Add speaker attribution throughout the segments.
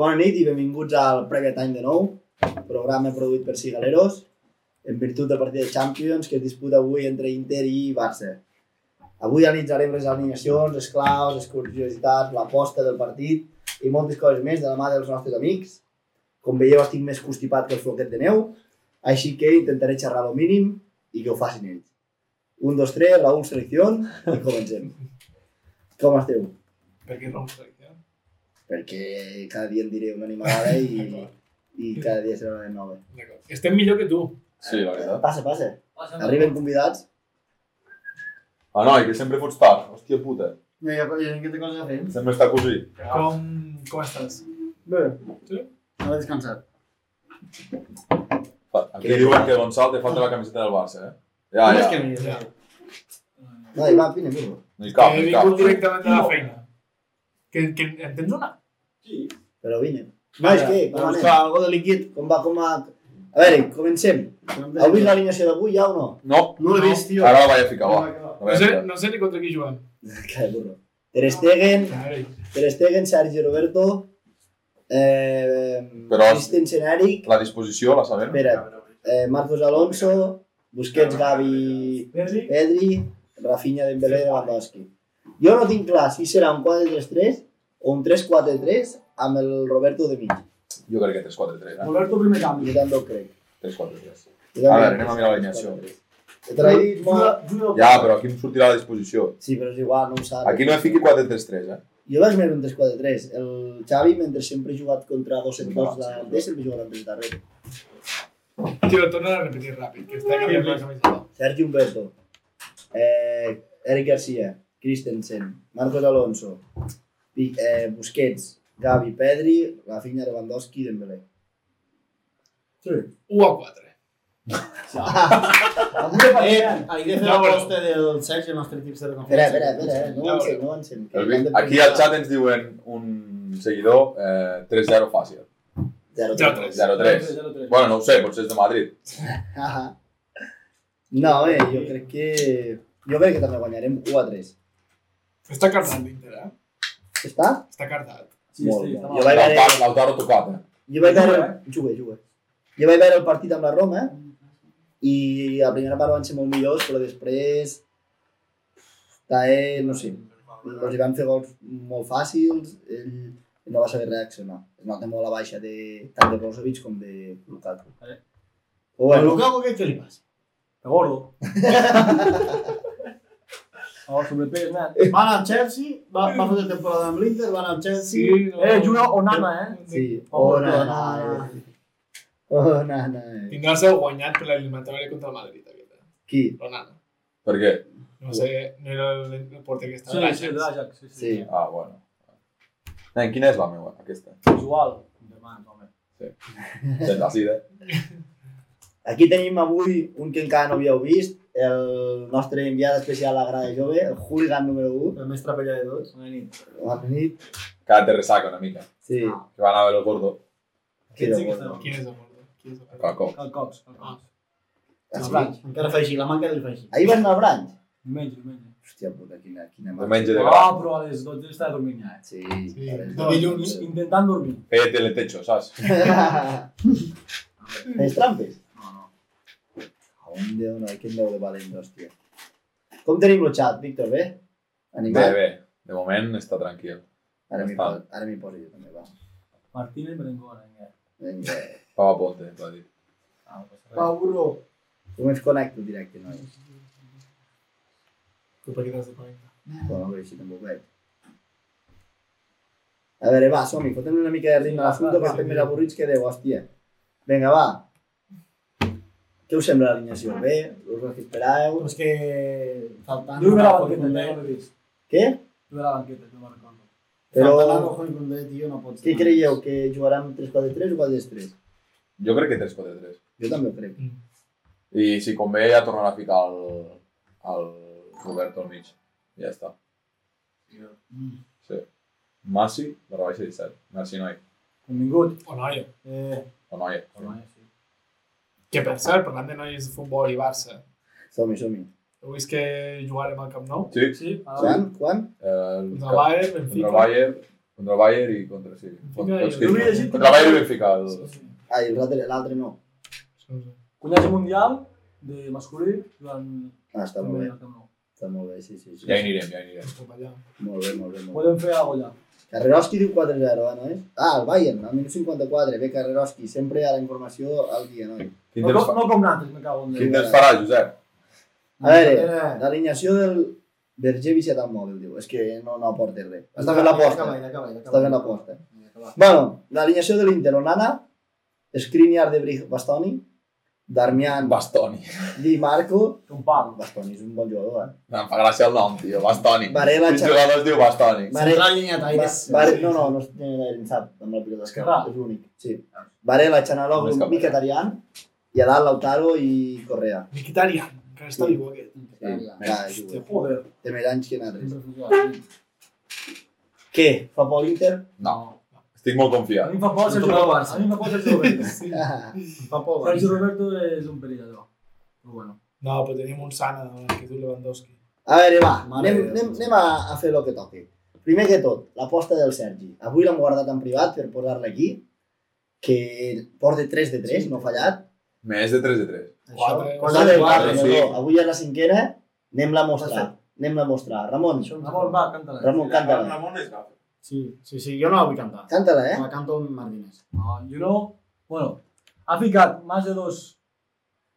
Speaker 1: Bona nit i benvinguts al Prèvia Time de nou, programa produït per Cigaleros, en virtut de partida de Champions que es disputa avui entre Inter i Barça. Avui analitzarem les alineacions, les claus, les curiositats, l'aposta del partit i moltes coses més de la mà dels nostres amics. Com veieu, estic més constipat que el floquet de neu, així que intentaré xerrar al mínim i que ho facin ells. Un, dos, tres, Raúl Selección i comencem. Com esteu?
Speaker 2: Per què no em tracta?
Speaker 1: perquè cada dia en diré una animalada i, i cada dia serà una de nova.
Speaker 2: D'acord. Estem millor este que tu.
Speaker 3: Sí, la veritat.
Speaker 1: Passa, passa. Arriben convidats.
Speaker 3: Ah, noi, que sempre fots tard. Hòstia puta.
Speaker 1: No, hi ha, hi ha que té coses a fer.
Speaker 3: Sempre està cosí.
Speaker 2: Com, com estàs?
Speaker 1: Bé.
Speaker 2: Sí?
Speaker 1: No he descansat.
Speaker 3: Fa- Aquí diuen que Gonçal te falta la camiseta del Barça, eh? Ja, ja.
Speaker 2: Ja.
Speaker 1: No, i va, vine, vine.
Speaker 3: No hi cap,
Speaker 2: he
Speaker 3: no hi
Speaker 2: vingut
Speaker 3: cap.
Speaker 2: directament de la feina. Que, que en tens una?
Speaker 1: Però vine. Va, és que, com anem?
Speaker 4: algo de líquid.
Speaker 1: Com va, com va? A veure, comencem. Heu vist l'alineació d'avui ja o no?
Speaker 3: No,
Speaker 4: No l'he vist, tio.
Speaker 3: ara oh. la vaig a ficar, va. La
Speaker 2: No
Speaker 3: vaig a
Speaker 2: sé,
Speaker 3: ficar.
Speaker 2: no sé ni contra qui jugant.
Speaker 1: Que burro. Ter Stegen,
Speaker 2: Ai,
Speaker 1: Ter Stegen, Sergi Roberto, eh,
Speaker 3: Però-
Speaker 1: Christensen Eric,
Speaker 3: La disposició la sabem?
Speaker 1: espera, eh, Marcos Alonso, Busquets, Gavi, Pedri, Rafinha, Dembélé i Lewandowski. Jo no tinc clar si serà un 4-3-3 o un 3-4-3 amb el Roberto de mig.
Speaker 3: Jo crec que 3-4-3, eh?
Speaker 4: Roberto primer canvi.
Speaker 1: Jo també ho crec.
Speaker 3: 3-4-3.
Speaker 1: Jo també
Speaker 3: A veure,
Speaker 1: ho
Speaker 3: anem a
Speaker 1: crec.
Speaker 3: mirar l'alineació.
Speaker 1: Jo te l'he dit, molt...
Speaker 3: Ja, però aquí em sortirà la disposició.
Speaker 1: Sí, però és igual, no ho saps.
Speaker 3: Aquí no hi fiqui 4-3-3, eh?
Speaker 1: Jo vaig veure un 3-4-3. El Xavi, mentre sempre he jugat contra dos centros de D, sempre he jugat amb el darrere.
Speaker 2: tio, torna a repetir ràpid, que està canviant la camiseta.
Speaker 1: Sergi Humberto, eh, Eric Garcia, Christensen, Marcos Alonso, Pi- eh, Busquets, Gavi, Pedri, Rafinha, Lewandowski i Dembélé. Sí.
Speaker 2: 1 a 4.
Speaker 4: Eh, hay que hacer
Speaker 2: No,
Speaker 4: la
Speaker 2: bueno.
Speaker 4: poste del Sergi en los tres tips de
Speaker 1: Espera,
Speaker 4: confianza.
Speaker 1: espera, espera, eh? no avancem, no avancem. que
Speaker 3: El
Speaker 1: hem
Speaker 3: Vic,
Speaker 1: de
Speaker 3: aquí al xat ens diuen un seguidor eh, 3-0 fàcil.
Speaker 1: Zero,
Speaker 2: Zero,
Speaker 1: tres.
Speaker 2: tres.
Speaker 3: 0-3. Bueno, no ho sé, potser és de Madrid.
Speaker 1: Haha. No, eh, jo crec que... Jo crec que també guanyarem 1 a 3.
Speaker 2: Està cardat l'Inter, eh?
Speaker 1: Està?
Speaker 2: Està cardat.
Speaker 4: Sí,
Speaker 1: Molt
Speaker 4: sí,
Speaker 1: bé.
Speaker 4: està
Speaker 1: Jo
Speaker 4: mal.
Speaker 1: vaig veure...
Speaker 3: Lautaro Lautaro tocat, eh?
Speaker 1: Jo vaig veure...
Speaker 4: Juga,
Speaker 1: Juga, juga. Jo vaig veure el partit amb la Roma i la primera part van ser molt millors, però després... Tae, no sé, els hi van fer gols molt fàcils, ell no va saber reaccionar. Es nota molt la baixa de, tant de Brozovic com de Lukaku.
Speaker 4: Eh.
Speaker 1: Però bueno,
Speaker 4: Bueno, Lukaku, ¿qué, qué le pasa? Está gordo. Ahora sobrepeso, nada. Van al Chelsea, va, va a hacer temporada en el Inter, van al Chelsea.
Speaker 2: no.
Speaker 4: Eh, Juno Onana, eh.
Speaker 1: sí. Oh,
Speaker 4: Oh,
Speaker 1: no, no,
Speaker 4: no.
Speaker 1: eh. Oh, no, no. eh.
Speaker 2: Tindrà el seu guanyat per l'eliminatòria contra el Madrid, aquesta.
Speaker 1: Qui?
Speaker 2: Onana.
Speaker 3: Per què?
Speaker 2: No sé, no era el, el porter que estava.
Speaker 4: Sí, sí, de l'Ajax, sí, sí.
Speaker 1: Sí.
Speaker 3: Ah, bueno. Nen, quina és la meva? Aquesta.
Speaker 4: Igual. Demà, home.
Speaker 3: És la sida.
Speaker 1: Aquí tenim avui un que encara no havíeu vist, el nostre enviat especial a la Grada Jove, el hooligan número 1.
Speaker 4: El més trapella de tots. Bona nit.
Speaker 1: Bona nit.
Speaker 3: Que ara te ressaca una mica.
Speaker 1: Sí.
Speaker 3: Que va anar a veure el gordo.
Speaker 1: Que
Speaker 4: Aquest sí que
Speaker 1: bo.
Speaker 4: està-
Speaker 2: Qui és el porter? Qui és el porter?
Speaker 3: Al cop.
Speaker 4: El Cox. El
Speaker 2: Ah.
Speaker 4: Cox. El Branch. Encara fa així, la manca del fa així.
Speaker 1: Ah, Ahir vas anar al branch?
Speaker 4: Diumenge, diumenge.
Speaker 1: Hòstia puta, quina, quina marxa.
Speaker 3: Diumenge de gran.
Speaker 4: Ah, però a les 12 estava dormint ja. eh?
Speaker 1: Sí.
Speaker 2: Sí,
Speaker 1: a les
Speaker 2: de
Speaker 1: dues.
Speaker 2: dilluns.
Speaker 4: Intentant dormir.
Speaker 3: Feia teletecho, saps?
Speaker 1: Fes trampes?
Speaker 4: No, no.
Speaker 1: A un déu, no, quin déu de valent, hòstia. Com tenim el xat, Víctor, bé?
Speaker 3: Bé,
Speaker 1: Animat?
Speaker 3: bé. De moment està tranquil.
Speaker 1: Ara m'hi
Speaker 3: està.
Speaker 1: poso, ara m'hi poso jo també, va.
Speaker 4: Martínez Berengona, vinga.
Speaker 1: Vinga.
Speaker 3: Pava Ponte, t'ho ha dit.
Speaker 4: eh. Ah, no passa res.
Speaker 2: Pau Burro.
Speaker 1: Com es connecto directe, nois?
Speaker 2: Tu per què t'has de connectar?
Speaker 1: Bueno, però així tampoc veig. A veure, va, som-hi, fotem una mica de ritme a la fruta,
Speaker 4: Va,
Speaker 1: que
Speaker 4: va,
Speaker 1: estem
Speaker 2: sí.
Speaker 1: més avorrits que Déu, hòstia. Vinga, va. Què us sembla l'alineació? Bé? Us el que esperàveu?
Speaker 4: Però és que faltant...
Speaker 2: Llum a la
Speaker 4: Ojo
Speaker 2: banqueta,
Speaker 4: Condé,
Speaker 2: eh?
Speaker 4: no l'he vist.
Speaker 1: Què?
Speaker 4: Llum a la banqueta, no me'n recordo.
Speaker 1: Però-
Speaker 4: Faltant Ojo i Condé, tio, no pots...
Speaker 1: Què creieu? Que jugaran 3-4-3 o 4-3?
Speaker 3: Jo crec que 3-4-3.
Speaker 1: Jo també ho crec.
Speaker 3: I si convé ja tornarà a ficar el, el Roberto al mig. I Ja està.
Speaker 4: Mm.
Speaker 3: Massi, de la baixa 17. Merci, noi.
Speaker 4: Benvingut.
Speaker 2: O noia.
Speaker 4: Eh,
Speaker 3: O noia.
Speaker 4: home, sí.
Speaker 2: Que per cert, parlant de noies de futbol i Barça,
Speaker 1: Som-hi, som-hi.
Speaker 2: heu vist que jugarem al Camp Nou?
Speaker 3: Sí. Eh,
Speaker 4: Sí, a la-
Speaker 1: Quan? Quan?
Speaker 3: El,
Speaker 2: Contra el Bayern,
Speaker 3: contra el
Speaker 2: Benfica,
Speaker 3: Bayern. Contra el Bayern i contra sí. Contra,
Speaker 2: jo.
Speaker 3: els
Speaker 2: Jo
Speaker 4: havia
Speaker 3: que-
Speaker 4: llegit
Speaker 3: contra el Bayern i Benfica. el-
Speaker 2: Sí, sí.
Speaker 1: Ai, l'altre l'altre no.
Speaker 2: Sí, sí.
Speaker 4: Cunyatge mundial de masculí durant...
Speaker 1: Ah, està molt bé,
Speaker 4: el Camp Nou.
Speaker 1: està molt bé, sí, sí. sí.
Speaker 3: Ja hi anirem, ja hi anirem.
Speaker 2: Cap allà.
Speaker 1: Molt bé, molt bé, molt bé.
Speaker 4: Podem fer alguna cosa allà.
Speaker 1: Carreroski diu 4-0, eh, nois? Ah, el Bayern, al minut 54. Bé, Carreroski, sempre a la informació al dia, noi.
Speaker 3: Quin
Speaker 4: No,
Speaker 3: temps,
Speaker 4: com,
Speaker 3: fa...
Speaker 4: no com nosaltres, me cago en
Speaker 3: Quin
Speaker 4: Déu.
Speaker 3: temps farà, Josep?
Speaker 1: A veure,
Speaker 4: Eh,
Speaker 1: l'alineació del Berger Vicet al mòbil, diu. És que no, no aporta res. Està fent l'aposta.
Speaker 4: Acaba, acaba, acaba.
Speaker 1: Està fent l'aposta. Bueno, l'alineació de l'Inter, Onana, Skriniar de Brig Bastoni, Darmian
Speaker 3: Bastoni.
Speaker 1: Di Marco...
Speaker 4: Un pal.
Speaker 1: Bastoni és un bon jugador, eh?
Speaker 3: Em fa gràcia el nom, tio. Bastoni.
Speaker 1: Varela,
Speaker 3: Quin jugador es diu Bastoni?
Speaker 1: Varela,
Speaker 4: línia
Speaker 1: Varela, no, no, no es tiene la sap, amb la pilota esquerra,
Speaker 4: Ah.
Speaker 1: és l'únic. Sí. Varela, Chanalov,
Speaker 3: Només que Varela.
Speaker 1: Mkhitaryan, i a dalt Lautaro i Correa.
Speaker 2: Mkhitaryan, que està viu aquest.
Speaker 1: Ja, juga.
Speaker 4: Joder.
Speaker 1: Té més anys que nosaltres.
Speaker 4: sempre funciona.
Speaker 1: Què? Fa por l'Inter?
Speaker 3: No. Estic molt
Speaker 4: A
Speaker 3: confiat.
Speaker 4: mi em fa por Sergio
Speaker 2: toca el
Speaker 4: Roberto.
Speaker 2: Barça.
Speaker 4: A mi em fa por Sergio Roberto.
Speaker 1: Ah.
Speaker 2: Fa por,
Speaker 4: Sergio Roberto és un perillador. Però bueno.
Speaker 2: No, però tenim un sana davant que tu Lewandowski.
Speaker 1: A veure, va,
Speaker 4: Mare
Speaker 1: anem,
Speaker 4: de Déu.
Speaker 1: anem, anem a, a fer el que toqui. Primer que tot, l'aposta del Sergi. Avui l'hem guardat en privat per posar-la aquí, que porta 3 de 3, no ha fallat.
Speaker 3: Més de 3 de 3.
Speaker 2: Quatre.
Speaker 5: Pues
Speaker 4: Quan
Speaker 1: Porta
Speaker 4: l'ha de
Speaker 1: de
Speaker 4: guardar,
Speaker 1: quatre,
Speaker 3: sí.
Speaker 1: perdó. Avui és la cinquena, anem-la a mostrar. Anem-la a mostrar. Ramon,
Speaker 4: Ramon, va, canta-la.
Speaker 1: Ramon, canta-la.
Speaker 6: Ramon és gafe.
Speaker 5: Sí, sí, sí, jo no la vull cantar.
Speaker 1: Canta-la, eh?
Speaker 5: La canto amb Martínez.
Speaker 4: Ah, No, you know... Bueno, ha ficat más de dos,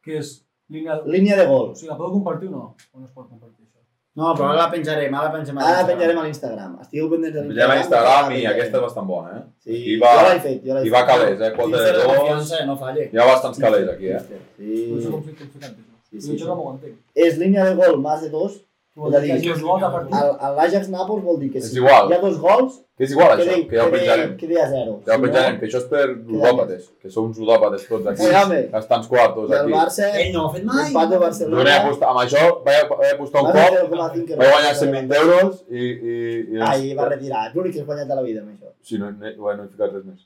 Speaker 4: que és línia...
Speaker 1: Línia de
Speaker 4: O
Speaker 1: gols.
Speaker 4: sigui, la podeu compartir o no? O no es pot compartir, això?
Speaker 5: No, però ara la penjarem, ara la penjarem.
Speaker 1: Ara la penjarem a l'Instagram. Estigueu pendents de
Speaker 3: Vegem a Instagram i aquesta és bastant bona, eh?
Speaker 1: Sí,
Speaker 3: I va-
Speaker 1: jo l'he fet, jo l'he fet.
Speaker 3: I va calés, eh? Quota
Speaker 5: Tinc
Speaker 3: de
Speaker 5: certa
Speaker 3: dos.
Speaker 5: confiança, no
Speaker 1: Eh,
Speaker 5: falle.
Speaker 3: Hi ha bastants calés aquí, eh?
Speaker 4: No
Speaker 1: Sí.
Speaker 4: sé com fer- com fer cantes, no?
Speaker 1: Sí, sí,
Speaker 4: Sí, sí, jo
Speaker 1: sí.
Speaker 4: això no m'ho entenc.
Speaker 1: És línia de gol, més de dos.
Speaker 4: Tu vols dir que
Speaker 1: dir,
Speaker 4: hi hagi dos gols a partir?
Speaker 1: El- el L'Ajax Nàpols vol dir que
Speaker 3: És
Speaker 1: sí.
Speaker 3: igual.
Speaker 1: Hi ha dos gols,
Speaker 3: Que és igual això,
Speaker 1: quedi,
Speaker 3: que ja ho penjarem.
Speaker 1: quedi, quedi a zero.
Speaker 3: Ja ho
Speaker 1: Si
Speaker 3: penjarem, que això és per ludòpates, que som uns ludòpates tots aquí.
Speaker 1: Sí, home.
Speaker 3: Estants
Speaker 1: No, eh.
Speaker 3: quartos
Speaker 1: del
Speaker 3: aquí.
Speaker 1: Barça,
Speaker 5: Ell no ho ha fet mai.
Speaker 1: l'empat de
Speaker 3: Donem
Speaker 1: Barcelona.
Speaker 3: a apostar, amb això vaig, vaig apostar un
Speaker 1: va fer
Speaker 3: cop,
Speaker 1: 0,5
Speaker 3: vaig guanyar 120 euros i... i, i
Speaker 1: Ai, va retirar. És l'únic que has guanyat a la vida amb això.
Speaker 3: Sí, no, no, bueno, no he ficat res més.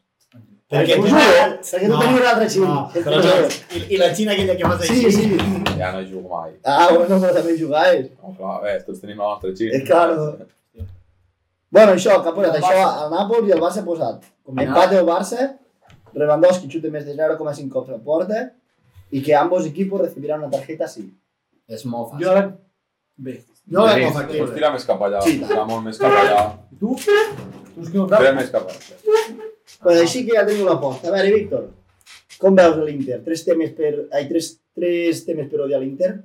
Speaker 1: Perquè tu,
Speaker 5: tu no-
Speaker 1: perquè tu
Speaker 5: No,
Speaker 1: tenies un altre xip.
Speaker 5: no, però no. I, I ¿eh? la Xina aquella que fas així.
Speaker 1: Sí, sí.
Speaker 3: Ja no jugo mai.
Speaker 1: Ah, bueno, però també jugaves.
Speaker 3: No, clar, a veure, tots tenim la nostra xica.
Speaker 1: Eh, claro. Bueno, això, que ha posat això al Nàpols i el Barça ha posat. Empat del Barça, Lewandowski xuta més de 0,5 cops a porta i que ambos equipos recibirán una tarjeta sí.
Speaker 5: És molt fàcil.
Speaker 4: Jo ara... Bé.
Speaker 5: Jo la
Speaker 3: Denis,
Speaker 5: cosa que...
Speaker 3: Pots tirar més cap allà,
Speaker 1: Sí.
Speaker 3: tirar molt més cap allà.
Speaker 4: I tu? Tu és que no et
Speaker 3: Tira
Speaker 4: veus?
Speaker 3: més cap allà.
Speaker 4: ah,
Speaker 1: Però així Pues que ja teniu l'aposta. A veure, Víctor, com veus l'Inter? Tres temes per... Ai, tres, tres temes per odiar l'Inter?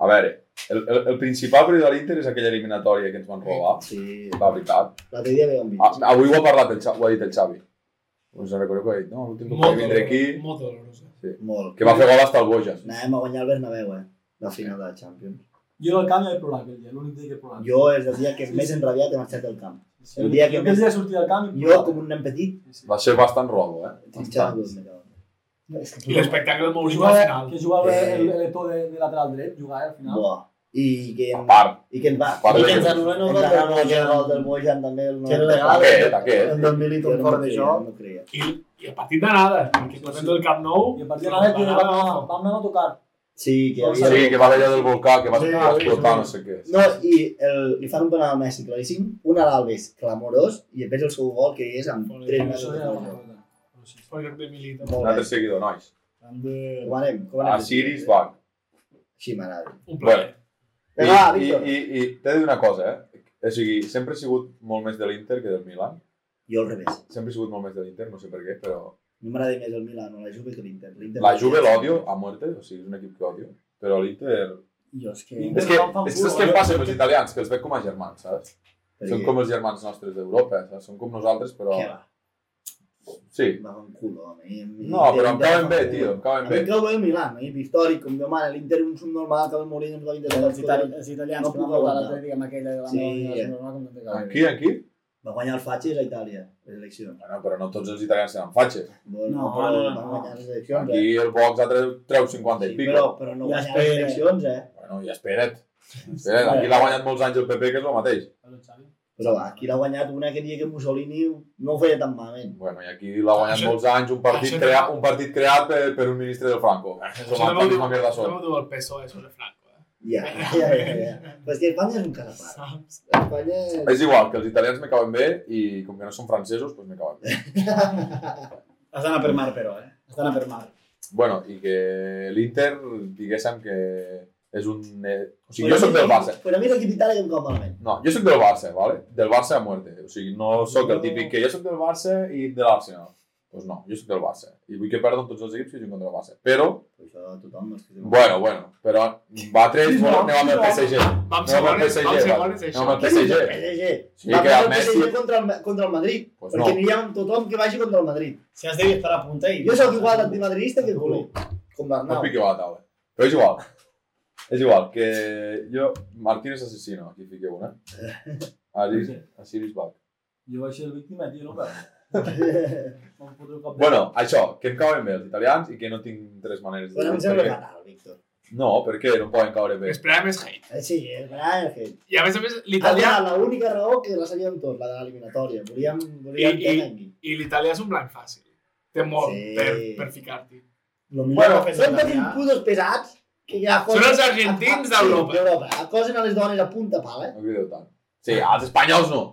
Speaker 3: A veure, el, el, el principal perill de l'Inter és aquella eliminatòria que ens van robar,
Speaker 1: Sí.
Speaker 3: la veritat.
Speaker 1: L'altre dia veia un
Speaker 3: A,
Speaker 1: vídeo.
Speaker 3: avui ho ha parlat, el, Xa- ho ha dit el Xavi. Us en recordeu que ha dit, no, l'últim cop que vaig vindre aquí,
Speaker 2: Molt dolorosa.
Speaker 1: Molt.
Speaker 3: que va fer gol hasta el Boja.
Speaker 1: Anàvem a guanyar el Bernabéu, eh? La final de la Champions.
Speaker 4: Jo era al camp i vaig plorar aquell dia, l'únic dia que he
Speaker 3: Ah.
Speaker 4: plorat.
Speaker 1: Jo és el dia que més enrabiat he marxat del camp.
Speaker 4: Sí,
Speaker 1: el dia que
Speaker 4: jo
Speaker 1: més-
Speaker 4: aquell dia sortia del camp i
Speaker 1: Jo, com un nen petit,
Speaker 4: Sí, sí.
Speaker 3: Va ser bastant robo, eh?
Speaker 1: trinxava
Speaker 3: Bastant.
Speaker 1: dos, me cago.
Speaker 2: I l'espectacle de
Speaker 4: Que
Speaker 2: Mourinho al
Speaker 4: jugava,
Speaker 2: final.
Speaker 4: que jugava
Speaker 1: Eh.
Speaker 4: el, el Eto'o de, de lateral dret, jugava al final.
Speaker 1: Buah. I que, em-
Speaker 3: A part,
Speaker 1: i que ens va...
Speaker 3: part
Speaker 5: I
Speaker 3: de-
Speaker 5: que ens anul·len el gol del
Speaker 1: gol
Speaker 5: Bojan.
Speaker 1: del Bojan també. El
Speaker 5: Que era legal.
Speaker 3: Aquest, aquest.
Speaker 5: El 2000 i tot fort de
Speaker 1: creia,
Speaker 5: joc.
Speaker 1: No creia.
Speaker 2: I, I el partit d'anada, perquè el del Camp Nou...
Speaker 4: I a partir de la net que vam anar, vam anar a tocar.
Speaker 1: Sí, que hi havia...
Speaker 3: Sí, que va allà del volcà, que va
Speaker 5: Sí,
Speaker 3: explotar
Speaker 5: sí.
Speaker 3: no sé què.
Speaker 1: No, i el, li fan un penal al Messi claríssim, un a l'Alves clamorós, i després el seu gol que és amb 3 metres
Speaker 4: Això
Speaker 1: de
Speaker 4: era la
Speaker 1: gol.
Speaker 4: bona
Speaker 2: Per joc de Milito.
Speaker 1: Molt
Speaker 3: Un
Speaker 1: bé.
Speaker 3: altre seguidor, nois.
Speaker 1: Com anem? Com anem?
Speaker 3: A Siris va.
Speaker 1: Així m'agrada.
Speaker 2: Un plaer.
Speaker 3: I,
Speaker 1: Vinga, va,
Speaker 3: i,
Speaker 1: Víctor.
Speaker 3: i, i t'he de dir una cosa, eh? O sigui, sempre he sigut molt més de l'Inter que del Milan.
Speaker 1: Jo al revés.
Speaker 3: Sempre he sigut molt més de l'Inter, no sé per què, però...
Speaker 1: A mi m'agrada més el Milan o la Juve que l'Inter. L'Inter-
Speaker 3: La Juve l'odio a muerte, o sigui, és un equip que odio. Però l'Inter...
Speaker 5: Jo és que...
Speaker 4: Inter-
Speaker 3: És que,
Speaker 4: fan fan
Speaker 3: és que,
Speaker 4: culo,
Speaker 3: és que
Speaker 4: eh?
Speaker 3: passa amb els italians, que els veig com a germans, saps?
Speaker 1: Perquè-
Speaker 3: Són com els germans nostres d'Europa, saps? Són com nosaltres, però...
Speaker 1: Què va?
Speaker 3: Sí.
Speaker 1: Em va fer un culo, home. I em-
Speaker 3: No,
Speaker 1: Inter-
Speaker 3: però em
Speaker 1: Inter-
Speaker 3: cauen bé, tio, em
Speaker 1: A
Speaker 3: cauen
Speaker 1: mi
Speaker 3: bé.
Speaker 1: em cau bé el Milan, eh? històric, com demana, l'Inter un subnormal, que el Mourinho ens va vindre de
Speaker 5: Els, itali
Speaker 1: l'escola.
Speaker 5: els italians
Speaker 1: No
Speaker 5: que van
Speaker 1: puc
Speaker 5: votar
Speaker 1: aguantar.
Speaker 5: l'altre dia amb aquella de la
Speaker 1: Sí,
Speaker 5: meva
Speaker 1: eh.
Speaker 5: universitat normal com no té cap.
Speaker 3: Aquí, aquí?
Speaker 1: Va guanyar el Fatxes a Itàlia, les eleccions.
Speaker 3: Bueno, però no tots els italians tenen fatxes.
Speaker 1: No,
Speaker 5: No,
Speaker 1: però
Speaker 5: no,
Speaker 1: van
Speaker 5: no, no.
Speaker 1: guanyar les eleccions, eh?
Speaker 3: Aquí el Vox ha treu, treu 50
Speaker 1: Sí,
Speaker 3: i pico.
Speaker 1: però, però no
Speaker 5: Ja
Speaker 1: guanyar les
Speaker 5: espera.
Speaker 1: eleccions, eh?
Speaker 3: Bueno, i espera't. espera't. Aquí l'ha guanyat molts anys el PP, que és el mateix.
Speaker 1: Però va, aquí l'ha guanyat una que dia que Mussolini no ho feia tan malament.
Speaker 3: Bueno, i aquí l'ha guanyat
Speaker 2: Això-
Speaker 3: molts anys un partit,
Speaker 2: això no-
Speaker 3: crea, un partit creat per, per un ministre del Franco. Som
Speaker 2: Això
Speaker 3: el
Speaker 2: no m'ho
Speaker 3: partit
Speaker 2: diu,
Speaker 3: una mierda sol.
Speaker 2: no m'ho diu el PSOE sobre Franco. Eh?
Speaker 1: Ja, ja, ja, ja. Però és que Espanya és un cas a part.
Speaker 2: Saps?
Speaker 1: Espanya és...
Speaker 3: És igual, que els italians me caben bé i com que no són francesos, doncs me caben bé.
Speaker 5: Has d'anar per mar, però, eh? Has d'anar per mar.
Speaker 3: bueno, i que l'Inter, diguéssim que és un... eh, O sigui, jo sóc del Barça.
Speaker 1: Però a mi és l'equip italià que em cau malament.
Speaker 3: No, jo sóc del Barça, ¿vale? Del Barça a muerte. O sigui, no sóc el
Speaker 1: No.
Speaker 3: típic que jo sóc del Barça i de l'Arsenal. Doncs pues no, jo sóc del Barça. I vull que perden tots els equips que juguen contra el Barça. Però,
Speaker 1: Això tothom... Els que...
Speaker 3: bueno, bueno, però batre,
Speaker 2: Sí,
Speaker 3: sí, bueno,
Speaker 2: no,
Speaker 3: anem amb
Speaker 2: sí,
Speaker 3: el
Speaker 2: no.
Speaker 3: PSG.
Speaker 2: Vam
Speaker 3: No, amb el
Speaker 2: segones, vam
Speaker 3: PSG,
Speaker 2: segones,
Speaker 3: va.
Speaker 2: això.
Speaker 3: No, amb el
Speaker 1: Què dius
Speaker 3: PSG.
Speaker 1: del PSG?
Speaker 3: Sí,
Speaker 1: Va
Speaker 3: que
Speaker 1: perdre
Speaker 3: el
Speaker 1: el
Speaker 3: Messi...
Speaker 1: PSG contra el, Ma- contra el Madrid.
Speaker 3: Pues
Speaker 1: perquè
Speaker 3: no.
Speaker 1: aniria amb tothom que vagi contra el Madrid.
Speaker 5: Si has de estar a punta i...
Speaker 1: Jo sóc igual d'antimadridista que el culer. Com
Speaker 3: No
Speaker 1: l'Arnau.
Speaker 3: piqueu a la taula. Però és igual. És igual, que jo... Martínez assassino, aquí fiqueu una. Aris, Asiris Bach.
Speaker 4: Jo vaig ser víctima, tio, no? Però... Em fotré el cap de-
Speaker 3: Bueno, això, que em cauen bé els italians i que no tinc tres maneres de
Speaker 1: Però em
Speaker 3: dir.
Speaker 1: sembla
Speaker 3: perquè-
Speaker 1: fatal, Víctor.
Speaker 3: No, perquè no em poden caure bé.
Speaker 2: Esperava més hate.
Speaker 1: Eh, Sí, és gran que...
Speaker 2: I a més a més,
Speaker 1: Has
Speaker 2: l'italià
Speaker 1: donat l'única raó que la sabíem tots, la de l'eliminatòria. Volíem, volíem
Speaker 2: I-
Speaker 1: I,
Speaker 2: i-
Speaker 1: tema aquí.
Speaker 2: i l'italià és un blanc fàcil. Té molt
Speaker 1: Sí.
Speaker 2: per, per ficar-t'hi.
Speaker 1: Lo
Speaker 3: Bueno,
Speaker 1: millor que són petits putos pesats que ja
Speaker 2: Són els argentins
Speaker 1: Sí,
Speaker 2: d'Europa.
Speaker 1: d'Europa. Acosen a les dones a punta pala. eh?
Speaker 3: No crideu tant. Sí, als espanyols no.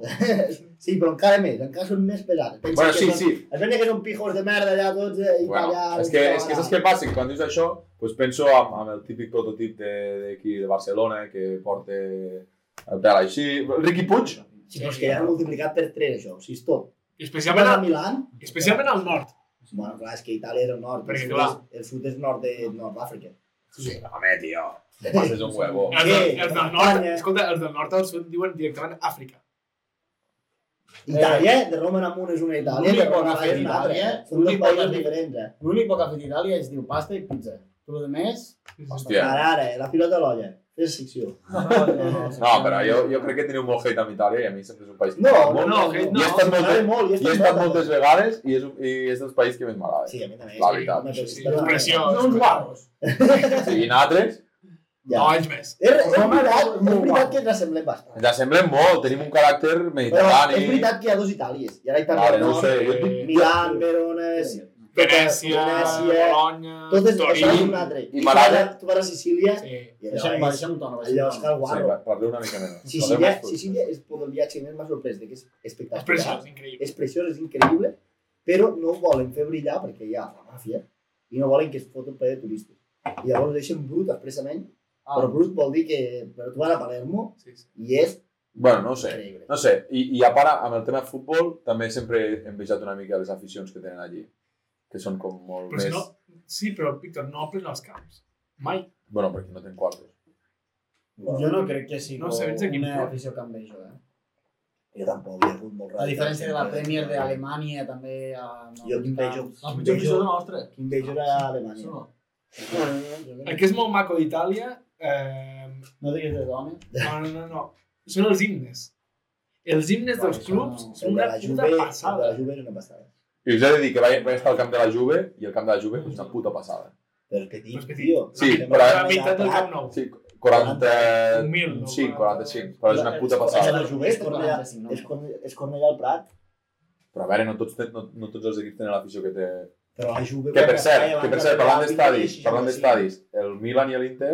Speaker 1: Sí, però encara més, encara són més pesats. Pensa
Speaker 3: Bueno,
Speaker 1: que
Speaker 3: sí,
Speaker 1: són,
Speaker 3: sí.
Speaker 1: Es pensa que són pijos de merda allà tots eh,
Speaker 3: Bueno,
Speaker 1: italians.
Speaker 3: és que, és que saps què passa? Que quan dius això, doncs penso en, en el típic prototip de- d'aquí de, Barcelona que porta el pèl així. Ricky Puig?
Speaker 1: Sí, però és que ja han multiplicat per 3 això, o sigui, és tot.
Speaker 2: I
Speaker 1: Si vas
Speaker 2: especialment,
Speaker 1: a
Speaker 2: al,
Speaker 1: Milán,
Speaker 2: especialment al nord.
Speaker 1: bueno, clar, és que Itàlia és el nord,
Speaker 2: Perquè,
Speaker 1: el, sud
Speaker 2: clar.
Speaker 1: és, el sud és nord de Nord d'Àfrica.
Speaker 3: Eh.
Speaker 2: Sí.
Speaker 3: Home, tio, te passes un huevo.
Speaker 2: Els, del,
Speaker 1: Sí,
Speaker 2: els del nord,
Speaker 1: Espanya.
Speaker 2: escolta, els del nord al sud diuen directament Àfrica.
Speaker 1: Itàlia, eh, de Roma en amunt és una Itàlia,
Speaker 5: L'únic
Speaker 1: de Roma
Speaker 5: bon
Speaker 1: en baix és una
Speaker 5: fet
Speaker 1: altra.
Speaker 3: eh?
Speaker 5: d'Itàlia,
Speaker 1: Són dos
Speaker 5: l'únic bon
Speaker 1: països
Speaker 5: fet-
Speaker 1: diferents, eh?
Speaker 5: L'únic bo que ha fet Itàlia és diu pasta i pizza. Tot el demés...
Speaker 3: Hòstia.
Speaker 1: Ara, ara, eh, la pilota a l'olla. Fes secció.
Speaker 3: No, però jo, jo crec que teniu molt hate amb Itàlia i a mi sempre és un país que
Speaker 1: No,
Speaker 3: m'agrada
Speaker 1: no,
Speaker 3: molt.
Speaker 1: no,
Speaker 2: no,
Speaker 1: no.
Speaker 2: no.
Speaker 1: he estat molt, molt,
Speaker 3: I he estat moltes vegades i és, un- i és dels països que més m'agrada.
Speaker 1: Sí, a mi també.
Speaker 3: La veritat.
Speaker 2: Sí, sí, pressió.
Speaker 4: No uns guarros.
Speaker 3: Sí, I nosaltres
Speaker 1: Ja.
Speaker 2: No, ells més.
Speaker 1: És, Tota és, veritat, és veritat que ens assemblem bastant.
Speaker 3: ens assemblem molt, tenim un caràcter
Speaker 1: Però
Speaker 3: mediterrani.
Speaker 1: és veritat que hi ha dos Itàlies. Hi ha la Itàlia
Speaker 3: Vale,
Speaker 1: del
Speaker 3: no ho
Speaker 1: nord,
Speaker 3: sé, jo et dic...
Speaker 1: Milán, Verona, és-
Speaker 2: Venècia,
Speaker 1: Venècia,
Speaker 2: Bologna,
Speaker 1: tot és això és
Speaker 2: Torí.
Speaker 1: un altre.
Speaker 3: i
Speaker 1: I tu vas
Speaker 3: Malaga.
Speaker 1: a- tu vas a Sicília
Speaker 2: Sí.
Speaker 1: i
Speaker 5: Deixa'm
Speaker 1: allò és,
Speaker 5: deixa'm tona,
Speaker 1: allò és
Speaker 5: deixa'm
Speaker 1: que el
Speaker 5: tona.
Speaker 3: Sí,
Speaker 1: guarro.
Speaker 3: va, parleu una mica menys.
Speaker 1: Sicília, Sicília és tot el viatge més m'ha sorprès, que és
Speaker 2: És
Speaker 1: espectacular.
Speaker 2: preciós, increïble.
Speaker 1: És preciós, és increïble, però no ho volen fer brillar perquè hi ha la màfia i no volen que es foten ple de turistes. I llavors ho deixen brut expressament,
Speaker 2: Ah.
Speaker 1: però brut vol dir que però tu vas a Palermo
Speaker 2: Sí, sí.
Speaker 1: i és
Speaker 3: Bueno, no ho sé.
Speaker 1: increïble.
Speaker 3: No sé, i, i a part, amb el tema de futbol, també sempre he envejat una mica les aficions que tenen allí, que són com molt
Speaker 2: Però
Speaker 3: més...
Speaker 2: si no, sí, però Víctor, no omplen els camps. Mai.
Speaker 3: Bueno, perquè no tenen quartos.
Speaker 5: Jo no crec que sigui
Speaker 2: No sé, ets aquí,
Speaker 5: una
Speaker 2: però-
Speaker 5: afició que em vejo, eh?
Speaker 1: Jo tampoc, hi ha hagut molt
Speaker 5: A diferència de ah, la Premier d'Alemanya, també... A...
Speaker 1: Jo quin veig, jo-
Speaker 5: Ah,
Speaker 4: La pitjor afició de la nostra.
Speaker 1: Quin veig era a
Speaker 4: Això
Speaker 1: Alemanya.
Speaker 4: no.
Speaker 2: El que és molt maco d'Itàlia, eh,
Speaker 5: No diguis de dona.
Speaker 2: no, no, no, no, són els himnes. Els himnes dels clubs
Speaker 1: El
Speaker 2: són
Speaker 1: de
Speaker 2: una
Speaker 1: la Juve,
Speaker 2: puta
Speaker 1: el de
Speaker 2: passada.
Speaker 1: la Juve era una passada.
Speaker 3: I us he de dir que vaig, vaig estar al camp de la Juve, i el camp de la Juve és una puta passada.
Speaker 1: Però és
Speaker 2: Però
Speaker 1: petit,
Speaker 2: és que
Speaker 1: tio.
Speaker 3: Sí,
Speaker 1: Anem
Speaker 3: però-
Speaker 1: a
Speaker 2: La meitat del Camp Nou.
Speaker 3: Sí,
Speaker 2: 40.
Speaker 3: 45, 45, però és una puta
Speaker 1: És
Speaker 3: passada.
Speaker 1: la Juve, és Cornellà,
Speaker 5: no?
Speaker 1: és Cornellà, és Cornellà al Prat.
Speaker 3: Però a veure, no tots, ten- no, no tots els equips tenen l'afició que té...
Speaker 1: Però la Juve...
Speaker 3: Que per cert, que per cert, parlant
Speaker 1: de
Speaker 3: d'estadis, parlant d'estadis, el Milan i l'Inter,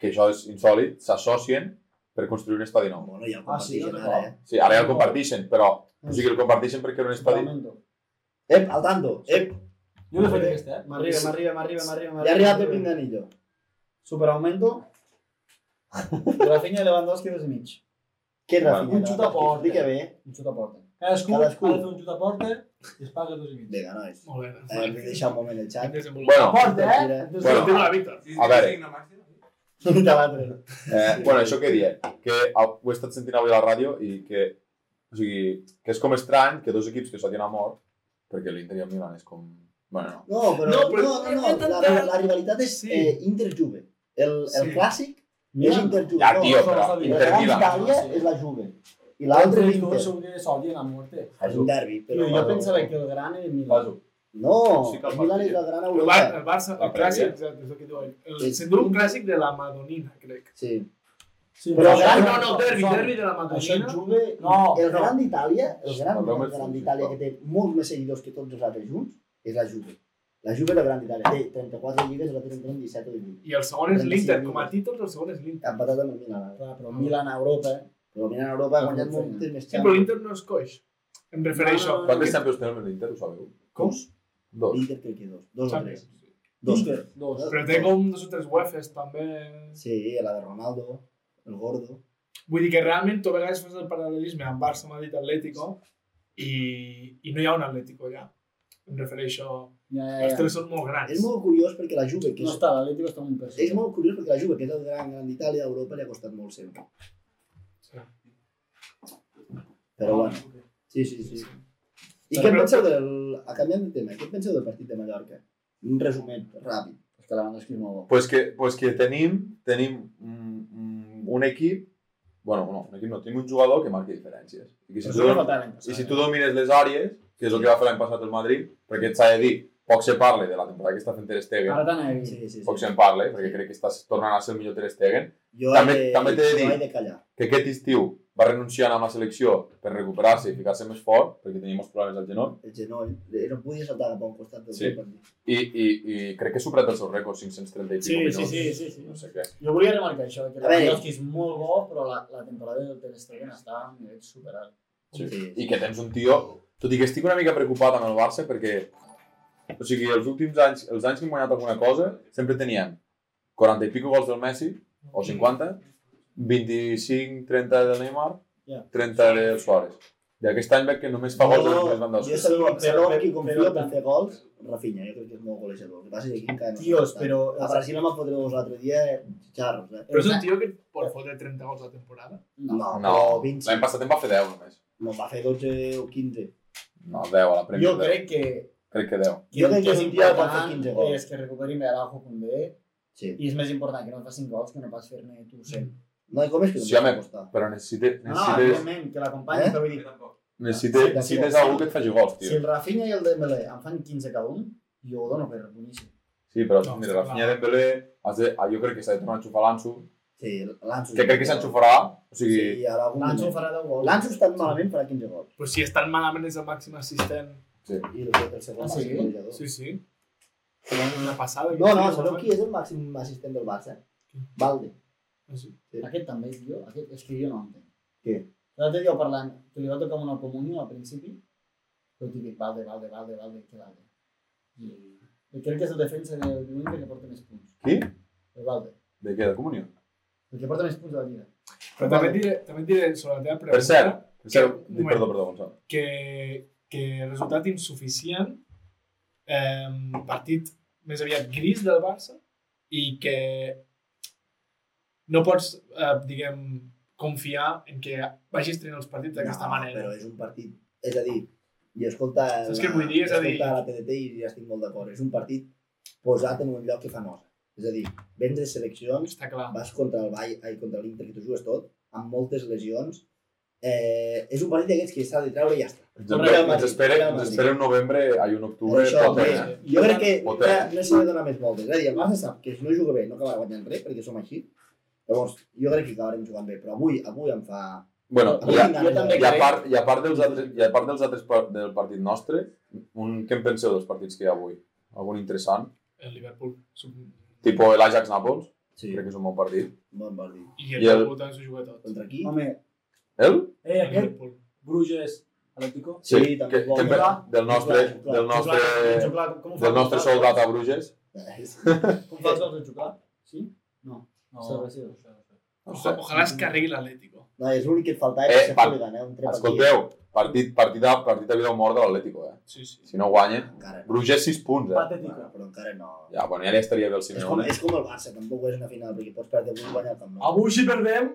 Speaker 3: que això és insòlit, s'associen per construir un estadi nou.
Speaker 1: Bueno, ja el
Speaker 4: Ah, sí,
Speaker 1: comparteixen
Speaker 4: no,
Speaker 1: ara, eh?
Speaker 3: Sí, ara ja el comparteixen, però... O sigui, el comparteixen perquè era un estadi
Speaker 1: Ep, al tanto, ep,
Speaker 4: Jo l'he fet aquesta, eh?
Speaker 5: M'arriba, m'arriba, m'arriba, m'arriba.
Speaker 1: ja ha arribat Pep Pinganillo.
Speaker 5: Superaugmento. Rafinha i Lewandowski dos i mig.
Speaker 1: Què és
Speaker 3: Bueno.
Speaker 1: Rafinha?
Speaker 4: Un xut a porta.
Speaker 1: Dic que bé.
Speaker 5: Un xut a porta.
Speaker 4: Cadascú,
Speaker 1: Cadascú.
Speaker 4: ha de fer un xut a porta i es paga dos i mig.
Speaker 1: Vinga, nois.
Speaker 2: Molt bé.
Speaker 1: Eh, hem de deixar un moment el xat.
Speaker 2: Desenvolupar.
Speaker 3: Bueno,
Speaker 4: A porta, eh?
Speaker 1: Mira.
Speaker 4: Entonces,
Speaker 3: Bueno.
Speaker 2: Continua, Víctor.
Speaker 3: A veure.
Speaker 1: Un de l'altre.
Speaker 3: Eh, bueno, això que dic, que au- ho he estat sentint avui a la ràdio i que, o sigui, que és com estrany que dos equips que s'odien a mort, perquè l'Inter i el Milan és com... Bueno, no.
Speaker 1: No, però, no,
Speaker 2: No, però-
Speaker 1: no, no, no. La, la, la rivalitat és
Speaker 2: Sí.
Speaker 1: eh, Inter-Juve. El, el
Speaker 2: Sí.
Speaker 1: clàssic és
Speaker 4: Milan.
Speaker 1: Inter-Juve.
Speaker 3: Ja,
Speaker 1: No,
Speaker 3: tio, però
Speaker 4: no, no,
Speaker 1: La gran
Speaker 3: Inter-Milan.
Speaker 1: Itàlia
Speaker 4: Sí.
Speaker 1: és la Juve. I l'altre és
Speaker 4: Segur
Speaker 1: l'Inter.
Speaker 4: que s'odien a muerte.
Speaker 1: És un derbi,
Speaker 5: Però
Speaker 1: però...
Speaker 5: jo pensava que el gran era el Milan.
Speaker 1: No,
Speaker 3: Sí que el
Speaker 1: el Milan és la gran
Speaker 2: El,
Speaker 1: Europa.
Speaker 2: Bar el Barça,
Speaker 3: La
Speaker 2: el clàssic,
Speaker 3: prèvia.
Speaker 2: exacte, és el que diu ell. El,
Speaker 1: Sí.
Speaker 2: se'n diu un clàssic de la Madonina, crec.
Speaker 1: Sí.
Speaker 4: Sí,
Speaker 1: Però
Speaker 2: No,
Speaker 1: gran-
Speaker 2: no, no, derbi, derbi de la
Speaker 5: Això el
Speaker 2: Madonina.
Speaker 5: Juve...
Speaker 4: No,
Speaker 1: El
Speaker 4: no.
Speaker 1: gran d'Itàlia, el gran,
Speaker 3: El Roma
Speaker 1: el gran
Speaker 3: és-
Speaker 1: d'Itàlia que té molts més seguidors que tots els altres junts, és la Juve. La Juve és la gran d'Itàlia. Té 34 lligues i l'altre en tenen 17 o 18.
Speaker 2: I el segon és
Speaker 1: 35
Speaker 2: l'Inter.
Speaker 1: lligues.
Speaker 2: Com a títols, el segon és l'Inter.
Speaker 1: Ha empatat amb el Milan. ara.
Speaker 5: Clar, però Ah, Milan a Europa, ¿eh?
Speaker 1: Però el Milan a Europa ha
Speaker 5: Ah,
Speaker 1: guanyat
Speaker 5: molt
Speaker 1: moltes més
Speaker 2: Sí, però
Speaker 1: Champions.
Speaker 2: l'Inter no és coix. Em refereixo.
Speaker 5: No, no,
Speaker 3: Quantes Champions tenen amb l'Inter, ho sabeu?
Speaker 1: Com?
Speaker 3: Dos.
Speaker 1: L'Inter crec que dos. Dos o tres.
Speaker 2: Champions.
Speaker 1: Dos.
Speaker 5: Inter,
Speaker 4: Dos.
Speaker 2: Però té com dos o tres UEFs també.
Speaker 1: Sí, la de Ronaldo, el Gordo.
Speaker 2: Vull dir que realment tu a vegades fas el paral·lelisme amb Barça, Madrid, Atlético i, i no hi ha un Atlético ja. Em refereixo...
Speaker 5: ja, ja,
Speaker 2: Els
Speaker 5: ja.
Speaker 2: tres són molt grans.
Speaker 1: És molt curiós perquè la Juve, que
Speaker 5: No
Speaker 1: és,
Speaker 5: està, l'Atlético està un per
Speaker 1: és molt curiós perquè la Juve, que és el gran gran d'Itàlia, a Europa li ha costat molt sempre.
Speaker 2: Sí.
Speaker 1: Però bueno, sí, sí, sí. I
Speaker 2: Ah. Però-
Speaker 1: què en penseu del... A canviant de tema, què en penseu del partit de Mallorca? Un resumet ràpid.
Speaker 5: És que la banda és que és molt bo.
Speaker 3: Pues que, pues que tenim, tenim un, un- un equip, bueno, no, un equip no, tenim un jugador que marca diferències. I que si
Speaker 5: Però
Speaker 3: tu,
Speaker 5: això no
Speaker 3: don-
Speaker 5: faltava l'any passat,
Speaker 3: I si
Speaker 5: eh?
Speaker 3: tu domines les àrees, que és el que va fer l'any passat el Madrid, perquè s'ha de dir, poc se parle de la temporada que està fent Ter Stegen,
Speaker 5: Ara t'anava a dir.
Speaker 1: Sí, sí, sí.
Speaker 3: poc se'n parle, perquè crec que està tornant a ser el millor Ter Stegen,
Speaker 1: Jo
Speaker 3: També-
Speaker 1: he de,
Speaker 3: també t'he de dir-
Speaker 1: Jo he de callar.
Speaker 3: que aquest estiu va renunciar a anar amb la selecció per recuperar-se i ficar-se més fort, perquè tenia molts problemes al genoll,
Speaker 1: El genoll. eh, No podia saltar cap a un costat del
Speaker 3: Sí.
Speaker 1: sí. partit.
Speaker 3: i, i, i crec que ha superat el seu rècord, 530 i
Speaker 5: Sí,
Speaker 3: pico
Speaker 5: sí,
Speaker 3: minuts.
Speaker 5: sí, sí, sí.
Speaker 3: No sé què.
Speaker 5: Jo volia remarcar això, que
Speaker 1: A veure.
Speaker 5: Lewandowski és molt bo, però la, la temporada del Ter Stegen està a un nivell superalt.
Speaker 3: Sí.
Speaker 1: Sí.
Speaker 3: I que tens un tio... Tot i que estic una mica preocupat amb el Barça perquè... O sigui, els últims anys, els anys que hem guanyat alguna cosa, sempre tenien 40 i pico gols del Messi, o 50, 25, 30 del Neymar,
Speaker 5: Ja.
Speaker 3: 30 del Suárez. I aquest any veig que només fa gols no, més
Speaker 1: jo
Speaker 3: Lewandowski.
Speaker 1: sabeu, sabeu en qui
Speaker 5: Però-
Speaker 1: confio
Speaker 5: però-
Speaker 1: per fer gols? Rafinha, jo crec que és molt golejador. El que passa és que aquí encara no
Speaker 5: Tios,
Speaker 1: s'ha adaptat.
Speaker 5: però...
Speaker 1: A Brasil em va fotre dos l'altre dia, eh, xarros, eh?
Speaker 2: Però és un tio que pot fotre 30 gols a la temporada.
Speaker 1: No,
Speaker 3: No,
Speaker 1: però
Speaker 3: l'any
Speaker 1: 20,
Speaker 3: passat en va fer 10 només.
Speaker 1: no, va fer 12 o 15.
Speaker 3: No, 10 a la Premier
Speaker 5: Jo
Speaker 3: 10.
Speaker 5: crec que,
Speaker 3: crec que 10.
Speaker 1: Jo crec que
Speaker 5: és
Speaker 1: un dia pot fer
Speaker 5: important
Speaker 1: 15 gols.
Speaker 5: és que recuperin Araujo Condé
Speaker 1: Sí.
Speaker 5: i és més important que no facin gols que no pas fer-ne tu 100.
Speaker 1: No, i com és que no
Speaker 3: Sí,
Speaker 1: sí,
Speaker 3: home.
Speaker 1: home. Costar?
Speaker 3: Però necessites,
Speaker 5: No, Ah, no,
Speaker 3: necessites,
Speaker 5: evidentment, que l'acompanyis,
Speaker 1: Eh?
Speaker 5: però vull dir,
Speaker 3: necessites, necessites algú que et faci gols,
Speaker 5: si
Speaker 3: tio.
Speaker 5: el Rafinha i el Dembélé em fan 15 cada un, jo ho dono per boníssim.
Speaker 3: Sí, però
Speaker 2: No,
Speaker 3: mira,
Speaker 2: està
Speaker 3: la
Speaker 2: clar.
Speaker 3: finya de Dembélé, has de, ah, jo crec que s'ha de tornar a xufar l'Anso,
Speaker 1: Sí, l'Anso.
Speaker 3: que crec que s'enxufarà, o sigui,
Speaker 1: Sí, ara algun
Speaker 5: L'Anso
Speaker 1: moment.
Speaker 5: farà 10 gols.
Speaker 1: L'Anso està malament, farà 15 gols.
Speaker 2: Però si estan malament és el màxim assistent.
Speaker 1: I el, el segon
Speaker 5: Ah, sí?
Speaker 1: màxim golejador.
Speaker 2: Sí, sí. Una passada.
Speaker 1: No, no, sabeu qui és el màxim assistent del Barça? Valde.
Speaker 2: Ah, Sí.
Speaker 5: Aquest també és jo, aquest és que jo no entenc.
Speaker 1: Què?
Speaker 5: L'altre dia parlant, que li va tocar una comunió al pues principi, però t'hi dic, valde, valde, valde, valde, que valde. I, i crec que és el defensa del Inter que porta més punts.
Speaker 3: Qui?
Speaker 5: El valde.
Speaker 3: de què, de comunió?
Speaker 5: El que porta més punts de la lliga.
Speaker 2: Però també et diré, també et diré sobre la teva pregunta
Speaker 3: Per cert, per cert,
Speaker 2: un
Speaker 3: dic,
Speaker 2: moment.
Speaker 3: perdó, perdó, Gonçalo.
Speaker 2: que, que resultat insuficient, eh, partit més aviat gris del Barça i que no pots, eh, diguem, confiar en que vagis tenint els partits d'aquesta
Speaker 1: no,
Speaker 2: manera.
Speaker 1: Però és un partit... És a dir, i escolta...
Speaker 2: Saps què vull dir? És a dir-
Speaker 1: Escolta la PDT i ja estic molt d'acord. És un partit posat en un lloc que fa nosa. És a dir, vens de seleccions,
Speaker 2: Està clar.
Speaker 1: vas contra el Bay, ai, contra l'Inter, que t'ho jugues tot, amb moltes lesions. Eh, és un partit d'aquests que s'ha de treure i ja està.
Speaker 3: Ens,
Speaker 1: Real
Speaker 3: espera, ens,
Speaker 1: Madrid,
Speaker 3: espera,
Speaker 1: Real
Speaker 3: ens
Speaker 1: Madrid.
Speaker 3: espera un novembre, ai, un octubre,
Speaker 1: Per això,
Speaker 3: pot
Speaker 1: bé,
Speaker 3: anar.
Speaker 1: jo crec que
Speaker 3: Pot
Speaker 1: ja,
Speaker 3: anar.
Speaker 1: no s'hi ha de donar més voltes. És a dir, el Barça sap que si no juga bé no acabarà guanyant res, perquè som així. Llavors, jo crec que acabarem jugant bé, però avui, avui em fa...
Speaker 3: Bueno,
Speaker 1: Avui
Speaker 3: i a,
Speaker 1: tinc
Speaker 5: jo
Speaker 1: ganes
Speaker 5: també
Speaker 1: de-
Speaker 3: i a, part, i a part dels altres, i a part dels altres par del partit nostre, un, què en penseu dels partits que hi ha avui? Algun interessant?
Speaker 2: El Liverpool sub-
Speaker 3: Tipo l'Ajax-Nàpols,
Speaker 1: Sí,
Speaker 3: crec que és un bon partit.
Speaker 1: bon partit.
Speaker 2: i el
Speaker 3: I el-
Speaker 2: Liverpool també s'ho juga tot.
Speaker 1: Contra qui?
Speaker 5: Home,
Speaker 3: El?
Speaker 4: Eh,
Speaker 2: El
Speaker 4: aquest,
Speaker 2: Liverpool.
Speaker 4: Bruges, Atlético.
Speaker 1: Sí,
Speaker 3: que,
Speaker 1: també
Speaker 3: que
Speaker 1: vol
Speaker 3: en ve-
Speaker 1: jugar.
Speaker 3: del nostre,
Speaker 1: Jugar,
Speaker 3: del
Speaker 5: Xuclar,
Speaker 3: nostre,
Speaker 5: Xuclar, com ho fa
Speaker 3: eh, del nostre
Speaker 5: Xuclar?
Speaker 3: soldat a Bruges.
Speaker 5: Com fa els gols de Xuclar? Sí?
Speaker 4: No,
Speaker 5: Salvació.
Speaker 3: No
Speaker 2: Oja- Ojalá es que arregli l'Atlético.
Speaker 1: No, és l'únic que et faltava,
Speaker 3: Eh,
Speaker 1: eh, ser
Speaker 3: pa-
Speaker 1: hooligan, eh? Un trep
Speaker 3: Escolteu, partit, partit, a, partit a vida o mort de l'Atlético, eh?
Speaker 2: Sí, sí.
Speaker 3: Si no guanyen,
Speaker 1: aquí. Encara no.
Speaker 3: Bruges 6 punts, eh?
Speaker 4: Patético.
Speaker 1: Bueno, però encara no.
Speaker 3: Ja, bueno, ja li estaria bé el
Speaker 1: És com,
Speaker 3: Simeone.
Speaker 1: és com el Barça, tampoc és una final, perquè pots perdre avui i guanyar el Camp Nou.
Speaker 4: Avui si perdem...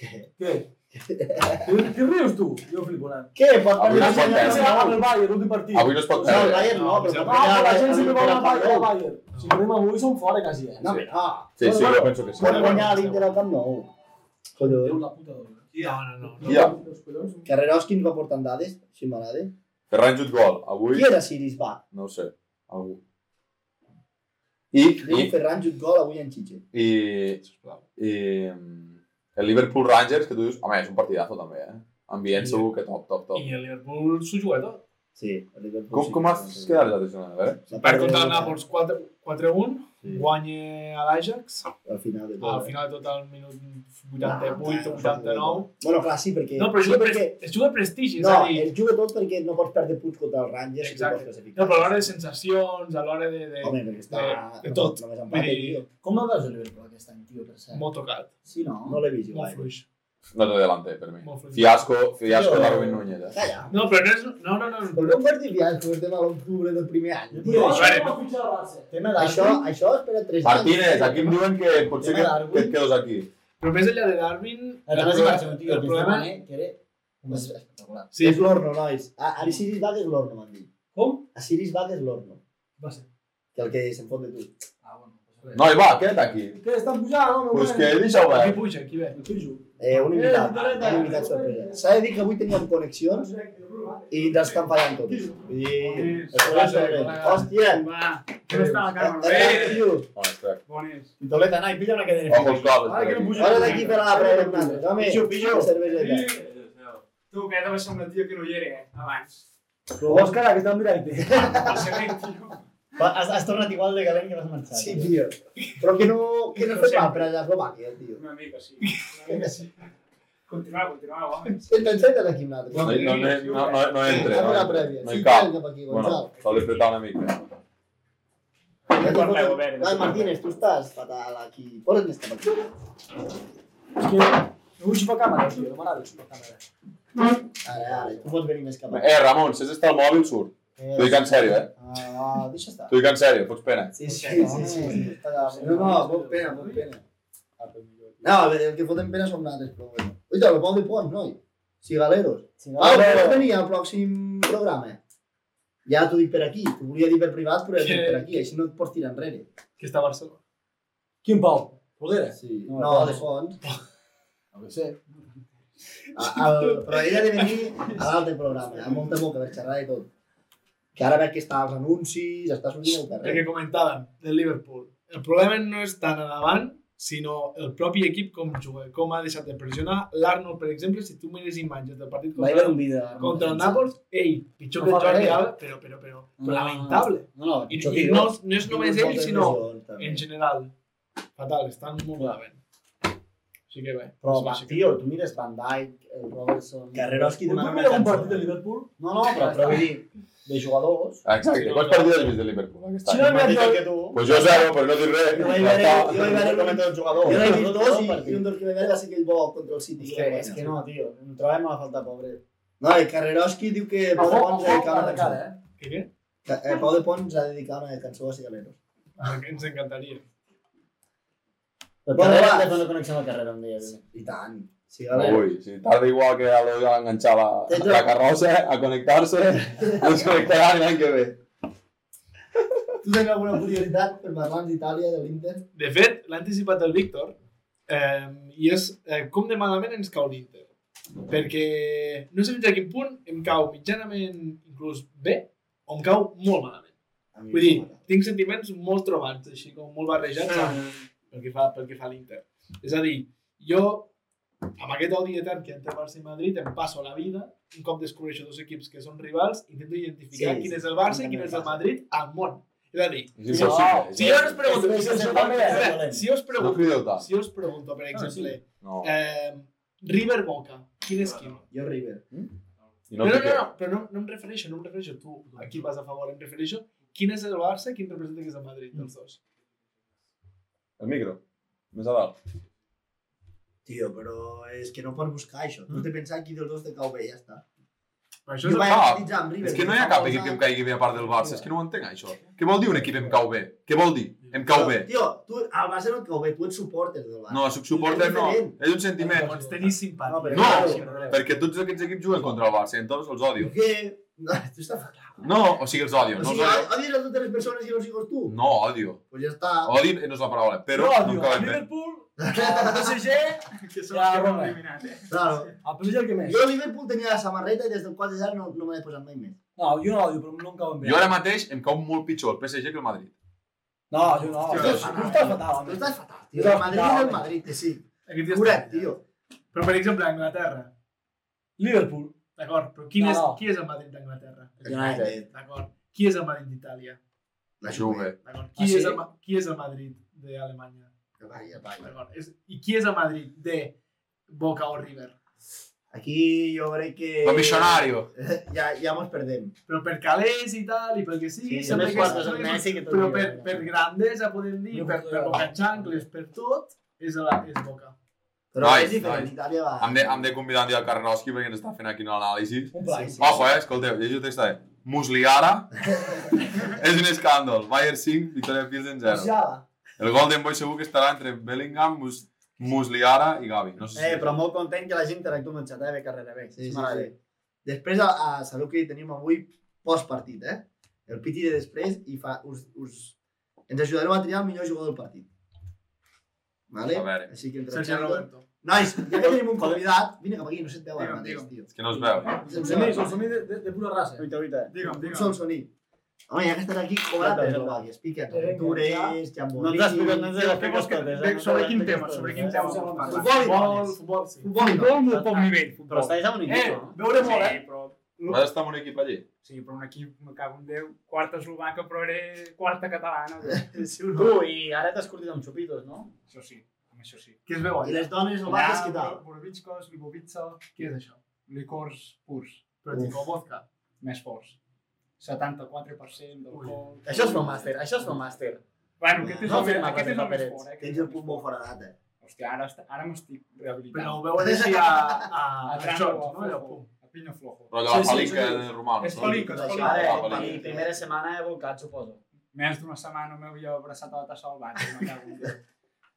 Speaker 1: Què?
Speaker 4: Què? Què què rius tu? Jo flipant.
Speaker 1: Què? Pots
Speaker 3: Avui
Speaker 1: perdre
Speaker 3: no es
Speaker 1: el
Speaker 3: pot
Speaker 1: Camp Nou?
Speaker 3: perdre.
Speaker 4: Se la guanya el Bayern, l'últim partit.
Speaker 3: Avui no es
Speaker 1: No,
Speaker 3: pot
Speaker 1: el
Speaker 3: perdre.
Speaker 1: Bayern no, però...
Speaker 2: No,
Speaker 1: també
Speaker 4: Ah, però la
Speaker 1: el-
Speaker 4: gent sempre
Speaker 1: el-
Speaker 4: va
Speaker 1: el
Speaker 4: al Bayern, al
Speaker 1: Camp Nou.
Speaker 4: Bayern. Si perdem avui som fora quasi, eh?
Speaker 1: No, però no.
Speaker 3: Sí, sí,
Speaker 1: Bueno,
Speaker 3: jo penso que sí.
Speaker 1: Pot guanyar l'Inter al Camp Nou.
Speaker 4: Déu
Speaker 1: Collons.
Speaker 4: la puta dona.
Speaker 2: No, no, no. no.
Speaker 3: Ja.
Speaker 1: Carrerós, quin va portant dades? Si m'agrada.
Speaker 3: Ferran jut gol, avui,
Speaker 1: Qui era Siris Bach?
Speaker 3: no ho sé, algú. I, i,
Speaker 1: Diego Ferran jut gol avui en Xitxe.
Speaker 3: i,
Speaker 2: Sisplau.
Speaker 3: i el Liverpool Rangers, que tu dius, home, és un partidazo també, eh? Ambient segur que top, top, top.
Speaker 2: I el Liverpool s'ho juga tot.
Speaker 1: Sí, el Liverpool
Speaker 3: Com,
Speaker 1: sí
Speaker 3: com
Speaker 1: que
Speaker 3: has
Speaker 1: sí.
Speaker 3: quedat la temporada? A veure.
Speaker 1: La
Speaker 2: Per
Speaker 1: part
Speaker 2: contra el
Speaker 1: de-
Speaker 2: Nàpols 4 4-1,
Speaker 1: Sí,
Speaker 2: guanya a l'Ajax,
Speaker 1: al final de tot. eh?
Speaker 2: al final de tot al minut
Speaker 1: No,
Speaker 2: 88 o
Speaker 1: no,
Speaker 2: 89.
Speaker 1: Bueno, clar, sí, perquè...
Speaker 2: No, però es juga,
Speaker 1: sí,
Speaker 2: pres- es juga prestigis,
Speaker 1: No,
Speaker 2: és a dir,
Speaker 1: es juga tot perquè no pots perdre punts contra els Rangers i
Speaker 2: Exacte.
Speaker 1: no pots classificar.
Speaker 2: no, però a l'hora de sensacions, a l'hora de... de
Speaker 1: Home, perquè està...
Speaker 2: de- de tot.
Speaker 1: Només
Speaker 2: Vull
Speaker 1: empat,
Speaker 2: dir,
Speaker 1: tio.
Speaker 5: Com el veus el Liverpool aquest any, tio, per cert?
Speaker 2: molt tocat,
Speaker 5: Sí, no?
Speaker 1: No l'he vist jo
Speaker 2: molt
Speaker 1: gaire.
Speaker 2: fluix.
Speaker 3: No te delante, per mi.
Speaker 2: Molt fluix.
Speaker 3: Fiasco, fiasco
Speaker 5: Yo-
Speaker 3: Darwin Núñez. Eh?
Speaker 1: Calla.
Speaker 2: No, però no és... No, no, no.
Speaker 1: Però no em vas dir fiasco, estem a l'octubre del primer any.
Speaker 5: Jo
Speaker 4: Yo
Speaker 5: tio,
Speaker 2: No,
Speaker 4: no
Speaker 2: a veure,
Speaker 4: puedo fichar al Barça.
Speaker 5: Tema
Speaker 1: Això,
Speaker 5: d'Arwin,
Speaker 1: això espera 3 anys.
Speaker 3: Martínez, aquí em diuen que potser que,
Speaker 5: Darwin.
Speaker 3: que et quedes aquí.
Speaker 2: però més enllà de Darwin...
Speaker 5: a
Speaker 2: El
Speaker 5: través de Barça,
Speaker 2: problema...
Speaker 5: un tio,
Speaker 2: El
Speaker 5: que estava,
Speaker 2: problema...
Speaker 5: eh, que era un mes espectacular.
Speaker 1: Sí.
Speaker 2: Sí,
Speaker 1: És l'Orno, nois. A, a Siris Bad és l'Orno, m'han dit.
Speaker 4: Com?
Speaker 1: A Siris Bad és l'Orno,
Speaker 4: Va ser.
Speaker 1: que el que se'n fot de tu.
Speaker 4: Ah, bueno. pues res.
Speaker 3: Noi, va, queda't aquí.
Speaker 4: Ustedes están pujados, no,
Speaker 3: Pues
Speaker 4: bueno.
Speaker 3: que deixa-ho
Speaker 2: aquí
Speaker 3: obert.
Speaker 2: puja, aquí ve.
Speaker 4: El Kirju.
Speaker 1: Eh, un invitat,
Speaker 4: Eh,
Speaker 1: un invitat sorpresa. S'ha de dir que avui teníem connexions i ens estan fallant tots. Vull dir, el programa sorpresa. Hòstia!
Speaker 6: Va, que no estava Carmen.
Speaker 1: Eh, eh,
Speaker 6: Bé,
Speaker 1: tio!
Speaker 3: Oh, espera.
Speaker 6: bones.
Speaker 1: Toleta, anai, pilla una cadena.
Speaker 3: Ojo, els cops.
Speaker 6: Ara que no puja.
Speaker 1: Ara d'aquí per a la prèvia, Hernández. Home,
Speaker 6: Pillo, pillo.
Speaker 1: una cerveseta.
Speaker 6: Tu, que ara vas ser un tio que no hi era, eh, abans.
Speaker 4: Óscar, aquí está, mira, ahí te-
Speaker 6: El següent, tio.
Speaker 5: Va, Has, has tornat igual de calent que vas marxar.
Speaker 1: Sí,
Speaker 5: tio.
Speaker 1: tio. Però que no, que no fa per allà a Eslovàquia, tio.
Speaker 6: Una mica, sí. Una mica, sí. Continueu, continueu, home.
Speaker 1: Senta, senta d'aquí un altre.
Speaker 3: No,
Speaker 1: Fem
Speaker 3: no, no, no, no, no entre.
Speaker 1: una
Speaker 3: No,
Speaker 1: prèvia.
Speaker 3: entre. no
Speaker 1: Sí,
Speaker 3: hi
Speaker 1: cal
Speaker 3: cap.
Speaker 1: cap aquí, Gonzalo.
Speaker 3: Bueno, s'ha d'apretar una mica.
Speaker 6: Parleu, a veure,
Speaker 1: Dai,
Speaker 6: parleu.
Speaker 1: Martínez, tu estàs fatal aquí. este Posa't més cap aquí.
Speaker 4: Es que me voy a chupar cámara, tío, me mola de chupar cámara.
Speaker 1: Ara, ara, tu pots venir més cap aquí.
Speaker 3: Eh, Ramon, si has d'estar al mòbil, surt. T'ho dic en sèrio, eh?
Speaker 1: Ah, deixa estar.
Speaker 3: T'ho dic en sèrio, fots pena.
Speaker 1: Sí, sí, sí. sí. No, no, molt pena, molt pena. Ah, pues, No, el que fotem pena som nosaltres, però bueno. Oita, el Pau de Pont, noi. Cigaleros.
Speaker 5: Sí,
Speaker 1: Pau,
Speaker 5: no,
Speaker 1: pots venir al pròxim programa? Ja t'ho dic per aquí. T'ho volia dir per privat, però ja t'ho dic per aquí. Així no et pots tirar enrere.
Speaker 2: Que està a Barcelona.
Speaker 4: ¿Quién, Pau? ¿Rodera?
Speaker 1: Sí. No, de fons.
Speaker 5: no ho sé.
Speaker 1: A- al, però ella ha de venir a l'altre programa, amb molta boca per xerrar i tot. Que ara veig que està als anuncis, està sortint al
Speaker 2: El
Speaker 1: carrer.
Speaker 2: que comentàvem, del Liverpool. El problema no és tant a davant, sinó el propi equip com juga, com ha deixat de pressionar. L'Arnold, per exemple, si tu mires imatges del partit
Speaker 5: Va haver
Speaker 2: contra,
Speaker 5: un vídeo.
Speaker 2: contra el Nàpols, ei, pitjor que
Speaker 5: No
Speaker 2: el
Speaker 5: fa
Speaker 2: Jordi
Speaker 5: res.
Speaker 2: Alba, però, però, però, però
Speaker 5: No.
Speaker 2: lamentable.
Speaker 5: No, no,
Speaker 2: I,
Speaker 5: pitjor
Speaker 2: i
Speaker 5: que jo.
Speaker 2: no, no és només ell,
Speaker 1: Moltes
Speaker 2: sinó
Speaker 1: lesions, també.
Speaker 2: en general. Fatal, estan molt malament. Així que bé.
Speaker 5: Però,
Speaker 2: sí,
Speaker 5: va,
Speaker 2: així que-
Speaker 5: tio, tu mires Van Dijk, el Robertson...
Speaker 1: Carrerowski
Speaker 4: ¿Tú
Speaker 1: demana
Speaker 4: me das un
Speaker 1: cançó.
Speaker 4: partido de Liverpool?
Speaker 5: No, no, però, però vull dir, de jugadors...
Speaker 3: Exacte, quants partits has vist de Liverpool aquest
Speaker 4: Sí, no,
Speaker 3: any?
Speaker 4: no.
Speaker 5: Més que tu...
Speaker 3: Pues jo zero, però no dic
Speaker 1: Jo vaig
Speaker 3: res. Ja
Speaker 1: veure-
Speaker 3: està.
Speaker 1: jo vaig veure un-
Speaker 5: el jugador.
Speaker 1: jo vaig veure
Speaker 5: No,
Speaker 1: dos
Speaker 5: no,
Speaker 1: i,
Speaker 5: perquè-
Speaker 1: i un dels que vaig veure va ser aquell bo contra el City.
Speaker 5: És que, és que no, tio. Em trobem a la falta, pobre.
Speaker 1: No, i Carrerowski diu que Pau de
Speaker 4: Ojo,
Speaker 1: Pons ha
Speaker 4: ojo,
Speaker 1: dedicat una
Speaker 4: atacada,
Speaker 1: cançó.
Speaker 4: eh.
Speaker 2: Què, què?
Speaker 1: Ca- eh, Pau de Pons ha dedicat una cançó a Cigaleros.
Speaker 2: Perquè Ens encantaria.
Speaker 5: El
Speaker 1: Bueno,
Speaker 5: carrer,
Speaker 1: va.
Speaker 5: hem de fer una connexió amb el carrer un dia. tio.
Speaker 1: I tant. Cigaleros.
Speaker 3: Ui, si tarda igual que a l'Oga a enganxar la, la carrossa, a connectar-se, ens connectaran l'any que ve.
Speaker 1: Tu tens alguna curiositat per parlar d'Itàlia, de l'Inter?
Speaker 2: De fet, l'ha anticipat el Víctor eh, i és eh, com de malament ens cau l'Inter. Perquè no sé fins a quin punt em cau mitjanament inclús bé o em cau molt malament.
Speaker 1: A mi
Speaker 2: Vull dir,
Speaker 1: m'ha agradat.
Speaker 2: tinc sentiments molt trobats, així com molt barrejats
Speaker 1: Ah.
Speaker 2: amb, pel que fa, pel que fa a l'Inter. És a dir, jo amb aquest odi etern que hi ha entre Barça i Madrid em passo la vida, un cop descobreixo dos equips que són rivals, intento identificar
Speaker 1: Sí,
Speaker 2: quin
Speaker 1: sí,
Speaker 2: és el Barça i
Speaker 1: també
Speaker 2: quin
Speaker 1: em
Speaker 2: és el
Speaker 1: passa.
Speaker 2: Madrid al món. És a dir,
Speaker 3: És impossible.
Speaker 2: si jo us pregunto,
Speaker 5: És- és- és també és
Speaker 2: espera,
Speaker 5: dolent.
Speaker 2: si jo us
Speaker 3: No
Speaker 2: pregunto,
Speaker 3: crideu tant.
Speaker 2: si us pregunto, per exemple,
Speaker 3: No.
Speaker 2: eh, River Boca, quin és quin?
Speaker 1: Jo, River.
Speaker 3: I
Speaker 2: No,
Speaker 3: no
Speaker 2: no, no,
Speaker 3: piqueu.
Speaker 2: no, però no, no em refereixo, no em refereixo tu, aquí vas a favor, em refereixo quin és el Barça, quin representa que és el Madrid, dels dos.
Speaker 3: El micro. Més a dalt.
Speaker 1: Tio, però és que no pots buscar això.
Speaker 3: Mm.
Speaker 1: Tu te pensar qui dels dos te cau bé, ja està.
Speaker 2: Però això
Speaker 1: Jo
Speaker 2: és...
Speaker 1: vaig
Speaker 3: Ah,
Speaker 1: analitzar amb River.
Speaker 3: És que no hi ha cap equip que em caigui bé a part del Barça, és que no ho entenc, això. Què vol dir un equip em cau bé? Què vol dir? Em cau bé.
Speaker 1: Tio, tu al Barça no et cau bé, tu et suportes del Barça.
Speaker 3: No, sóc suporter, no. És un sentiment.
Speaker 2: Pots tenir simpatia.
Speaker 1: No, però-
Speaker 3: Perquè tots aquests equips juguen contra el Barça i entonces els odio.
Speaker 1: Què? No, tu estàs fatal.
Speaker 3: No, o sigui, els odio.
Speaker 1: O
Speaker 3: No, els
Speaker 1: sigui,
Speaker 3: odio.
Speaker 1: odies a totes les persones i no sigues tu.
Speaker 3: no odio.
Speaker 1: Pues ja està.
Speaker 3: Odi no és la paraula, però
Speaker 4: No,
Speaker 3: no
Speaker 4: tío,
Speaker 3: em
Speaker 4: a
Speaker 3: cauen bé.
Speaker 4: Liverpool, a PSG,
Speaker 6: Que som
Speaker 4: Ja,
Speaker 6: els que hem
Speaker 4: home.
Speaker 6: eliminat, eh.
Speaker 1: Claro.
Speaker 4: a PSG el que més.
Speaker 1: Jo a Liverpool tenia la samarreta i des del 4 de zero no, no me l'he posat mai més.
Speaker 4: No, yo no odio, pero nunca voy a ver.
Speaker 3: Jo ara mateix em cau molt pitjor el PSG que el Madrid.
Speaker 4: No, yo no.
Speaker 3: Hostia,
Speaker 4: Tú-
Speaker 3: no,
Speaker 4: tú
Speaker 1: no,
Speaker 4: estás
Speaker 1: no.
Speaker 4: fatal,
Speaker 1: Tu
Speaker 4: hombre.
Speaker 1: estàs fatal, tio. El Madrid és el Madrid, que sí.
Speaker 2: Aquest dia està...
Speaker 1: Cura't, tio.
Speaker 2: Però, per exemple, a Anglaterra,
Speaker 4: Liverpool.
Speaker 2: D'acord, però quin
Speaker 4: No,
Speaker 2: és,
Speaker 4: no.
Speaker 2: qui és el Madrid d'Anglaterra?
Speaker 1: United.
Speaker 2: D'acord. Qui és el Madrid d'Itàlia?
Speaker 1: La Juve.
Speaker 3: Juve.
Speaker 2: D'acord.
Speaker 5: Ah,
Speaker 2: Qui,
Speaker 5: sí?
Speaker 2: és el, Ma- qui és el Madrid d'Alemanya?
Speaker 1: Vaya, vaya.
Speaker 2: D'acord. És- I qui és el Madrid de Boca o River?
Speaker 1: Aquí jo crec que...
Speaker 3: Lo millonario.
Speaker 1: Ja, ja mos perdem.
Speaker 2: Però per calés i tal, i pel que sigui,
Speaker 1: Sí,
Speaker 2: sembla
Speaker 1: només
Speaker 2: que-
Speaker 1: quadres
Speaker 2: sembla
Speaker 5: el
Speaker 2: que-
Speaker 5: Messi que tot
Speaker 2: però
Speaker 5: li
Speaker 2: per,
Speaker 5: agrada.
Speaker 2: per grandesa, podem dir,
Speaker 4: No,
Speaker 2: per, per
Speaker 4: no.
Speaker 2: bocachancles, per tot, és, la, és Boca.
Speaker 1: Però
Speaker 3: Nois,
Speaker 1: és diferent,
Speaker 3: nois.
Speaker 1: Itàlia va...
Speaker 3: Hem de, hem de convidar un dia al Carnoski perquè ens està fent aquí un anàlisi.
Speaker 4: Un pla.
Speaker 1: Sí.
Speaker 3: Ojo, eh, escolteu, llegiu el text, eh? Musliara és un escàndol. Bayern 5, Victoria Pilsen 0.
Speaker 1: Ja.
Speaker 3: El Golden Boy segur que estarà entre Bellingham, Mus Musliara i Gavi. No sé si...
Speaker 1: Eh, però molt content que la gent interactua amb el xat, eh? Bé, carrera, bé.
Speaker 5: Sí, sí,
Speaker 1: M'agrada. Després, a, a saber que tenim avui postpartit, eh? El piti de després i fa... Us, us... Ens ajudareu a triar el millor jugador del partit. Vale?
Speaker 3: A veure.
Speaker 1: Així que
Speaker 2: Sergio Roberto.
Speaker 1: Nois, ja que tenim un convidat, vine cap aquí, no se't veu ara
Speaker 2: Digue'm,
Speaker 1: mateix, tio.
Speaker 3: És que no es veu.
Speaker 4: Solsonís, solsonís de, de, de pura raça.
Speaker 5: Oita, oita.
Speaker 2: Digue'm,
Speaker 1: Un
Speaker 2: digue'm.
Speaker 1: sol soní. Home, ja que estàs aquí, cobra'l
Speaker 5: Vinga,
Speaker 1: de
Speaker 5: vinga.
Speaker 1: Eslovaquia. Explica't, aventures,
Speaker 5: No
Speaker 1: xambolí...
Speaker 5: t'has picat
Speaker 2: Jo,
Speaker 5: res de les
Speaker 2: què vols que-
Speaker 5: picotes,
Speaker 2: de-
Speaker 5: eh?
Speaker 2: sobre quin
Speaker 5: No t'has
Speaker 2: tema,
Speaker 5: picat
Speaker 2: sobre
Speaker 5: res,
Speaker 2: quin
Speaker 5: eh?
Speaker 2: tema vols parlar?
Speaker 1: Futbol i
Speaker 2: Futbol,
Speaker 1: dones.
Speaker 2: futbol, sí.
Speaker 1: Futbol, no.
Speaker 6: Futbol molt poc nivell,
Speaker 5: Però
Speaker 6: futbol.
Speaker 5: estàs a un equip,
Speaker 2: Eh,
Speaker 5: no?
Speaker 2: veure molt, eh?
Speaker 6: Sí, però,
Speaker 3: Vas estar amb un equip allí?
Speaker 6: sí, però un equip, me cago en Déu, quarta eslovaca, però era quarta catalana. doncs.
Speaker 2: Sí, o no?
Speaker 5: Tu, i ara t'has curtit amb xupitos, no?
Speaker 6: Això sí, amb això sí.
Speaker 2: Què es veu
Speaker 1: I
Speaker 2: allà?
Speaker 1: les dones eslovaques, què tal?
Speaker 6: Borovichkos, Libovitsa,
Speaker 2: Què és això?
Speaker 6: licors purs,
Speaker 2: Però tipo vodka.
Speaker 6: més forts. 74% d'alcohol.
Speaker 5: Això es fa un màster, això es fa un màster.
Speaker 6: Bueno, aquest és
Speaker 1: No
Speaker 6: el, més-
Speaker 5: firma
Speaker 6: aquest és el més
Speaker 5: paperets.
Speaker 6: fort, eh? aquest
Speaker 1: Tens
Speaker 6: és
Speaker 1: el punt molt
Speaker 6: més fort.
Speaker 1: fora d'edat, eh?
Speaker 6: Hòstia, ara, est- ara m'estic rehabilitant.
Speaker 2: Però ho veuen així a... a, a,
Speaker 6: a Trano,
Speaker 2: shorts, no?
Speaker 6: a,
Speaker 2: Allò,
Speaker 6: Flojo,
Speaker 2: pum.
Speaker 6: a Pinyo Flojo.
Speaker 3: Però allò, la
Speaker 5: Sí, sí,
Speaker 3: fàlica
Speaker 5: sí.
Speaker 3: de romano.
Speaker 6: És fàlic.
Speaker 5: Ara,
Speaker 3: Ah,
Speaker 5: la
Speaker 3: vale.
Speaker 5: primera setmana he volcat, suposo.
Speaker 6: Més d'una setmana m'havia abraçat a la tassa del bany, me cago en Déu.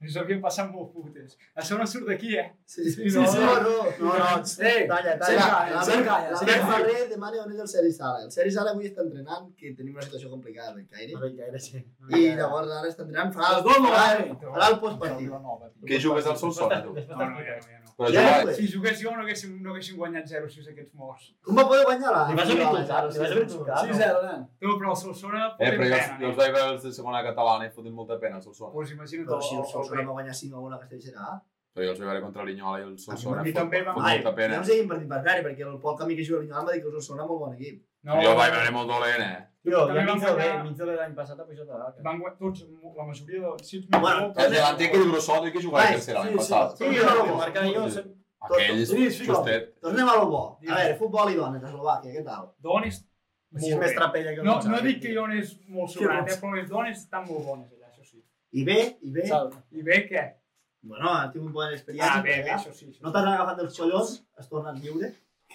Speaker 6: Ens havien passat molt putes. Això no surt d'aquí, eh?
Speaker 1: Sí, sí,
Speaker 6: no,
Speaker 1: no, no, no, no,
Speaker 4: Eh,
Speaker 1: Talla,
Speaker 4: Sí,
Speaker 1: talla.
Speaker 4: calla,
Speaker 1: La
Speaker 4: sí,
Speaker 1: Albert-
Speaker 4: calla, sí,
Speaker 1: L'Albert
Speaker 4: calla.
Speaker 1: Ferrer demana on és el Seri Sala. El Seri Sala avui està entrenant, que tenim una situació complicada del Caire.
Speaker 5: No veig gaire, sí.
Speaker 1: I llavors ara està entrenant, farà
Speaker 4: Els dos no
Speaker 1: farà-
Speaker 4: van bé.
Speaker 1: farà el postpartit.
Speaker 3: Que jugues al Solsona, tu?
Speaker 6: No, no, ja no, ja no.
Speaker 3: Però
Speaker 1: Ja,
Speaker 3: jugar-
Speaker 1: pues.
Speaker 6: Si jugués jo no haguéssim, no haguéssim guanyat 0 si us aquests morts.
Speaker 1: Com va poder guanyar la?
Speaker 5: Li vas obrir tu, Carlos, li vas obrir tu, Carlos.
Speaker 4: 6-0, nen.
Speaker 6: No, però el Solsona...
Speaker 3: Eh, però jo,
Speaker 6: fotem
Speaker 3: jo
Speaker 6: pena,
Speaker 3: els vaig veure els de segona catalana i foten molta pena, el Solsona.
Speaker 6: Pues imagina't
Speaker 1: Però si el Solsona
Speaker 6: el,
Speaker 1: va guanyar 5 a 1 a Castellserà.
Speaker 3: Però jo els vaig veure contra l'Inyola i el Solsona.
Speaker 1: I
Speaker 3: fot-
Speaker 6: també vam-
Speaker 3: fot
Speaker 1: Ai,
Speaker 3: molta
Speaker 1: no
Speaker 3: pena.
Speaker 1: ens seguim partit per Ferrer, perquè el Pol Camí que juga a l'Ignal va dir que el Solsona era molt bon equip.
Speaker 6: no,
Speaker 3: Jo el vaig veure molt dolent, eh?
Speaker 5: Tio, jo
Speaker 6: També
Speaker 5: mig
Speaker 6: vam
Speaker 5: de bé,
Speaker 6: guanyar-
Speaker 5: mig de pues l'any passat ha pujat a l'alca.
Speaker 6: Van guanyar tots, la majoria de... Si ets
Speaker 1: Bueno,
Speaker 6: millor,
Speaker 3: El delanter aquell grossot i que jugava
Speaker 1: Ai,
Speaker 3: a tercera l'any
Speaker 4: sí, sí.
Speaker 3: passat.
Speaker 5: Sí, jo, que marcava jo,
Speaker 3: Sí.
Speaker 5: sempre-
Speaker 3: Aquell és
Speaker 4: Sí, sí,
Speaker 3: justet.
Speaker 1: Tornem a lo bo. A
Speaker 6: Digues.
Speaker 1: veure, futbol i dones, Eslovàquia, què tal?
Speaker 6: dones...
Speaker 5: si és més trapella que el
Speaker 6: No,
Speaker 5: Gonzalo,
Speaker 6: no dic que
Speaker 5: tio.
Speaker 6: jo n'és molt sobrat, eh, però les dones estan molt bones allà, això sí.
Speaker 1: I bé, i bé.
Speaker 5: Salva.
Speaker 6: I bé, què?
Speaker 1: Bueno, ha tingut bona experiència.
Speaker 6: Ah, bé,
Speaker 1: per
Speaker 6: bé,
Speaker 1: allà.
Speaker 6: això sí. Això
Speaker 1: No
Speaker 6: sí.
Speaker 1: t'has agafat els collons, es tornen lliure.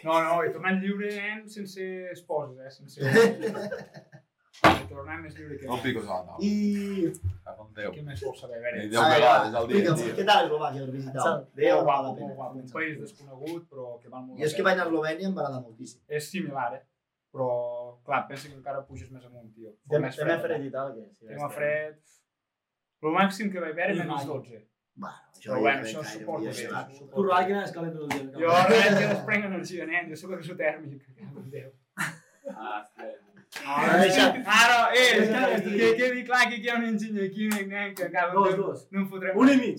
Speaker 6: No, no, he tornat lliure nen, sense esposes, eh? Sense... he tornat més lliure que
Speaker 3: No
Speaker 6: res.
Speaker 3: pico a la taula.
Speaker 1: I
Speaker 3: Cap amb Déu.
Speaker 6: Què més vols saber? A veure,
Speaker 3: Ni Deu
Speaker 1: A veure,
Speaker 3: vegades al dia,
Speaker 1: explica'm,
Speaker 3: tio.
Speaker 1: Què tal Eslovàquia, el visitant?
Speaker 5: Molt
Speaker 1: Bé o
Speaker 6: molt
Speaker 1: no val
Speaker 6: guapo,
Speaker 1: la
Speaker 6: molt guapo. Un país
Speaker 1: pena?
Speaker 6: desconegut, però que val molt
Speaker 1: Jo és que
Speaker 6: pena.
Speaker 1: vaig a Eslovènia i em va agradar moltíssim.
Speaker 6: És similar, eh? Però, clar, pensa que encara puges més amunt, tio. Fot
Speaker 5: Tema
Speaker 6: més
Speaker 5: tema
Speaker 6: fred,
Speaker 5: fred
Speaker 6: allà.
Speaker 5: i tal, que sí,
Speaker 6: Tema
Speaker 5: ja
Speaker 6: fred... El màxim que vaig veure
Speaker 4: I
Speaker 6: era menys
Speaker 4: mai.
Speaker 6: 12.
Speaker 1: Bueno,
Speaker 6: Però
Speaker 1: ja
Speaker 6: bueno,
Speaker 1: crec
Speaker 6: això
Speaker 1: que era
Speaker 6: suporto
Speaker 1: un
Speaker 6: bé.
Speaker 1: dia
Speaker 6: això
Speaker 1: llevat.
Speaker 6: suporto
Speaker 4: Tu
Speaker 6: bé.
Speaker 4: ràquina és calent tot el dia.
Speaker 6: Jo realment ja desprenc energia, nen. Jo sóc exotèrmic. cago en Déu.
Speaker 1: Ara deixa-
Speaker 6: Ara, Ah, eh, que quedi clar que aquí hi ha un enginyer químic, nen, que acaba...
Speaker 4: Dos, dos.
Speaker 6: No em fotrem.
Speaker 4: Un i mig.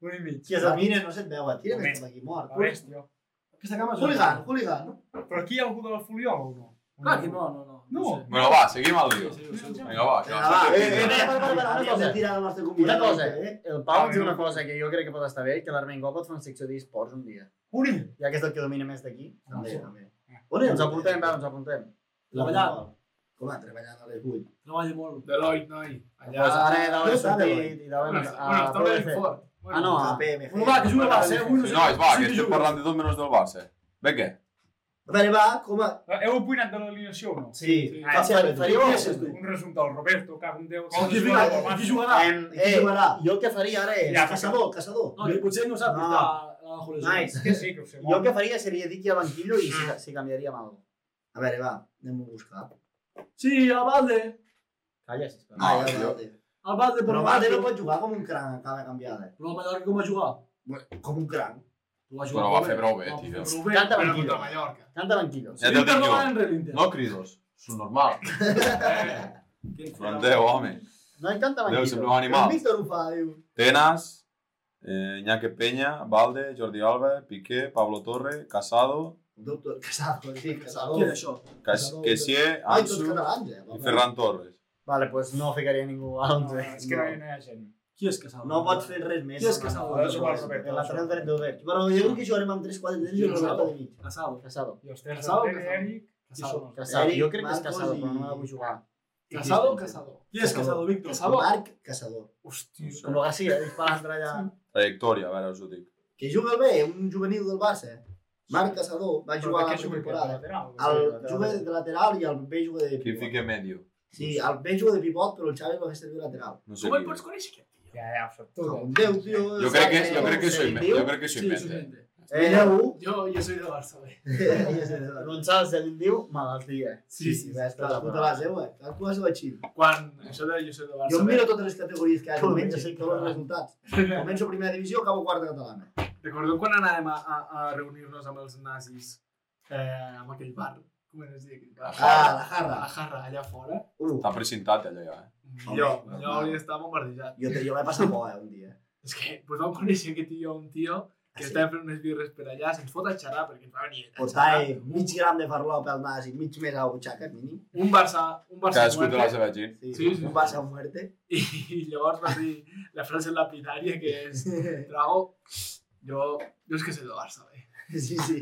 Speaker 6: Un i mig.
Speaker 1: Qui es mira, no se't veu, tira que
Speaker 6: Moment.
Speaker 1: estem aquí mort.
Speaker 6: A veure, tio.
Speaker 4: Aquesta cama és...
Speaker 1: Hooligan, hooligan.
Speaker 6: Però aquí hi ha algú de la Foliola o no?
Speaker 4: Clar que no, no, no.
Speaker 6: No.
Speaker 4: sé.
Speaker 3: Bueno, va, seguim al
Speaker 4: Sí,
Speaker 3: lío.
Speaker 4: sí, ho sé, ho sé.
Speaker 3: Vinga, va. que
Speaker 1: Vinga, va.
Speaker 3: ens
Speaker 1: Eh, eh,
Speaker 3: toca.
Speaker 1: eh, para, para, para, una cosa. Tira la nostra
Speaker 5: Una
Speaker 1: convidada.
Speaker 5: cosa,
Speaker 1: eh?
Speaker 5: el Pau
Speaker 6: Ah,
Speaker 5: ens diu una cosa que jo crec que pot estar bé, que l'Armengol pot fer una secció d'esports un dia.
Speaker 6: Uri!
Speaker 5: Ja que és el que domina més d'aquí.
Speaker 6: Ah,
Speaker 1: També, també. On
Speaker 5: Ens apuntem, va, ens apuntem.
Speaker 4: Treballant.
Speaker 1: Com va, treballant a les 8?
Speaker 4: Treballa molt.
Speaker 2: Deloitte, noi. Allà...
Speaker 5: Pues ara he
Speaker 1: Ja
Speaker 5: d'haver
Speaker 1: està,
Speaker 5: sortit i d'haver
Speaker 2: Bueno,
Speaker 5: anat
Speaker 2: bueno,
Speaker 5: a
Speaker 2: està ben
Speaker 5: PVC.
Speaker 2: fort. Bueno,
Speaker 5: Ah, no,
Speaker 1: A
Speaker 5: ah.
Speaker 1: PMG.
Speaker 4: Bueno, va, que juga el Barça, eh? Avui no sé.
Speaker 3: Sí, nois, va,
Speaker 4: sí
Speaker 3: que
Speaker 4: que
Speaker 3: estem
Speaker 4: juga.
Speaker 3: parlant de tot menys del Barça. Bé, què?
Speaker 1: Vale, va, com a...
Speaker 6: eh, Heu opinat de l'alineació o no?
Speaker 1: Sí,
Speaker 6: Ah,
Speaker 1: sí, ara tu.
Speaker 4: faria
Speaker 1: Qui
Speaker 4: un-
Speaker 1: és tu?
Speaker 6: Un resum del Roberto, cago en Déu.
Speaker 4: Qui
Speaker 6: que
Speaker 4: jugarà?
Speaker 6: és el
Speaker 4: Qui
Speaker 6: Barça.
Speaker 4: jugarà?
Speaker 5: Em,
Speaker 1: Qui
Speaker 5: eh,
Speaker 1: jugarà?
Speaker 5: jo el que faria ara és...
Speaker 6: Ja,
Speaker 1: Caçador, caçador.
Speaker 4: No, que potser pues, ¿eh? no sap
Speaker 5: No.
Speaker 4: no. la Julio.
Speaker 5: Nice.
Speaker 6: Que sí, que ho sé
Speaker 5: Jo el
Speaker 6: molt.
Speaker 5: que faria seria dir que al banquillo i si, si canviaria mal.
Speaker 1: A veure, va, anem a buscar.
Speaker 3: Ah,
Speaker 4: Sí, el Valde.
Speaker 5: Calla, sisplau.
Speaker 1: Ah, ja,
Speaker 3: jo-
Speaker 1: Valde.
Speaker 4: El Valde per
Speaker 1: Però
Speaker 4: un
Speaker 1: Valde
Speaker 4: banco.
Speaker 1: no pot jugar com un cranc a cada canviada.
Speaker 4: Però el Mallorca com va jugar?
Speaker 1: Com un cranc.
Speaker 4: Ho va
Speaker 3: Però va fer prou bé, tio.
Speaker 5: Canta
Speaker 2: Bueno,
Speaker 5: banquillo.
Speaker 2: contra Mallorca.
Speaker 5: Canta banquillo.
Speaker 3: Ja te'l dic jo.
Speaker 4: jo.
Speaker 3: No cridos. És normal.
Speaker 6: Eh,
Speaker 3: No en Déu, home.
Speaker 5: No em canta
Speaker 3: Déu, sempre un
Speaker 5: banquillo.
Speaker 1: El
Speaker 3: animal.
Speaker 1: Víctor ho fa, diu.
Speaker 3: Tenas, eh, Iñaki Peña, Valde, Jordi Alba, Piqué, Pablo Torre, Casado,
Speaker 1: Doctor Casado, sí, Casado.
Speaker 4: Qui és això?
Speaker 3: Cas- Kessié,
Speaker 1: Ai, tots
Speaker 3: Ansu
Speaker 1: catalans, eh?
Speaker 3: i Ferran Torres.
Speaker 5: Vale, pues no ficaria ningú a
Speaker 6: No,
Speaker 5: 11.
Speaker 6: és que no, hi- no hi ha gent.
Speaker 4: Qui és Casado?
Speaker 1: No pots fer res més.
Speaker 4: Qui és Casado?
Speaker 6: No, és igual, Robert.
Speaker 5: El lateral dret del Berg.
Speaker 1: Però jo crec que jugarem amb 3-4 d'ells i
Speaker 4: Jo
Speaker 1: un
Speaker 4: no
Speaker 1: Roberto
Speaker 4: sap.
Speaker 1: de mig.
Speaker 4: Casado.
Speaker 5: Casado.
Speaker 6: I els tres
Speaker 4: Casado,
Speaker 6: del
Speaker 4: Casado.
Speaker 6: Eric, i
Speaker 4: Casado.
Speaker 6: són els
Speaker 5: Casado.
Speaker 1: Eric,
Speaker 5: Jo crec que és
Speaker 1: Marcos
Speaker 5: Casado,
Speaker 1: i-
Speaker 5: però no la vull jugar.
Speaker 2: Casado o casado?
Speaker 4: Qui és Casado, Víctor?
Speaker 2: Casado.
Speaker 1: Marc Casador.
Speaker 6: Hosti,
Speaker 5: Com eh, lo Garcia, disparant allà.
Speaker 3: Trajectòria, a veure, us ho dic.
Speaker 1: Que juga el bé, un juvenil del Barça. Marc Casador va jugar la temporada. El juga de lateral i el B juga de
Speaker 3: Qui
Speaker 1: pivot.
Speaker 3: fica medio?
Speaker 1: Sí, el B juga de pivot, però el Xavi va fer servir lateral.
Speaker 3: No sé
Speaker 4: Com el
Speaker 3: qui.
Speaker 4: pots conèixer aquest tio?
Speaker 6: Ja, ja, ho sap tu.
Speaker 1: Com Déu, tio.
Speaker 3: Jo crec que, jo crec que això inventa. Jo crec que això
Speaker 4: Sí, això
Speaker 3: inventa.
Speaker 4: és
Speaker 1: Eh, Déu.
Speaker 2: Yo, yo soy de Barça, güey.
Speaker 5: González en diu malaltia.
Speaker 1: Sí, sí, va estar la puta la seva. Cadascú la seva xip.
Speaker 2: Quan, això de yo soy de Barça,
Speaker 1: Jo em
Speaker 2: bé,
Speaker 1: miro totes les categories que hi ha,
Speaker 5: Com
Speaker 1: diumenge,
Speaker 5: menys,
Speaker 1: sé tots els resultats.
Speaker 2: Eh.
Speaker 1: Començo primera divisió, acabo quarta catalana.
Speaker 2: Recordeu quan anàvem a, a, a reunir-nos amb els nazis eh, amb aquell bar? Com es diu aquell bar?
Speaker 1: Ah, la
Speaker 2: A
Speaker 1: jarra.
Speaker 2: la jarra, allà fora.
Speaker 1: Uh,
Speaker 3: Està precintat allò ja, eh?
Speaker 2: Allò, allò
Speaker 1: normal.
Speaker 2: hauria d'estar bombardejat.
Speaker 1: jo, te- jo vaig passar por, eh, un dia.
Speaker 2: És que pues, vam conèixer aquest tio, un tio que
Speaker 1: Ah, Sí. Pues
Speaker 2: estava fent unes birres per allà, se'ns fot a xerrar perquè ens va venir a xerrar.
Speaker 1: Portar eh, mig gram de farló pel nas i mig més a la butxaca, mínim.
Speaker 2: Un Barça, un Barça
Speaker 3: Cadascú té la
Speaker 2: muerte,
Speaker 3: seva gent.
Speaker 1: Sí,
Speaker 2: Sí, sí.
Speaker 1: un Barça muerte.
Speaker 2: i, i llavors va dir la frase lapidària que és Trago, jo, jo és que soy de Barça, eh". bé.
Speaker 1: Sí, sí.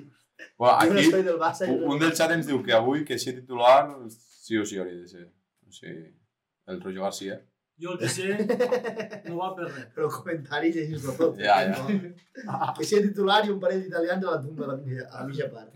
Speaker 3: Bueno,
Speaker 1: Yo no
Speaker 3: aquí,
Speaker 1: estoy del Barça. yo
Speaker 3: un-
Speaker 1: no-
Speaker 3: un del xat ens diu que avui, que si titular, sí o sí hauria de ser. O sigui, el Roger Garcia.
Speaker 4: Jo el que sé no va per res.
Speaker 1: Però comentaris eh, ells tot.
Speaker 3: Ja, ja.
Speaker 1: Que sigui titular i un parell d'italians a la tumba a la, mitja- a la mitja part.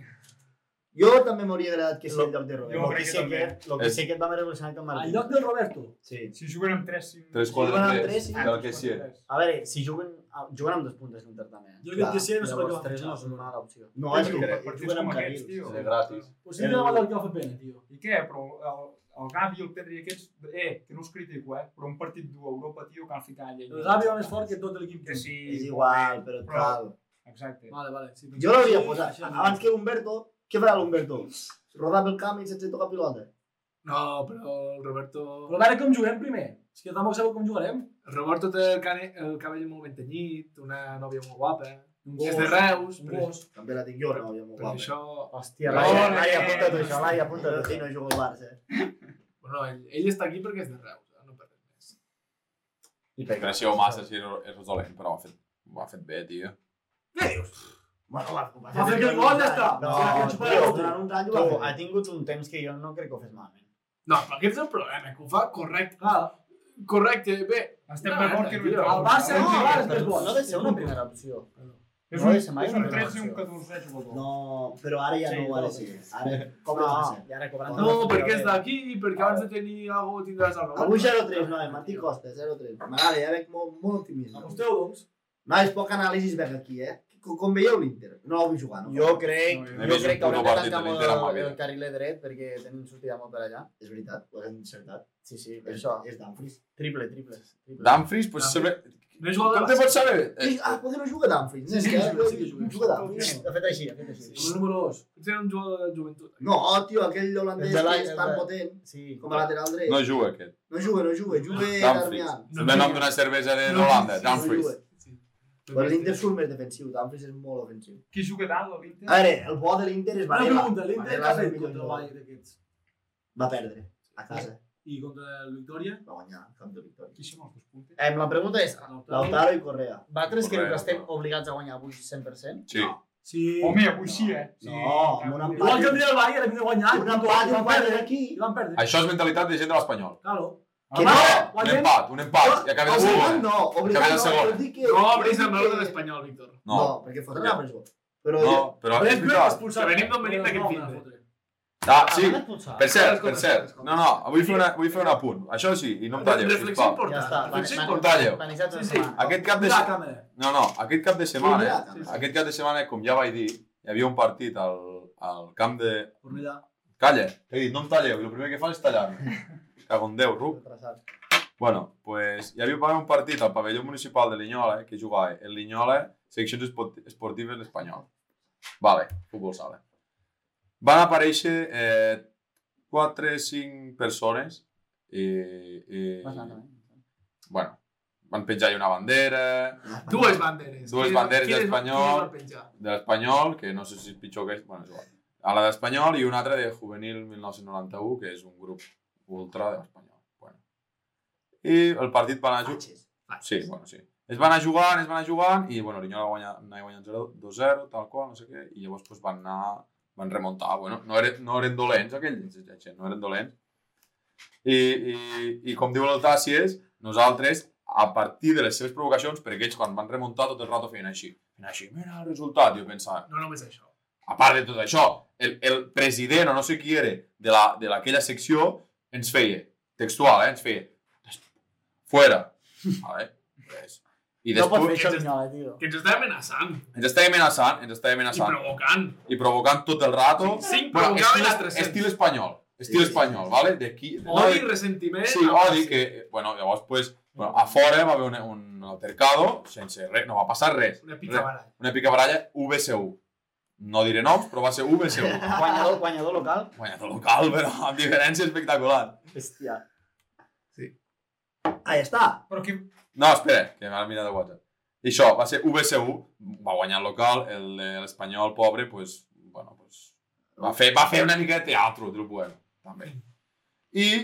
Speaker 1: Jo també m'hauria agradat que sigui el lloc de Robert.
Speaker 6: jo
Speaker 5: Lo que
Speaker 6: crec que
Speaker 5: sé
Speaker 6: també.
Speaker 5: que, lo que
Speaker 3: És-
Speaker 5: sé que et va haver relacionat amb
Speaker 4: Al
Speaker 5: Martí.
Speaker 4: lloc del Roberto.
Speaker 1: Sí.
Speaker 6: Si juguen amb tres... Si...
Speaker 3: Tres,
Speaker 1: Si juguen amb
Speaker 3: quatre, tres.
Speaker 1: tres, sí.
Speaker 3: Del que sí.
Speaker 5: A veure, si juguen, juguen amb dos puntes l'Inter també. eh.
Speaker 4: Jo el que sé no sé per què
Speaker 5: Llavors
Speaker 4: va
Speaker 5: tres no és
Speaker 4: fitxar.
Speaker 5: una mala opció.
Speaker 1: No,
Speaker 6: Partits
Speaker 1: és que
Speaker 6: com
Speaker 1: juguen amb
Speaker 6: aquests,
Speaker 1: Carril.
Speaker 6: tio.
Speaker 3: És gratis.
Speaker 4: Pues sí, no va el que va fer pena, tio.
Speaker 6: I què? Però el, el Gavi, el Pedri i aquests... Eh, que no us critico, eh? Però un partit dur a Europa, tio, que han ficat allà.
Speaker 4: El Gavi va més fort que tot l'equip.
Speaker 6: Que sí...
Speaker 1: És igual, però tal.
Speaker 6: Exacte.
Speaker 4: Vale, vale. Sí,
Speaker 1: Jo l'hauria posat. Abans que Humberto, què farà l'Humberto? Rodar pel camp i sense tocar pilota.
Speaker 2: No, però el Roberto...
Speaker 4: Però a veure com juguem primer. És que tampoc sabeu com jugarem.
Speaker 2: El Roberto té el, cane, el cabell molt ben tenyit, una nòvia molt guapa.
Speaker 4: Un
Speaker 2: És de Reus,
Speaker 4: Un
Speaker 2: però,
Speaker 4: gos.
Speaker 1: També la tinc jo, no, jo molt
Speaker 2: però
Speaker 1: guapa.
Speaker 2: això...
Speaker 5: Hòstia,
Speaker 2: No,
Speaker 5: Laia,
Speaker 2: no,
Speaker 5: Laia,
Speaker 2: no,
Speaker 5: apunta tu
Speaker 2: no,
Speaker 5: això,
Speaker 2: no.
Speaker 5: Laia, apunta tu.
Speaker 1: Sí, no jugo al Barça.
Speaker 2: Bueno, ell, ell està aquí perquè és de Reus, eh? no per res més.
Speaker 3: Gràcies massa, si és resolent, però ho ha fet, ho ha fet bé, tio.
Speaker 1: Bueno, va, va,
Speaker 4: Va fer aquell gol, ja està.
Speaker 1: No,
Speaker 4: Va fer aquell
Speaker 1: tio,
Speaker 4: xupador.
Speaker 1: durant un any ho
Speaker 5: Tu,
Speaker 1: va fer.
Speaker 5: ha tingut un temps que jo no crec que ho fes malament.
Speaker 2: No, però aquest és el problema, que ho fa correcte.
Speaker 4: Clar.
Speaker 2: Correcte, bé.
Speaker 6: Estem
Speaker 2: No,
Speaker 6: d'acord
Speaker 2: no,
Speaker 6: que no
Speaker 2: tio,
Speaker 6: entra.
Speaker 4: el Barça-
Speaker 6: No, és
Speaker 4: no, el Barça-
Speaker 5: No ha de ser una primera opció.
Speaker 6: un-
Speaker 5: no ha de ser mai
Speaker 6: És
Speaker 5: una
Speaker 6: un
Speaker 5: primera
Speaker 6: 13 i un
Speaker 5: opció.
Speaker 6: 14 jugador.
Speaker 1: No, però ara ja
Speaker 6: Sí,
Speaker 1: no ho ha de
Speaker 6: no,
Speaker 1: ser.
Speaker 6: sí.
Speaker 1: Ara
Speaker 5: Com
Speaker 1: cobra
Speaker 5: no,
Speaker 1: no. ser.
Speaker 5: Ah, i ara cobrant...
Speaker 2: No, perquè és d'aquí, perquè abans de tenir alguna cosa tindràs el Roberto.
Speaker 1: Avui 0-3, no, eh? Martí Costa, 0-3. M'agrada, ja veig molt, molt optimisme.
Speaker 4: Aposteu, doncs.
Speaker 1: No, és poc anàlisi veig aquí, eh? Com, com veieu l'Inter? No el vull jugar, no?
Speaker 5: Jo crec,
Speaker 6: No, jo
Speaker 5: jo
Speaker 3: veig
Speaker 5: crec
Speaker 3: un
Speaker 5: que haurem
Speaker 3: puto
Speaker 5: de
Speaker 3: partit
Speaker 5: tancar
Speaker 3: de
Speaker 5: molt
Speaker 3: l'Inter amb la
Speaker 5: el,
Speaker 3: vida.
Speaker 5: el carril dret perquè tenim sortida molt per allà.
Speaker 1: És veritat, ho hem encertat.
Speaker 5: Sí, sí, per
Speaker 1: És,
Speaker 5: això.
Speaker 1: és Danfries.
Speaker 5: Triple, triple. triple.
Speaker 3: Dumfries, pues, sempre...
Speaker 2: No he jugat
Speaker 3: Com
Speaker 2: a
Speaker 3: te
Speaker 2: base.
Speaker 3: pots saber? Eh,
Speaker 1: Eh. Ah, potser no juga Danfries.
Speaker 4: Sí,
Speaker 1: Sí,
Speaker 4: sí,
Speaker 1: que
Speaker 4: juga, sí que juga.
Speaker 1: juga, juga Danfries.
Speaker 5: Ha fet així, ha fet així.
Speaker 4: El número 2.
Speaker 2: Potser era un jugador de joventut.
Speaker 1: No, oh, tio, aquell holandès
Speaker 5: El de la-
Speaker 1: que és tan
Speaker 5: el de-
Speaker 1: potent
Speaker 5: Sí,
Speaker 1: com a lateral dret.
Speaker 3: Eh, No juga aquest.
Speaker 1: No juga, no juga, juga
Speaker 3: Dumfries.
Speaker 1: Darmian.
Speaker 3: És el nom d'una cervesa de Holanda, Dumfries.
Speaker 1: Però l'Inter surt més defensiu, Dumfries és molt ofensiu.
Speaker 6: Qui juga dalt, a l'Inter?
Speaker 1: A veure, el bo de l'Inter és
Speaker 4: Una
Speaker 1: Varela.
Speaker 4: pregunta, l'Inter
Speaker 1: Varela
Speaker 4: que ha
Speaker 1: és el
Speaker 4: fet
Speaker 1: millor
Speaker 4: contra el
Speaker 1: jugador.
Speaker 4: Bayern aquests?
Speaker 1: Va perdre, a casa.
Speaker 4: I contra el Victòria?
Speaker 1: Va guanyar, camp de victòria.
Speaker 6: Qui són els dos puntes?
Speaker 5: Eh, la pregunta és,
Speaker 1: Lautaro i Correa.
Speaker 5: vosaltres creu
Speaker 3: Correcte.
Speaker 5: que estem obligats a guanyar avui 100%?
Speaker 3: Sí.
Speaker 4: Sí.
Speaker 3: Oh,
Speaker 6: Home, avui sí, eh? Sí,
Speaker 1: No, amb un
Speaker 6: avui-
Speaker 1: empat.
Speaker 4: Igual que el dia del Bayern, hem de guanyar.
Speaker 1: Un empat i un
Speaker 4: Ah, perdre.
Speaker 1: quadre aquí.
Speaker 4: I van perdre.
Speaker 3: Això és mentalitat de gent de l'Espanyol.
Speaker 4: Claro.
Speaker 1: Que
Speaker 4: Va,
Speaker 1: no,
Speaker 3: Un
Speaker 4: guanyem.
Speaker 3: empat, un empat, i acaba de ser
Speaker 1: Obligat
Speaker 3: un.
Speaker 1: no,
Speaker 3: Acabem
Speaker 1: obligat
Speaker 3: el
Speaker 1: no,
Speaker 3: segon.
Speaker 1: jo dic que...
Speaker 2: No,
Speaker 1: jo
Speaker 2: però és
Speaker 1: dic
Speaker 2: el valor de
Speaker 1: que-
Speaker 2: l'Espanyol, Víctor.
Speaker 1: No,
Speaker 3: No,
Speaker 1: perquè fotran a presó. Però
Speaker 3: no,
Speaker 1: jo...
Speaker 3: però és veritat.
Speaker 2: Que venim d'on venim d'aquest fin de.
Speaker 3: Ah,
Speaker 5: Ah,
Speaker 3: sí,
Speaker 5: van expulsar.
Speaker 3: per cert, per cert. No, no, vull fer, una, vull fer un apunt. Això sí, i no em talleu,
Speaker 2: Reflexió
Speaker 3: sisplau.
Speaker 2: important.
Speaker 5: Ja està,
Speaker 2: Reflexió
Speaker 5: van-
Speaker 3: No em
Speaker 2: important.
Speaker 3: talleu.
Speaker 5: Organitzat
Speaker 2: Sí,
Speaker 5: una
Speaker 2: sí.
Speaker 5: setmana.
Speaker 3: Aquest cap de...
Speaker 4: Mira la
Speaker 3: se-
Speaker 4: càmera.
Speaker 3: No, no, aquest cap de setmana, eh?
Speaker 1: Mira,
Speaker 2: sí, sí.
Speaker 3: Aquest cap de setmana, com ja vaig dir, hi havia un partit al, al camp de...
Speaker 4: Cornellà.
Speaker 3: Calla, he dit, no em talleu, i el primer que fa és tallar-me. Cago en Déu, Ruc.
Speaker 5: Retrasat.
Speaker 3: Bueno, pues, hi havia un partit al pavelló municipal de Linyola, eh, que jugava el Linyola, seccions esport- esportives l'Espanyol. Vale, futbol sala. Van aparèixer eh, 4 5 persones i, i
Speaker 5: Bastant, eh?
Speaker 3: bueno, van penjar ahí una bandera
Speaker 2: Dues banderes.
Speaker 3: Dues
Speaker 2: Qui-
Speaker 3: banderes
Speaker 2: qui les-
Speaker 3: d'Espanyol.
Speaker 2: qui les va penjar?
Speaker 3: de l'Espanyol, que no sé si és pitjor que és, bueno, és igual. A la d'Espanyol i una altra de Juvenil 1991, que és un grup ultra de l'Espanyol. Bueno. I el partit va anar a jugar... Sí, bueno, sí. Es van anar jugant, es van anar jugant, i bueno, Linyola va guanyar, anava guanyant 0 2-0, tal qual, no sé què, i llavors pues, van anar, van remuntar, bueno, no eren, no eren dolents aquells, la gent, no eren dolents. I, i, i com diu l'Altàcies, nosaltres, a partir de les seves provocacions, perquè ells quan van remuntar tot el rato feien així, feien així, mira el resultat, jo pensava,
Speaker 2: No pues, només això.
Speaker 3: eh. a part de tot això, el, el president o no sé qui era de la- de l'aquella secció ens feia, textual, eh, ens feia, fuera, vale? Pues, I
Speaker 5: No pot fer
Speaker 3: després
Speaker 5: això, Vinyola, tio.
Speaker 2: Que ens està amenaçant
Speaker 3: ens estava amenaçant, ens estava
Speaker 2: i
Speaker 3: amenaçant
Speaker 2: provocant.
Speaker 3: i provocant tot el rato.
Speaker 2: Cinc
Speaker 3: Bueno,
Speaker 2: provocaven a
Speaker 3: estil,
Speaker 2: 300.
Speaker 3: estil espanyol, estil
Speaker 1: Sí, sí.
Speaker 3: espanyol, vale? De qui...
Speaker 2: Odi, ressentiment...
Speaker 3: Sí, odi, que... eh, Bueno, llavors, pues, bueno, a fora va haver un, un altercado sense res, no va passar res.
Speaker 2: Una pica baralla.
Speaker 3: Una picabaralla VSU. No diré noms, però va ser VSU.
Speaker 5: Guanyador, guanyador local.
Speaker 3: Guanyat el local, però amb diferència espectacular.
Speaker 5: Hòstia.
Speaker 1: Ahí està.
Speaker 6: Però que...
Speaker 3: No, espera, que m'ha mirat el WhatsApp. I això, va ser VSU, va guanyar el local, el- l'Espanyol, pobre, pues, bueno, pues, va, fer, va fer una mica de teatre, del bueno, també. I,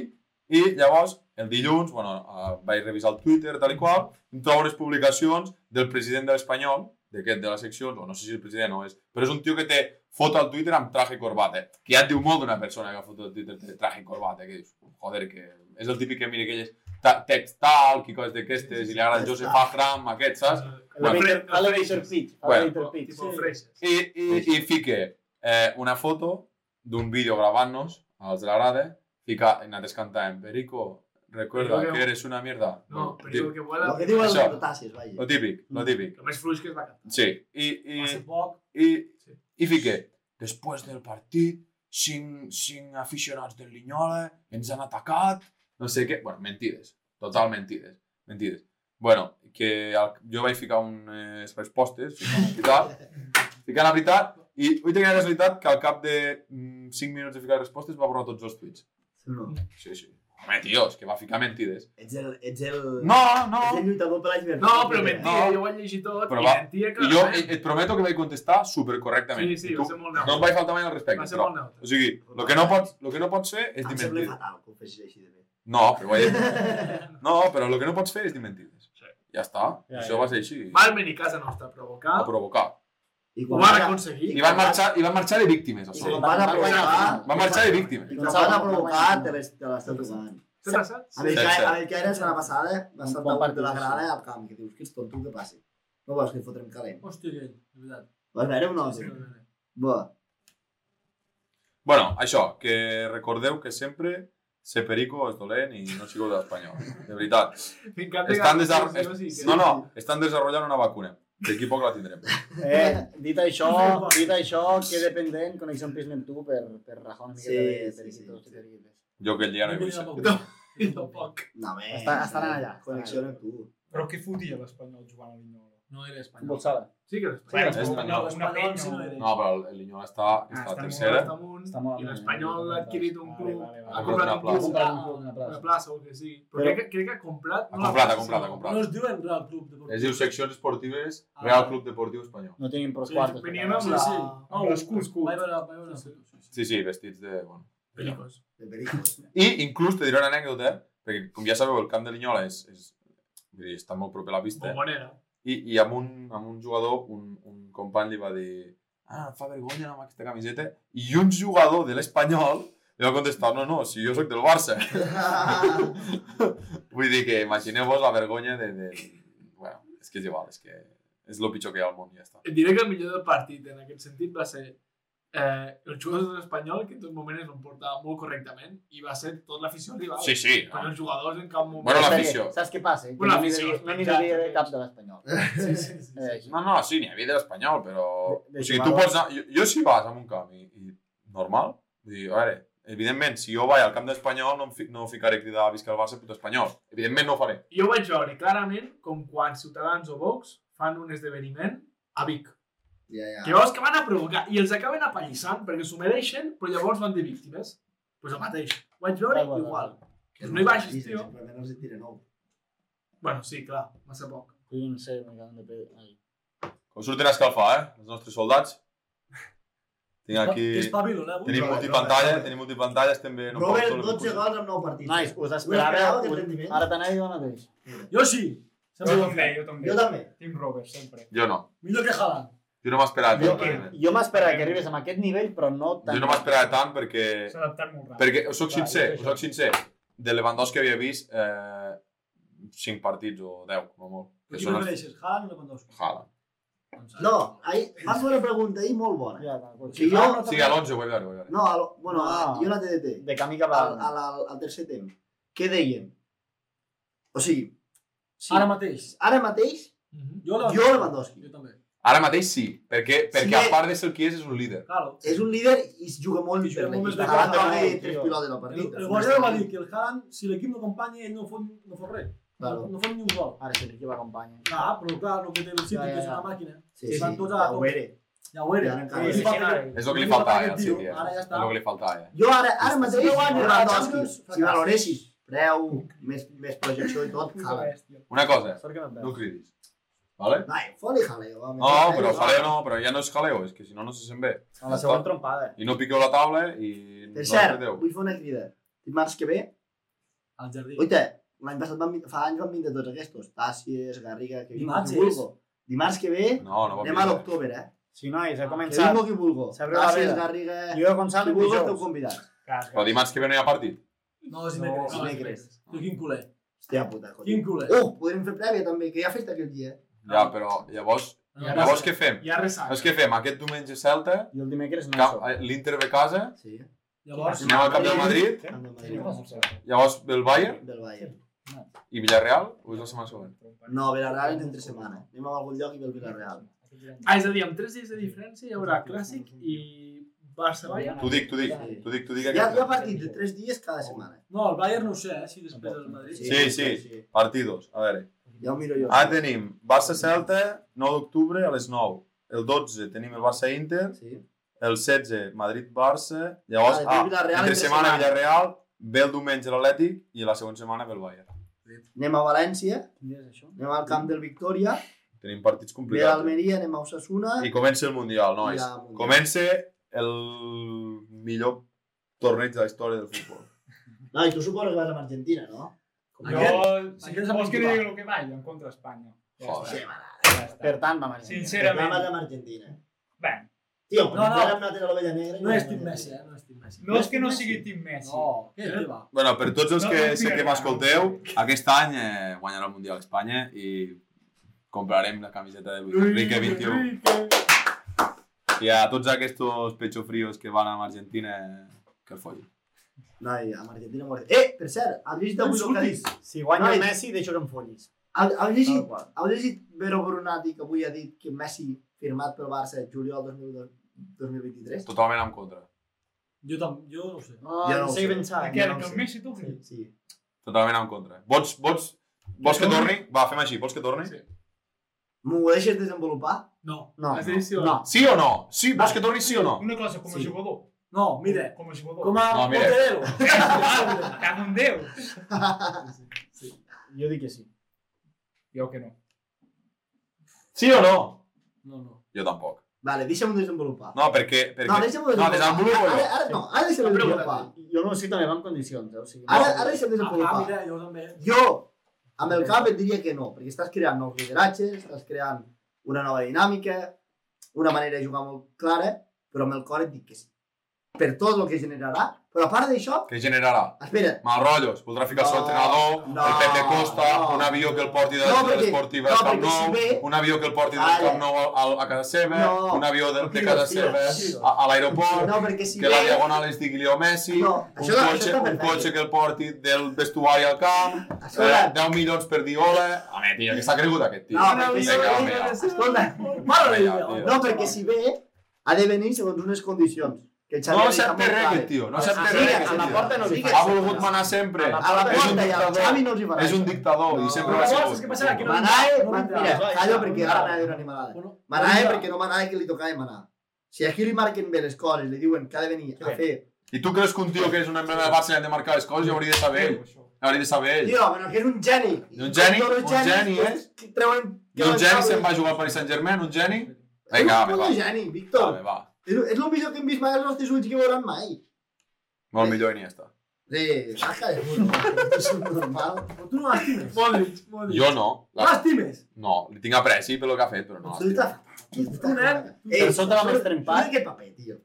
Speaker 3: I llavors, el dilluns, bueno, eh, vaig revisar el Twitter, tal i qual, em trobo les publicacions del president de l'Espanyol, d'aquest de la secció, o no sé si el president o és, però és un tio que té foto al Twitter amb traje i corbata, que ja et diu molt d'una persona que ha foto al Twitter té traje i corbata, que dius, joder, que és el típic que mira aquelles ta- textal, que coses d'aquestes, i li agrada el Josep Afram, aquest, saps? Bueno.
Speaker 5: Elevator- Elevator pitch.
Speaker 3: Bueno.
Speaker 5: Elevator pitch.
Speaker 2: Tipo
Speaker 5: Sí.
Speaker 2: freixes.
Speaker 3: I, i, i fique eh, una foto d'un vídeo gravant-nos, als de la grada, fica, i nosaltres cantàvem, Perico, recuerda
Speaker 2: Perico que-
Speaker 3: que eres una mierda.
Speaker 2: No,
Speaker 3: Lo
Speaker 2: però
Speaker 3: típic,
Speaker 2: que
Speaker 1: El
Speaker 2: vuela...
Speaker 1: que diuen els
Speaker 3: Això.
Speaker 1: potassis, vaja.
Speaker 3: lo típic, lo típic.
Speaker 2: El més fluix que es va cantar.
Speaker 3: Sí,
Speaker 2: Eh,
Speaker 3: i,
Speaker 4: Hace
Speaker 3: i,
Speaker 4: poc,
Speaker 3: i, i fique, després del partit, cinc, cinc aficionats del Linyola ens han atacat, no sé què, bueno, mentides, total mentides, mentides. Bueno, que el, jo vaig ficar eh, unes respostes, ficant la veritat, ficant la veritat, i vull tenir la casualitat que al cap de 5 minuts de ficar respostes va borrar tots els tuits.
Speaker 1: No.
Speaker 3: Sí, sí. Home, tio, és que va ficar mentides.
Speaker 1: Ets el... Ets el...
Speaker 3: No, no!
Speaker 1: Ets el lluitador per la llibertat.
Speaker 2: No, però mentia,
Speaker 3: No.
Speaker 2: jo ho vaig llegir tot
Speaker 3: Però
Speaker 2: i
Speaker 3: va-
Speaker 2: mentia que...
Speaker 3: I jo et, et prometo que vaig contestar supercorrectament.
Speaker 2: Sí, sí,
Speaker 3: I
Speaker 2: va
Speaker 3: tu,
Speaker 2: ser molt
Speaker 3: no em
Speaker 2: neutre.
Speaker 3: vaig faltar mai al
Speaker 2: Va
Speaker 3: respecte,
Speaker 2: ser
Speaker 3: però...
Speaker 2: molt neutre.
Speaker 3: O sigui, el que no pots, lo que no pots fer és
Speaker 1: Em
Speaker 3: dir
Speaker 1: sembla
Speaker 3: mentides.
Speaker 1: fatal que ho fessis així de bé.
Speaker 3: No, però ho he dit. No, però el que no pots fer és dir mentides.
Speaker 2: Sí.
Speaker 3: Ja està.
Speaker 5: Ja,
Speaker 3: Això
Speaker 5: ja.
Speaker 3: va ser així.
Speaker 2: Van venir a casa nostra a provocar,
Speaker 3: A provocar.
Speaker 1: I
Speaker 2: ho van
Speaker 1: van a-
Speaker 2: aconseguir.
Speaker 3: I van marxar, i van marxar de víctimes, a
Speaker 1: I
Speaker 3: sobre.
Speaker 1: quan van a provocar...
Speaker 3: Van marxar de víctimes.
Speaker 1: I quan van a provocar, te l'es- te l'estan tocant.
Speaker 2: T'ha passat?
Speaker 1: A mi
Speaker 3: Sí, sí.
Speaker 1: a mi que era la setmana passada, va
Speaker 5: Un
Speaker 1: estar
Speaker 5: bon
Speaker 1: de la
Speaker 5: partit,
Speaker 1: grada al camp, que dius, que és tonto que passi. No vols que et fotrem calent.
Speaker 4: hòstia, que, de veritat.
Speaker 1: Vas veure un osi?
Speaker 3: Mm.
Speaker 1: Bé,
Speaker 3: Bueno, això, que recordeu que sempre ser perico és dolent i no sigueu d'espanyol. De veritat.
Speaker 2: M'encanta que-
Speaker 3: Estan,
Speaker 2: sí,
Speaker 3: desar...
Speaker 2: sí, sí,
Speaker 3: es-
Speaker 2: sí.
Speaker 3: no, no, estan desenvolupant una vacuna. D'aquí poc la tindrem.
Speaker 5: Eh, dit això, dit això, queda pendent connexió amb Pismen tu per, per rajar una miqueta
Speaker 1: Sí,
Speaker 5: de
Speaker 1: sí,
Speaker 5: periquitos
Speaker 1: sí,
Speaker 5: i
Speaker 1: sí.
Speaker 5: periquites.
Speaker 3: Jo aquell dia no hi vull ser.
Speaker 4: No,
Speaker 2: No, i tampoc.
Speaker 1: no, bé.
Speaker 5: Està- estaran allà.
Speaker 1: Connexió amb tu.
Speaker 6: Però què fotia l'Espanyol jugant a Linyola?
Speaker 4: no era espanyol.
Speaker 5: Futbol sala.
Speaker 2: Sí que l'Espanyol.
Speaker 6: Bueno,
Speaker 3: és espanyol,
Speaker 6: no, una
Speaker 4: espanyol
Speaker 6: penya.
Speaker 4: sí no era.
Speaker 3: No, però el- el Linyola està, està
Speaker 6: està
Speaker 3: a
Speaker 6: molt
Speaker 3: tercera.
Speaker 2: Està amunt,
Speaker 5: Està molt
Speaker 2: I
Speaker 5: amunt,
Speaker 2: l'Espanyol ha
Speaker 5: eh?
Speaker 2: adquirit un
Speaker 5: Vale,
Speaker 2: club,
Speaker 5: vale, vale.
Speaker 2: ha comprat un
Speaker 3: Una
Speaker 2: club,
Speaker 3: plaça.
Speaker 5: Comprar un club, una
Speaker 2: una
Speaker 5: plaça.
Speaker 2: plaça o el que sigui. Però
Speaker 5: Però-
Speaker 2: crec que, crec que ha comprat...
Speaker 3: Ha
Speaker 2: no la
Speaker 3: comprat, ha
Speaker 2: plaça,
Speaker 3: comprat, ha
Speaker 2: sinó-
Speaker 4: No
Speaker 3: comprat.
Speaker 4: es diuen Real Club Deportiu.
Speaker 3: Es diu seccions esportives
Speaker 4: Ah.
Speaker 3: Real Club Deportiu Espanyol.
Speaker 5: No tenim pros
Speaker 2: Sí,
Speaker 5: quartos.
Speaker 2: venien
Speaker 5: per
Speaker 2: amb
Speaker 5: tant.
Speaker 2: la...
Speaker 4: Sí, sí.
Speaker 2: Sí,
Speaker 6: Amb les cus, cus.
Speaker 4: Vaig veure, vaig veure. Sí, sí.
Speaker 3: Sí, sí, vestits de... Bueno.
Speaker 2: Pericos.
Speaker 1: De pericos.
Speaker 3: I inclús te diré una anècdota, perquè com ja sabeu el camp de Linyola és, és, vull dir, està molt proper a la vista,
Speaker 2: Bombonera.
Speaker 3: i, i amb, un, amb un jugador, un, un company li va dir ah, em fa vergonya anar amb aquesta camiseta, i un jugador de l'Espanyol li va contestar, no, no, si jo sóc del Barça. Vull dir que imagineu-vos la vergonya de, de... Bueno, és que és igual, és que és el pitjor que hi ha al món, ja està.
Speaker 2: Et diré que el millor del partit en aquest sentit va ser eh, els jugadors de l'Espanyol que en tot moment es van portar molt correctament i va ser tot l'afició rival.
Speaker 3: Sí, sí.
Speaker 2: Però els jugadors en cap moment...
Speaker 3: Bueno, la-
Speaker 5: Saps
Speaker 3: l'afició.
Speaker 5: què? Saps què passa? Que
Speaker 2: Bueno,
Speaker 5: no n'hi
Speaker 2: l'afició,
Speaker 5: devia-
Speaker 2: els
Speaker 5: No n'hi
Speaker 2: penjats,
Speaker 5: devia haver
Speaker 2: els
Speaker 5: cap de l'Espanyol.
Speaker 2: Sí, sí, sí.
Speaker 5: Eh,
Speaker 2: sí.
Speaker 5: així.
Speaker 3: No, no, sí, n'hi havia de l'Espanyol, però...
Speaker 5: De- de
Speaker 3: o sigui, tu
Speaker 5: jugadors.
Speaker 3: pots anar... Jo, jo si vas a un camp i, i normal, vull dir, a veure, evidentment, si jo vaig al camp d'Espanyol no, em fi, no ficaré a cridar visca el Barça, puto Espanyol. Evidentment no ho faré.
Speaker 2: Jo vaig veure clarament com quan Ciutadans o Vox fan un esdeveniment a Vic.
Speaker 1: Ja, ja.
Speaker 2: Que veus que van a provocar i els acaben apallissant perquè s'ho mereixen, però llavors van de víctimes. Doncs pues el mateix. Ho vaig veure
Speaker 5: Igual,
Speaker 2: igual.
Speaker 5: igual.
Speaker 2: No hi vagis, tio.
Speaker 1: Simplement els hi tiren nou.
Speaker 2: Bueno, sí, clar, massa poc.
Speaker 5: Cuido, no sé, me cago de pedo. Ai.
Speaker 3: Com sortirà a escalfar, eh? Els nostres soldats. Tinc aquí...
Speaker 4: Que és Pavilon, eh, avui?
Speaker 3: Tenim multipantalla, tenim multipantalles també. No
Speaker 1: Robert,
Speaker 3: porto el
Speaker 1: 12
Speaker 3: recursos.
Speaker 1: gols en 9 partits.
Speaker 5: Nois, us
Speaker 1: Una
Speaker 5: esperava...
Speaker 1: mirada de
Speaker 5: Un...
Speaker 1: rendiment.
Speaker 5: Ara t'anava jo mateix.
Speaker 4: Yoshi! Sempre
Speaker 6: Jo
Speaker 4: ho
Speaker 6: també,
Speaker 4: fem.
Speaker 6: jo també.
Speaker 1: Jo també.
Speaker 6: Team Robert, sempre.
Speaker 3: Jo no.
Speaker 4: Millor que Haaland.
Speaker 3: Jo no m'esperava
Speaker 5: Jo,
Speaker 3: tant. realment.
Speaker 5: jo m'esperava que arribés amb aquest nivell, però no tant.
Speaker 3: Jo no m'esperava tant perquè...
Speaker 6: S'ha adaptat molt ràpid.
Speaker 3: Perquè, us soc
Speaker 6: Va,
Speaker 3: sincer,
Speaker 6: jo
Speaker 3: us soc sincer. De Lewandowski havia vist eh, 5 partits o 10, com a molt. Que
Speaker 4: Qui
Speaker 3: són els...
Speaker 4: prefereixes, Haaland o Lewandowski?
Speaker 3: Haaland.
Speaker 1: No, ahir vas fer una pregunta ahir molt bona.
Speaker 5: Ja, d'acord.
Speaker 1: Sí, jo...
Speaker 3: Sí, a l'11 ho vaig veure, ho vaig veure.
Speaker 1: No, al, bueno, a,
Speaker 5: Ah.
Speaker 1: jo a la TDT,
Speaker 5: De camí cap a...
Speaker 1: al, al, al, al tercer temps. Què deien? O sigui, sí.
Speaker 4: Ara mateix.
Speaker 1: ara mateix,
Speaker 2: Mhm.
Speaker 4: Jo
Speaker 1: jo Lewandowski.
Speaker 4: Jo també.
Speaker 3: Ara mateix sí, perquè, perquè
Speaker 1: Sí.
Speaker 3: a part de ser el qui és, és un líder.
Speaker 4: Claro.
Speaker 1: És un líder i es juga molt
Speaker 4: I juga
Speaker 1: per l'equip.
Speaker 4: molt més
Speaker 1: Ara
Speaker 4: de
Speaker 1: també
Speaker 5: cara,
Speaker 1: tres
Speaker 5: tio.
Speaker 1: pilotes de la
Speaker 4: El,
Speaker 1: partida.
Speaker 4: el Guardiola va dir que el Haaland, si l'equip no acompanya, ell no fot, no fot res.
Speaker 1: Claro.
Speaker 4: No fot ni un gol.
Speaker 5: Ara sí, aquí m'acompanya.
Speaker 4: Clar, però clar, el que té el City,
Speaker 5: Ja, ja,
Speaker 4: que és
Speaker 5: ja.
Speaker 4: una màquina,
Speaker 1: Sí, sí,
Speaker 4: van tots a
Speaker 1: ja ho
Speaker 4: tope.
Speaker 1: era.
Speaker 4: ja ho era.
Speaker 1: Ja, encara.
Speaker 4: I li va fer-
Speaker 3: És el que li faltava, ja, al City. eh?
Speaker 4: Ara ja
Speaker 3: És
Speaker 4: està.
Speaker 3: el que li faltava, ja.
Speaker 1: Jo ara, ara
Speaker 3: Si
Speaker 1: mateix,
Speaker 4: no guanyo la Champions,
Speaker 1: Lewandowski, si
Speaker 4: fracàs.
Speaker 1: valoressis preu, més, més projecció i tot, jala.
Speaker 3: Una cosa,
Speaker 5: Sort que no et
Speaker 3: no cridis. Vale?
Speaker 1: Ai, foli jaleo. home.
Speaker 3: No, però jaleo no, però ja no és jaleo, és que si no, no se sent bé.
Speaker 5: A la següent trompada.
Speaker 3: I no piqueu la taula i...
Speaker 1: Per
Speaker 3: no
Speaker 1: cert,
Speaker 3: apreteu.
Speaker 1: vull fer una crida. Dimarts que ve,
Speaker 4: Al jardí.
Speaker 1: oita, l'any passat van, vin- fa anys van vindre tots aquests, Tàcies, Garriga, que vinc
Speaker 4: Dimarts
Speaker 1: qui vulgo. Dimarts que ve,
Speaker 3: No, no va
Speaker 1: anem a
Speaker 3: picar.
Speaker 1: l'octubre, eh?
Speaker 5: Sí, nois, ha
Speaker 1: Que
Speaker 5: començat.
Speaker 1: vingo qui vulgo.
Speaker 5: S'abre la
Speaker 1: Tàcies,
Speaker 5: veda.
Speaker 1: Garriga,
Speaker 5: Jo he
Speaker 1: qui
Speaker 5: començat
Speaker 1: vulgo esteu convidats.
Speaker 3: Però dimarts que ve no hi ha partit.
Speaker 4: No, és dimecres.
Speaker 1: No,
Speaker 4: No,
Speaker 1: dimecres.
Speaker 4: Tu quin culer.
Speaker 1: Hòstia puta, coi.
Speaker 4: Quin culer.
Speaker 1: Uh, podrem fer prèvia també, que hi ha festa aquell dia.
Speaker 3: Ja, però llavors... Llavors què fem?
Speaker 6: Ja ressaca.
Speaker 3: Llavors què fem? Aquest diumenge Celta,
Speaker 5: I el dimecres no
Speaker 3: ca- eh,
Speaker 5: sóc.
Speaker 3: l'Inter ve a casa,
Speaker 1: Sí.
Speaker 4: Llavors,
Speaker 3: anem al Camp del Madrid,
Speaker 1: Camp del
Speaker 5: Sí,
Speaker 1: Madrid.
Speaker 5: no sóc.
Speaker 3: llavors ve el Bayern
Speaker 1: Del Bayern.
Speaker 3: i Villarreal, o és la setmana següent?
Speaker 1: No, Villarreal és entre setmana. Anem a algun lloc i ve el Villarreal.
Speaker 2: Ah, és a dir, amb 3 dies de diferència hi haurà Clàssic i Barça-Bayern.
Speaker 3: T'ho dic, t'ho dic,
Speaker 1: Sí.
Speaker 3: t'ho dic, t'ho dic.
Speaker 1: Hi ha,
Speaker 3: Aquest.
Speaker 1: hi ha partit de 3 dies cada setmana.
Speaker 4: no, el Bayern no ho sé, eh, si després del Madrid.
Speaker 3: Sí. Ah, Partidos, a veure.
Speaker 1: Ja ho miro jo.
Speaker 3: Ara tenim Barça-Celta, 9 d'octubre a les 9. El 12 tenim el Barça-Inter,
Speaker 1: Sí.
Speaker 3: el 16 Madrid-Barça, llavors,
Speaker 1: Ah,
Speaker 3: ah,
Speaker 1: Villarreal
Speaker 3: entre
Speaker 1: entre
Speaker 3: setmana
Speaker 1: setmana.
Speaker 3: Villarreal, ve el diumenge l'Atlètic i la següent setmana ve el Bayern.
Speaker 1: Anem a València,
Speaker 5: Quin dia és això?
Speaker 1: anem al camp del Victòria,
Speaker 3: Tenim partits
Speaker 1: ve a
Speaker 3: complicats. eh?
Speaker 1: Almeria, anem a Osasuna,
Speaker 3: I comença el Mundial, nois.
Speaker 1: Ja, Mundial.
Speaker 3: Comença el millor torneig de la història del futbol.
Speaker 1: No, i tu suposo que vas amb Argentina, no?
Speaker 6: Jo, si
Speaker 4: Aquest és
Speaker 6: vols que li
Speaker 4: el titular.
Speaker 6: digui el que vaig, en contra d'Espanya. Ja
Speaker 3: Joder.
Speaker 6: està,
Speaker 1: Sí, va,
Speaker 6: ja està.
Speaker 5: Per tant, vam a
Speaker 1: va, vas
Speaker 6: Sincerament,
Speaker 1: amb Argentina. ¿eh?
Speaker 6: bé,
Speaker 1: Tio, però
Speaker 4: No,
Speaker 1: no,
Speaker 4: no.
Speaker 1: no. ara hem anat a l'Ovella Negra. i
Speaker 4: No és
Speaker 1: vam
Speaker 4: Team
Speaker 1: anar a
Speaker 4: Messi,
Speaker 1: Argentina.
Speaker 4: eh, no és Team Messi.
Speaker 6: no és que no sigui Team Messi.
Speaker 4: No, què té, va?
Speaker 3: Bueno, per tots els
Speaker 6: No,
Speaker 3: que
Speaker 6: no
Speaker 3: sé que
Speaker 6: explicaré,
Speaker 3: m'escolteu,
Speaker 6: no.
Speaker 3: aquest any eh, guanyarà el Mundial Espanya i comprarem la camiseta de Enrique 21. I a tots aquests pechofrios que van a Argentina, eh, que el follin.
Speaker 1: No, i amb Argentina mort. Eh, per cert, has llegit avui el que ha dit?
Speaker 5: Si guanya
Speaker 1: Nois.
Speaker 5: Messi, deixo que em follis.
Speaker 1: Heu heu
Speaker 5: Tal
Speaker 1: llegit,
Speaker 5: qual.
Speaker 1: heu llegit Vero Brunati, que avui ha dit que Messi firmat pel Barça juliol 2002 2023?
Speaker 3: Totalment en contra.
Speaker 4: Jo, tam, jo no ho sé.
Speaker 5: No,
Speaker 1: Ja
Speaker 5: ja
Speaker 1: no
Speaker 5: no
Speaker 1: ho
Speaker 5: sé què
Speaker 1: sé.
Speaker 5: pensar.
Speaker 6: Aquell,
Speaker 5: no ho
Speaker 6: Ah, que el
Speaker 5: sé.
Speaker 6: Messi torni.
Speaker 1: Sí.
Speaker 3: Totalment en contra. Vots, vots, vols que torni? Va, fem així. Vols que torni?
Speaker 2: Sí.
Speaker 1: M'ho deixes desenvolupar?
Speaker 2: No.
Speaker 5: No,
Speaker 2: Has de dir sí o
Speaker 5: no.
Speaker 2: no.
Speaker 3: Sí o no? Sí, vols que torni sí o no?
Speaker 6: Una cosa, com a
Speaker 1: Sí.
Speaker 6: jugador.
Speaker 4: No, mira,
Speaker 6: Com a jugador.
Speaker 4: com a
Speaker 3: No, mira.
Speaker 4: portero.
Speaker 6: Cago en Déu.
Speaker 5: Jo dic que sí.
Speaker 6: Jo que no.
Speaker 3: Sí o no?
Speaker 4: No, no.
Speaker 3: Jo tampoc.
Speaker 1: Vale, deixa'm desenvolupar.
Speaker 3: No, perquè...
Speaker 1: No,
Speaker 3: perquè...
Speaker 1: deixa'm
Speaker 3: No,
Speaker 1: desenvolupar.
Speaker 3: desenvolupa
Speaker 1: Ara,
Speaker 3: jo.
Speaker 1: ara, no, ara deixa'm desenvolupar.
Speaker 5: Jo no sé també va en condicions, eh? O sigui,
Speaker 1: Ara, ara deixa'm
Speaker 4: Ah, ah,
Speaker 1: desenvolupar.
Speaker 4: mira, jo també.
Speaker 1: Jo, amb el cap et diria que no, perquè estàs creant nous lideratges, estàs creant una nova dinàmica, una manera de jugar molt clara, però amb el cor et dic que sí. Per tot el que generarà, però a part d'això,
Speaker 3: Què generarà?
Speaker 1: espera,
Speaker 3: Mal rotllos, voldrà ficar el seu
Speaker 1: No,
Speaker 3: entrenador,
Speaker 1: no,
Speaker 3: el Pepe Costa,
Speaker 1: no.
Speaker 3: un avió que el porti de,
Speaker 1: No,
Speaker 3: de
Speaker 1: perquè-
Speaker 3: l'esportiva
Speaker 1: no,
Speaker 3: al Camp
Speaker 1: perquè si
Speaker 3: Nou,
Speaker 1: ve-
Speaker 3: un avió que el porti del
Speaker 1: Ara.
Speaker 3: Camp Nou al- al- a casa seva,
Speaker 1: No.
Speaker 3: un avió de, de
Speaker 1: Tira,
Speaker 3: casa
Speaker 1: tira,
Speaker 3: seva
Speaker 1: tira.
Speaker 3: a, a l'aeroport,
Speaker 1: no, perquè si
Speaker 3: que la
Speaker 1: ve...
Speaker 3: diagonal es digui Leo Messi,
Speaker 1: No,
Speaker 3: un,
Speaker 1: això, això
Speaker 3: cotxe,
Speaker 1: està
Speaker 3: un cotxe
Speaker 1: perfecte.
Speaker 3: que el porti del vestuari al camp,
Speaker 1: Això
Speaker 3: eh,
Speaker 1: era...
Speaker 3: 10 milions per Diola... Home, tio, que s'ha cregut aquest tio.
Speaker 1: No, perquè
Speaker 3: Vinga,
Speaker 1: si
Speaker 3: home,
Speaker 1: ve...
Speaker 3: ja.
Speaker 1: Escolta,
Speaker 4: Mare de
Speaker 3: Ja,
Speaker 4: Déu.
Speaker 3: tio.
Speaker 1: no, perquè si ve, ha de venir segons unes condicions. Que el Xavi
Speaker 3: No
Speaker 1: ha deixat
Speaker 3: sap de
Speaker 1: molt
Speaker 3: res,
Speaker 1: clares. Ah,
Speaker 3: aquest tio, no sap de
Speaker 1: Sí,
Speaker 3: res,
Speaker 1: que
Speaker 3: aquest
Speaker 1: a la
Speaker 3: tio.
Speaker 1: porta no li
Speaker 5: Sí que-
Speaker 1: fa.
Speaker 3: Ha volgut manar sempre.
Speaker 5: A
Speaker 1: A la porta i
Speaker 3: És un
Speaker 1: al
Speaker 3: dictador.
Speaker 1: Xavi no els hi farà
Speaker 3: És un
Speaker 1: això.
Speaker 3: dictador i sempre ho ha
Speaker 6: Però
Speaker 3: sigut.
Speaker 6: saps què passarà? Que no
Speaker 1: Manae,
Speaker 4: no
Speaker 1: man-
Speaker 4: vindrà.
Speaker 1: mira,
Speaker 6: No
Speaker 1: callo
Speaker 6: vindrà.
Speaker 1: perquè ara anava a dir una animalada.
Speaker 4: Bueno,
Speaker 1: Manae perquè no manae que li tocava manar. Si aquí li marquen bé les coses, li diuen que ha de venir a fer...
Speaker 3: I tu creus que un tio que és un emblema del Barça i ha de marcar les coses i hauria de saber,
Speaker 6: Déu, això.
Speaker 3: hauria de saber ell.
Speaker 1: Tio, però que és un geni.
Speaker 3: Un geni,
Speaker 1: Tots els
Speaker 3: un
Speaker 1: genis,
Speaker 3: geni, eh?
Speaker 1: tots que Treuen...
Speaker 3: I un geni se'n va jugar al Paris Saint-Germain, un geni? Vinga, va,
Speaker 1: va. És
Speaker 3: va.
Speaker 1: un geni, Víctor.
Speaker 3: Va, va.
Speaker 1: És, és el millor que hem vist mai als nostres ulls que veuran mai.
Speaker 3: Molt millor Iniesta.
Speaker 1: Sí, baja de puta. És normal.
Speaker 4: Però tu no l'estimes.
Speaker 6: Modric, Modric.
Speaker 3: Jo no.
Speaker 4: No
Speaker 1: Ah.
Speaker 3: La...
Speaker 4: l'estimes.
Speaker 3: No, li tinc apreci pel que ha fet, però no.
Speaker 1: Tu
Speaker 3: l'estimo.
Speaker 1: estàs... tu estàs-
Speaker 4: Un nen.
Speaker 1: Ei,
Speaker 7: Per sota la mà
Speaker 1: saps-
Speaker 7: trempat.
Speaker 1: saps Aquest paper, tio.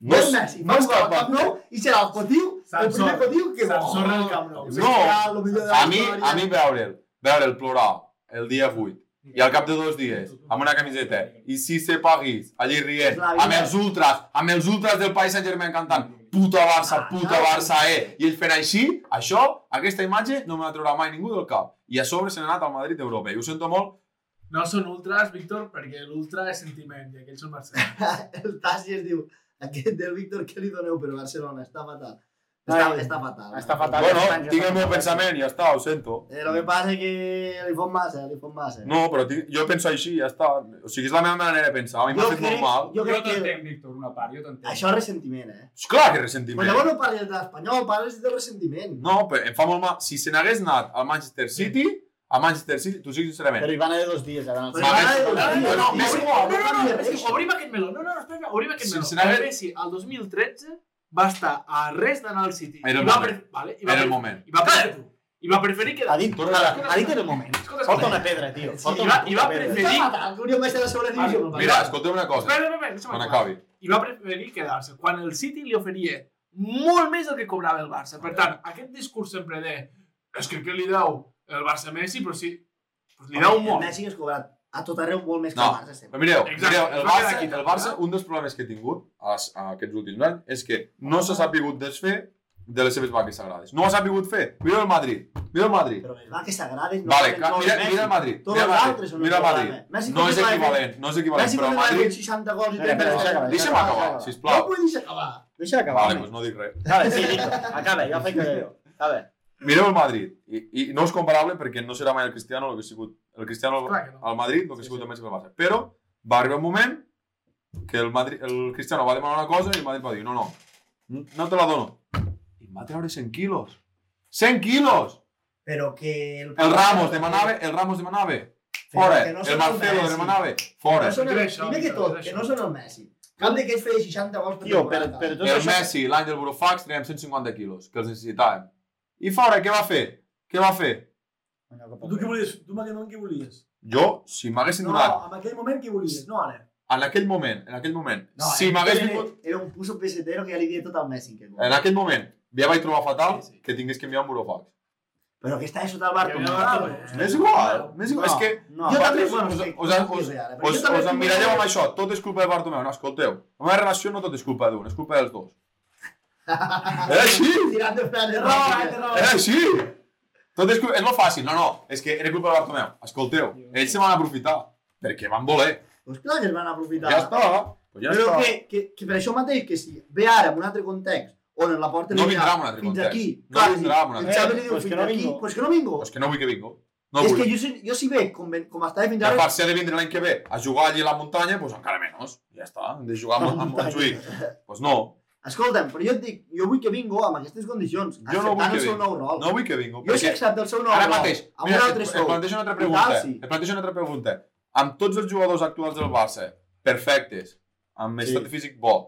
Speaker 3: No,
Speaker 1: és
Speaker 3: és-
Speaker 1: Messi,
Speaker 3: no
Speaker 1: va
Speaker 3: és
Speaker 1: jugar al
Speaker 3: cap
Speaker 1: Camp Nou i serà el cotiu, el primer
Speaker 2: Sansor.
Speaker 1: cotiu que...
Speaker 2: S'ensorra el camp nou.
Speaker 3: No.
Speaker 1: Serà lo millor de la
Speaker 3: A mi,
Speaker 1: història.
Speaker 3: a mi veure'l, veure'l plorar el dia 8 i al cap de dos dies, amb una camiseta, i si se paguis, allí rient, amb els ultras, amb els ultras del País Saint-Germain cantant puta
Speaker 1: Ah,
Speaker 3: Barça, puta Barça, eh, i ell fent així, això, aquesta imatge no me la traurà mai ningú del cap. I a sobre se n'ha anat al Madrid d'Europa, i ho sento molt,
Speaker 2: No són ultras, Víctor, perquè l'ultra és sentiment i aquells són marcians.
Speaker 1: el Tassi es diu aquest del Víctor, què li doneu per Barcelona? Està fatal. Està,
Speaker 7: Ai,
Speaker 1: està fatal.
Speaker 7: està fatal.
Speaker 3: bueno, tinc el meu pensament, ja està, ho sento.
Speaker 1: Eh, lo que passa és que li fot massa, li fot massa.
Speaker 3: No, però tinc, jo penso així, ja està. O sigui, és la meva manera de pensar, a mi m'ha fet molt mal.
Speaker 1: jo
Speaker 6: Jo
Speaker 1: crec que
Speaker 6: t'entenc, Víctor, una part, jo t'entenc.
Speaker 1: això és ressentiment, eh?
Speaker 3: És clar que
Speaker 1: Però
Speaker 3: ressentiment.
Speaker 1: llavors no parles de l'Espanyol, parles de ressentiment.
Speaker 3: No, però em fa molt mal. Si se n'hagués anat al Manchester City, a Manchester City, t'ho dic sincerament.
Speaker 7: Però hi van haver dos dies. Ja van
Speaker 1: Però
Speaker 3: Va,
Speaker 1: ara- ara-
Speaker 3: més- no, no,
Speaker 1: ara-
Speaker 3: no,
Speaker 1: ara-
Speaker 3: més
Speaker 1: ara-
Speaker 3: igual,
Speaker 1: ara- ara-
Speaker 2: és que obrim aquest meló. No, no, no, espera, obrim aquest meló.
Speaker 3: Sincerament-
Speaker 2: El Messi, el 2013, va estar a res d'anar al City.
Speaker 3: Era el
Speaker 2: I va
Speaker 3: moment.
Speaker 2: pre- Vale, i va
Speaker 3: Era el
Speaker 2: pre-
Speaker 3: moment.
Speaker 2: I va preferir, i va preferir
Speaker 7: Ha
Speaker 2: quedar...
Speaker 7: dit,
Speaker 3: Torna a-
Speaker 7: ha dit en el moment.
Speaker 2: Escolta,
Speaker 7: Porta
Speaker 2: escolta.
Speaker 7: una pedra, tio. Porta
Speaker 2: I
Speaker 7: una
Speaker 2: va- i va
Speaker 7: puta pedra.
Speaker 2: preferir-
Speaker 1: Està fatal, que hauríem d'estar a la segona divisió.
Speaker 3: Mira, escolteu una cosa,
Speaker 2: Espera, espera, espera, que se
Speaker 3: quan
Speaker 2: m'acaba.
Speaker 3: acabi.
Speaker 2: I va preferir quedar-se quan el City li oferia molt més del que cobrava el Barça. Per tant, aquest discurs sempre de és que què li deu el Barça a Messi, però sí, pues li deu
Speaker 1: El
Speaker 2: molt.
Speaker 1: Messi que has cobrat a tot arreu molt més que
Speaker 3: No.
Speaker 1: el Barça sempre.
Speaker 3: Però mireu,
Speaker 2: Exacte,
Speaker 3: mireu
Speaker 2: es
Speaker 3: el,
Speaker 2: va
Speaker 3: Barça,
Speaker 2: quedar aquí,
Speaker 3: el Barça, un dels problemes que he tingut a, les- a aquests últims anys és que no s'ha sapigut desfer de les seves vaques sagrades. No ho ha sapigut fer. Mira el Madrid. Mira el Madrid.
Speaker 1: Però les vaques sagrades no
Speaker 3: Vale,
Speaker 1: valen
Speaker 3: ca-
Speaker 1: prou
Speaker 3: mira,
Speaker 1: el Messi.
Speaker 3: mira el Madrid.
Speaker 1: Tots
Speaker 3: Mira el
Speaker 1: els
Speaker 3: Madrid.
Speaker 1: altres són el
Speaker 3: Mira el Madrid.
Speaker 1: problema. Messi
Speaker 3: No
Speaker 1: com
Speaker 3: és
Speaker 1: li va
Speaker 3: equivalent, no és equivalent,
Speaker 1: Messi
Speaker 3: però
Speaker 1: quan
Speaker 3: el
Speaker 1: li va fer
Speaker 3: Madrid...
Speaker 1: 60 gols i
Speaker 7: Espera, espera,
Speaker 1: trenta
Speaker 7: deixa'm
Speaker 1: gols.
Speaker 3: Deixa'm acabar,
Speaker 1: No
Speaker 3: sisplau.
Speaker 1: ho podis acabar.
Speaker 7: Deixa acabar.
Speaker 3: Vale,
Speaker 7: home.
Speaker 3: pues. doncs no dic res.
Speaker 7: Vale, sí, listo. Acaba, ja faig que jo. Acaba.
Speaker 3: Mireu el Madrid. I, I no és comparable perquè no serà mai el Cristiano el que ha sigut el Cristiano
Speaker 2: Clar que no.
Speaker 3: al Madrid, el que ha sigut el Messi pel Barça. Però va arribar un moment que el, Madrid, el Cristiano va demanar una cosa i el Madrid va dir no, no, no te la dono. I em va treure 100 quilos. 100 quilos!
Speaker 1: Però que...
Speaker 3: El Ramos demanava, el Ramos demanava,
Speaker 1: Però
Speaker 3: fora.
Speaker 1: que no
Speaker 3: el
Speaker 1: són
Speaker 3: Marcelo
Speaker 1: Messi.
Speaker 3: demanava, fora.
Speaker 1: No són el,
Speaker 2: Mira això,
Speaker 1: primer que
Speaker 2: mira,
Speaker 1: tot,
Speaker 2: mira
Speaker 1: que
Speaker 2: això.
Speaker 1: no són el Messi. Cap d'aquells feia 60 gols per
Speaker 7: Tio, per,
Speaker 1: temporada.
Speaker 7: per tot
Speaker 3: El
Speaker 7: això...
Speaker 3: Messi, l'any del Burofax, traiem 150 quilos, que els necessitàvem. I fora, què va fer? Què va fer?
Speaker 4: Tu què volies? Tu en aquell moment què volies?
Speaker 3: Jo, si m'haguessin
Speaker 4: No,
Speaker 3: donat
Speaker 4: en aquell moment què volies? No, ara.
Speaker 3: en aquell moment, en aquell moment,
Speaker 1: No,
Speaker 3: si
Speaker 1: era-
Speaker 3: m'hagués vingut...
Speaker 1: Era un puso pesetero que ja li deia tot al Messi. Que
Speaker 3: En aquell moment, ja vaig trobar fatal
Speaker 2: Sí, sí.
Speaker 3: que tingués que enviar un burofax.
Speaker 1: Però que està sota el barco.
Speaker 2: Que ja
Speaker 1: no?
Speaker 2: va,
Speaker 1: Ah,
Speaker 2: eh.
Speaker 3: M'és igual, m'és igual.
Speaker 7: No,
Speaker 3: és que
Speaker 7: No,
Speaker 1: Jo
Speaker 3: vosaltres
Speaker 1: també,
Speaker 3: us-
Speaker 1: bueno,
Speaker 3: us-
Speaker 1: sí,
Speaker 3: us- us-
Speaker 1: no sé ara, però
Speaker 3: us,
Speaker 1: jo també
Speaker 3: us
Speaker 1: tinc-
Speaker 3: emmiralleu amb això, tot és culpa de Bartomeu, no, escolteu. La meva relació no tot és culpa d'un, és culpa dels dos. Era així!
Speaker 1: Tirant de fer de
Speaker 3: Era així! Tot és, cul- és molt fàcil, no, no, és que era culpa de Bartomeu. Escolteu, ells se van aprofitar, perquè van voler.
Speaker 1: Pues clar que es van aprofitar.
Speaker 3: Ja està, pues ja
Speaker 1: però
Speaker 3: està.
Speaker 1: que, que, que per això mateix, que si ve ara en un altre context, on la porta
Speaker 3: No
Speaker 1: li dirà,
Speaker 3: vindrà en un altre
Speaker 1: fins
Speaker 3: context.
Speaker 1: aquí,
Speaker 3: No vindrà en un altre
Speaker 1: El Xavi
Speaker 7: context.
Speaker 1: li diu,
Speaker 7: Pues que
Speaker 1: fins
Speaker 7: no
Speaker 1: aquí,
Speaker 7: vingo.
Speaker 1: pues que no vingo.
Speaker 3: És que no vull que vingueu. No
Speaker 1: és
Speaker 3: vull.
Speaker 1: que jo, si- jo si ve com, ven- com estava fins
Speaker 3: I a
Speaker 1: ara,
Speaker 3: part, si ha de vindre l'any que ve a jugar allí a la muntanya, doncs encara menys. Ja està, hem de jugar amb, amb Montjuïc. Doncs pues no,
Speaker 1: escolta'm, però jo et dic, jo vull que vingo amb aquestes condicions,
Speaker 3: Jo no vull
Speaker 1: acceptant
Speaker 3: que
Speaker 1: el seu
Speaker 3: vingui.
Speaker 1: nou rol.
Speaker 3: no vull que vingui.
Speaker 1: jo si
Speaker 3: Perquè
Speaker 1: accepto el seu nou
Speaker 3: ara
Speaker 1: rol,
Speaker 3: mateix,
Speaker 1: amb
Speaker 3: mira,
Speaker 1: un
Speaker 3: et,
Speaker 1: altre
Speaker 3: et
Speaker 1: sou,
Speaker 3: plantejo una altra
Speaker 1: I
Speaker 3: pregunta.
Speaker 1: tal, sí.
Speaker 3: Et plantejo una altra pregunta. Amb tots els jugadors actuals del Barça, perfectes, amb
Speaker 7: Sí.
Speaker 3: estat físic bo,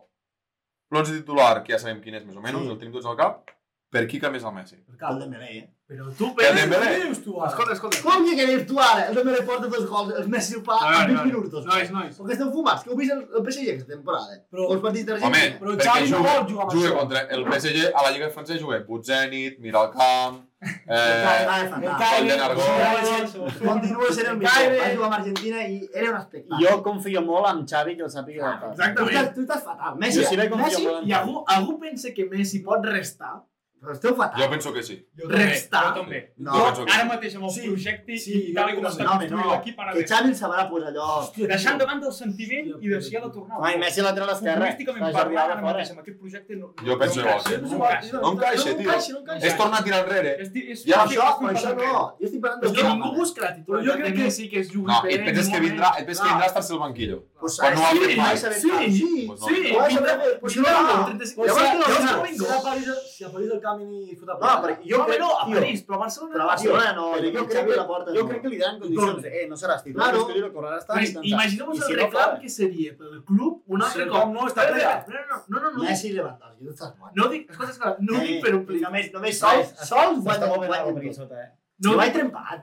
Speaker 3: l'11 titular, que ja sabem quin és més o menys,
Speaker 1: Sí.
Speaker 3: el tenim tots al cap, per qui canvies el Messi?
Speaker 4: Per
Speaker 1: el
Speaker 4: cap.
Speaker 1: Dembélé, eh?
Speaker 2: Però tu,
Speaker 3: Que
Speaker 2: Pere,
Speaker 3: Dembélé.
Speaker 4: Què dius tu ara?
Speaker 2: escolta, escolta.
Speaker 1: Com que quedes tu ara? El Dembélé porta dos gols, el Messi ho fa
Speaker 2: A veure,
Speaker 1: en 20
Speaker 2: a veure.
Speaker 1: minuts.
Speaker 2: Nois, nois.
Speaker 1: Perquè estem fumats, que heu vist el, el PSG aquesta temporada.
Speaker 4: Però-
Speaker 2: Pues,
Speaker 1: els partits
Speaker 3: Home,
Speaker 1: d'Argentina.
Speaker 4: Però el
Speaker 3: perquè
Speaker 4: Xavi no
Speaker 3: juga,
Speaker 4: vol jugar amb
Speaker 3: juga
Speaker 4: això.
Speaker 3: contra el PSG a la Lliga Francesa, juga Butzenit, Miralcamp, eh,
Speaker 1: Estava
Speaker 4: El
Speaker 1: fatal.
Speaker 4: Caire,
Speaker 3: Golden Argó.
Speaker 1: Continua sent el millor. Va jugar amb Argentina i era un espectacle.
Speaker 7: Jo confio molt en Xavi que el sàpiga de pas.
Speaker 1: Tu estàs,
Speaker 2: Exactament.
Speaker 1: tu estàs fatal.
Speaker 7: Jo
Speaker 1: Messi,
Speaker 7: sí vaig confiar
Speaker 1: Messi,
Speaker 7: molt en
Speaker 2: I algú, algú pensa que Messi pot restar?
Speaker 1: però esteu fatal.
Speaker 3: jo penso que sí.
Speaker 6: Jo
Speaker 2: també,
Speaker 6: Restar.
Speaker 2: jo
Speaker 6: Jo també.
Speaker 1: No,
Speaker 3: jo penso que
Speaker 6: Ara
Speaker 3: sí.
Speaker 6: mateix amb el
Speaker 4: Sí,
Speaker 6: projecte
Speaker 4: sí,
Speaker 6: i tal i com
Speaker 4: jo
Speaker 6: està
Speaker 1: no,
Speaker 6: construït
Speaker 1: no,
Speaker 6: l'equip ara bé.
Speaker 1: que Xavi el sabrà posar allò.
Speaker 6: Deixant de banda el sentiment i deixar de tornar.
Speaker 7: Home, i Messi lateral esquerra.
Speaker 6: Futbolísticament
Speaker 7: Està Jordi
Speaker 6: parlant,
Speaker 7: Alba
Speaker 6: ara
Speaker 7: fora.
Speaker 6: mateix amb aquest projecte no...
Speaker 3: Jo penso igual que
Speaker 6: No encaixa.
Speaker 3: No encaixa, tio.
Speaker 2: no
Speaker 6: encaixa.
Speaker 3: És tornar a tirar enrere.
Speaker 6: És dir, és...
Speaker 3: I ara
Speaker 1: Això,
Speaker 2: pues
Speaker 1: però això no. Jo estic parlant
Speaker 2: És
Speaker 1: del
Speaker 2: que
Speaker 1: Barça.
Speaker 2: ningú busca la
Speaker 4: Però jo
Speaker 2: titularitat
Speaker 4: crec
Speaker 2: de
Speaker 4: que-
Speaker 2: Messi, que és Juli
Speaker 3: No,
Speaker 2: Pérez,
Speaker 3: i et penses que
Speaker 2: Moment.
Speaker 3: vindrà, et penses que
Speaker 2: Clar.
Speaker 3: vindrà a estar-se al banquillo.
Speaker 1: Pues
Speaker 3: Quan no ho ha
Speaker 1: sí,
Speaker 3: fet mai.
Speaker 1: saber
Speaker 2: Sí,
Speaker 1: tal. Sí,
Speaker 3: Pues no.
Speaker 2: Sí,
Speaker 1: Ho has
Speaker 2: vindrà,
Speaker 1: de fer,
Speaker 2: pues
Speaker 1: si no,
Speaker 2: vindrà
Speaker 1: no.
Speaker 2: el 35.
Speaker 4: Pues
Speaker 2: Llavors,
Speaker 4: sí,
Speaker 2: llavors no
Speaker 4: no, Si
Speaker 2: vinc.
Speaker 4: apareix, si apareix el cammin i fotre
Speaker 5: No, perquè jo
Speaker 2: no,
Speaker 5: crec,
Speaker 2: no, a
Speaker 5: tio,
Speaker 2: París, però a Barcelona...
Speaker 5: però a Barcelona no,
Speaker 8: Però jo
Speaker 5: jo crec
Speaker 8: crec
Speaker 5: que
Speaker 8: que-
Speaker 5: la porta
Speaker 8: yo
Speaker 5: no.
Speaker 8: creo que le dan condiciones. Eh, no serás titular,
Speaker 5: Claro.
Speaker 8: es que yo lo correrás tanto.
Speaker 2: Pues, Imaginemos
Speaker 5: Y
Speaker 2: el
Speaker 5: si no,
Speaker 2: reclamo
Speaker 5: claro.
Speaker 2: que sería para el club un altre
Speaker 4: el
Speaker 2: cop.
Speaker 4: camp no està
Speaker 2: Espera,
Speaker 4: ple.
Speaker 2: espera, espera, No, no, no, no, no,
Speaker 1: Messi i Lewandowski, tu estàs guany.
Speaker 2: no dic, escolta, escolta, no
Speaker 8: Eh,
Speaker 2: dic per omplir.
Speaker 5: Només, només
Speaker 8: Sol-
Speaker 5: sols, sols guanyen
Speaker 8: Està molt ben
Speaker 5: guanyen
Speaker 8: la
Speaker 5: tot.
Speaker 8: sota, eh?
Speaker 2: No,
Speaker 1: No, ho he
Speaker 2: dic-
Speaker 1: trempat.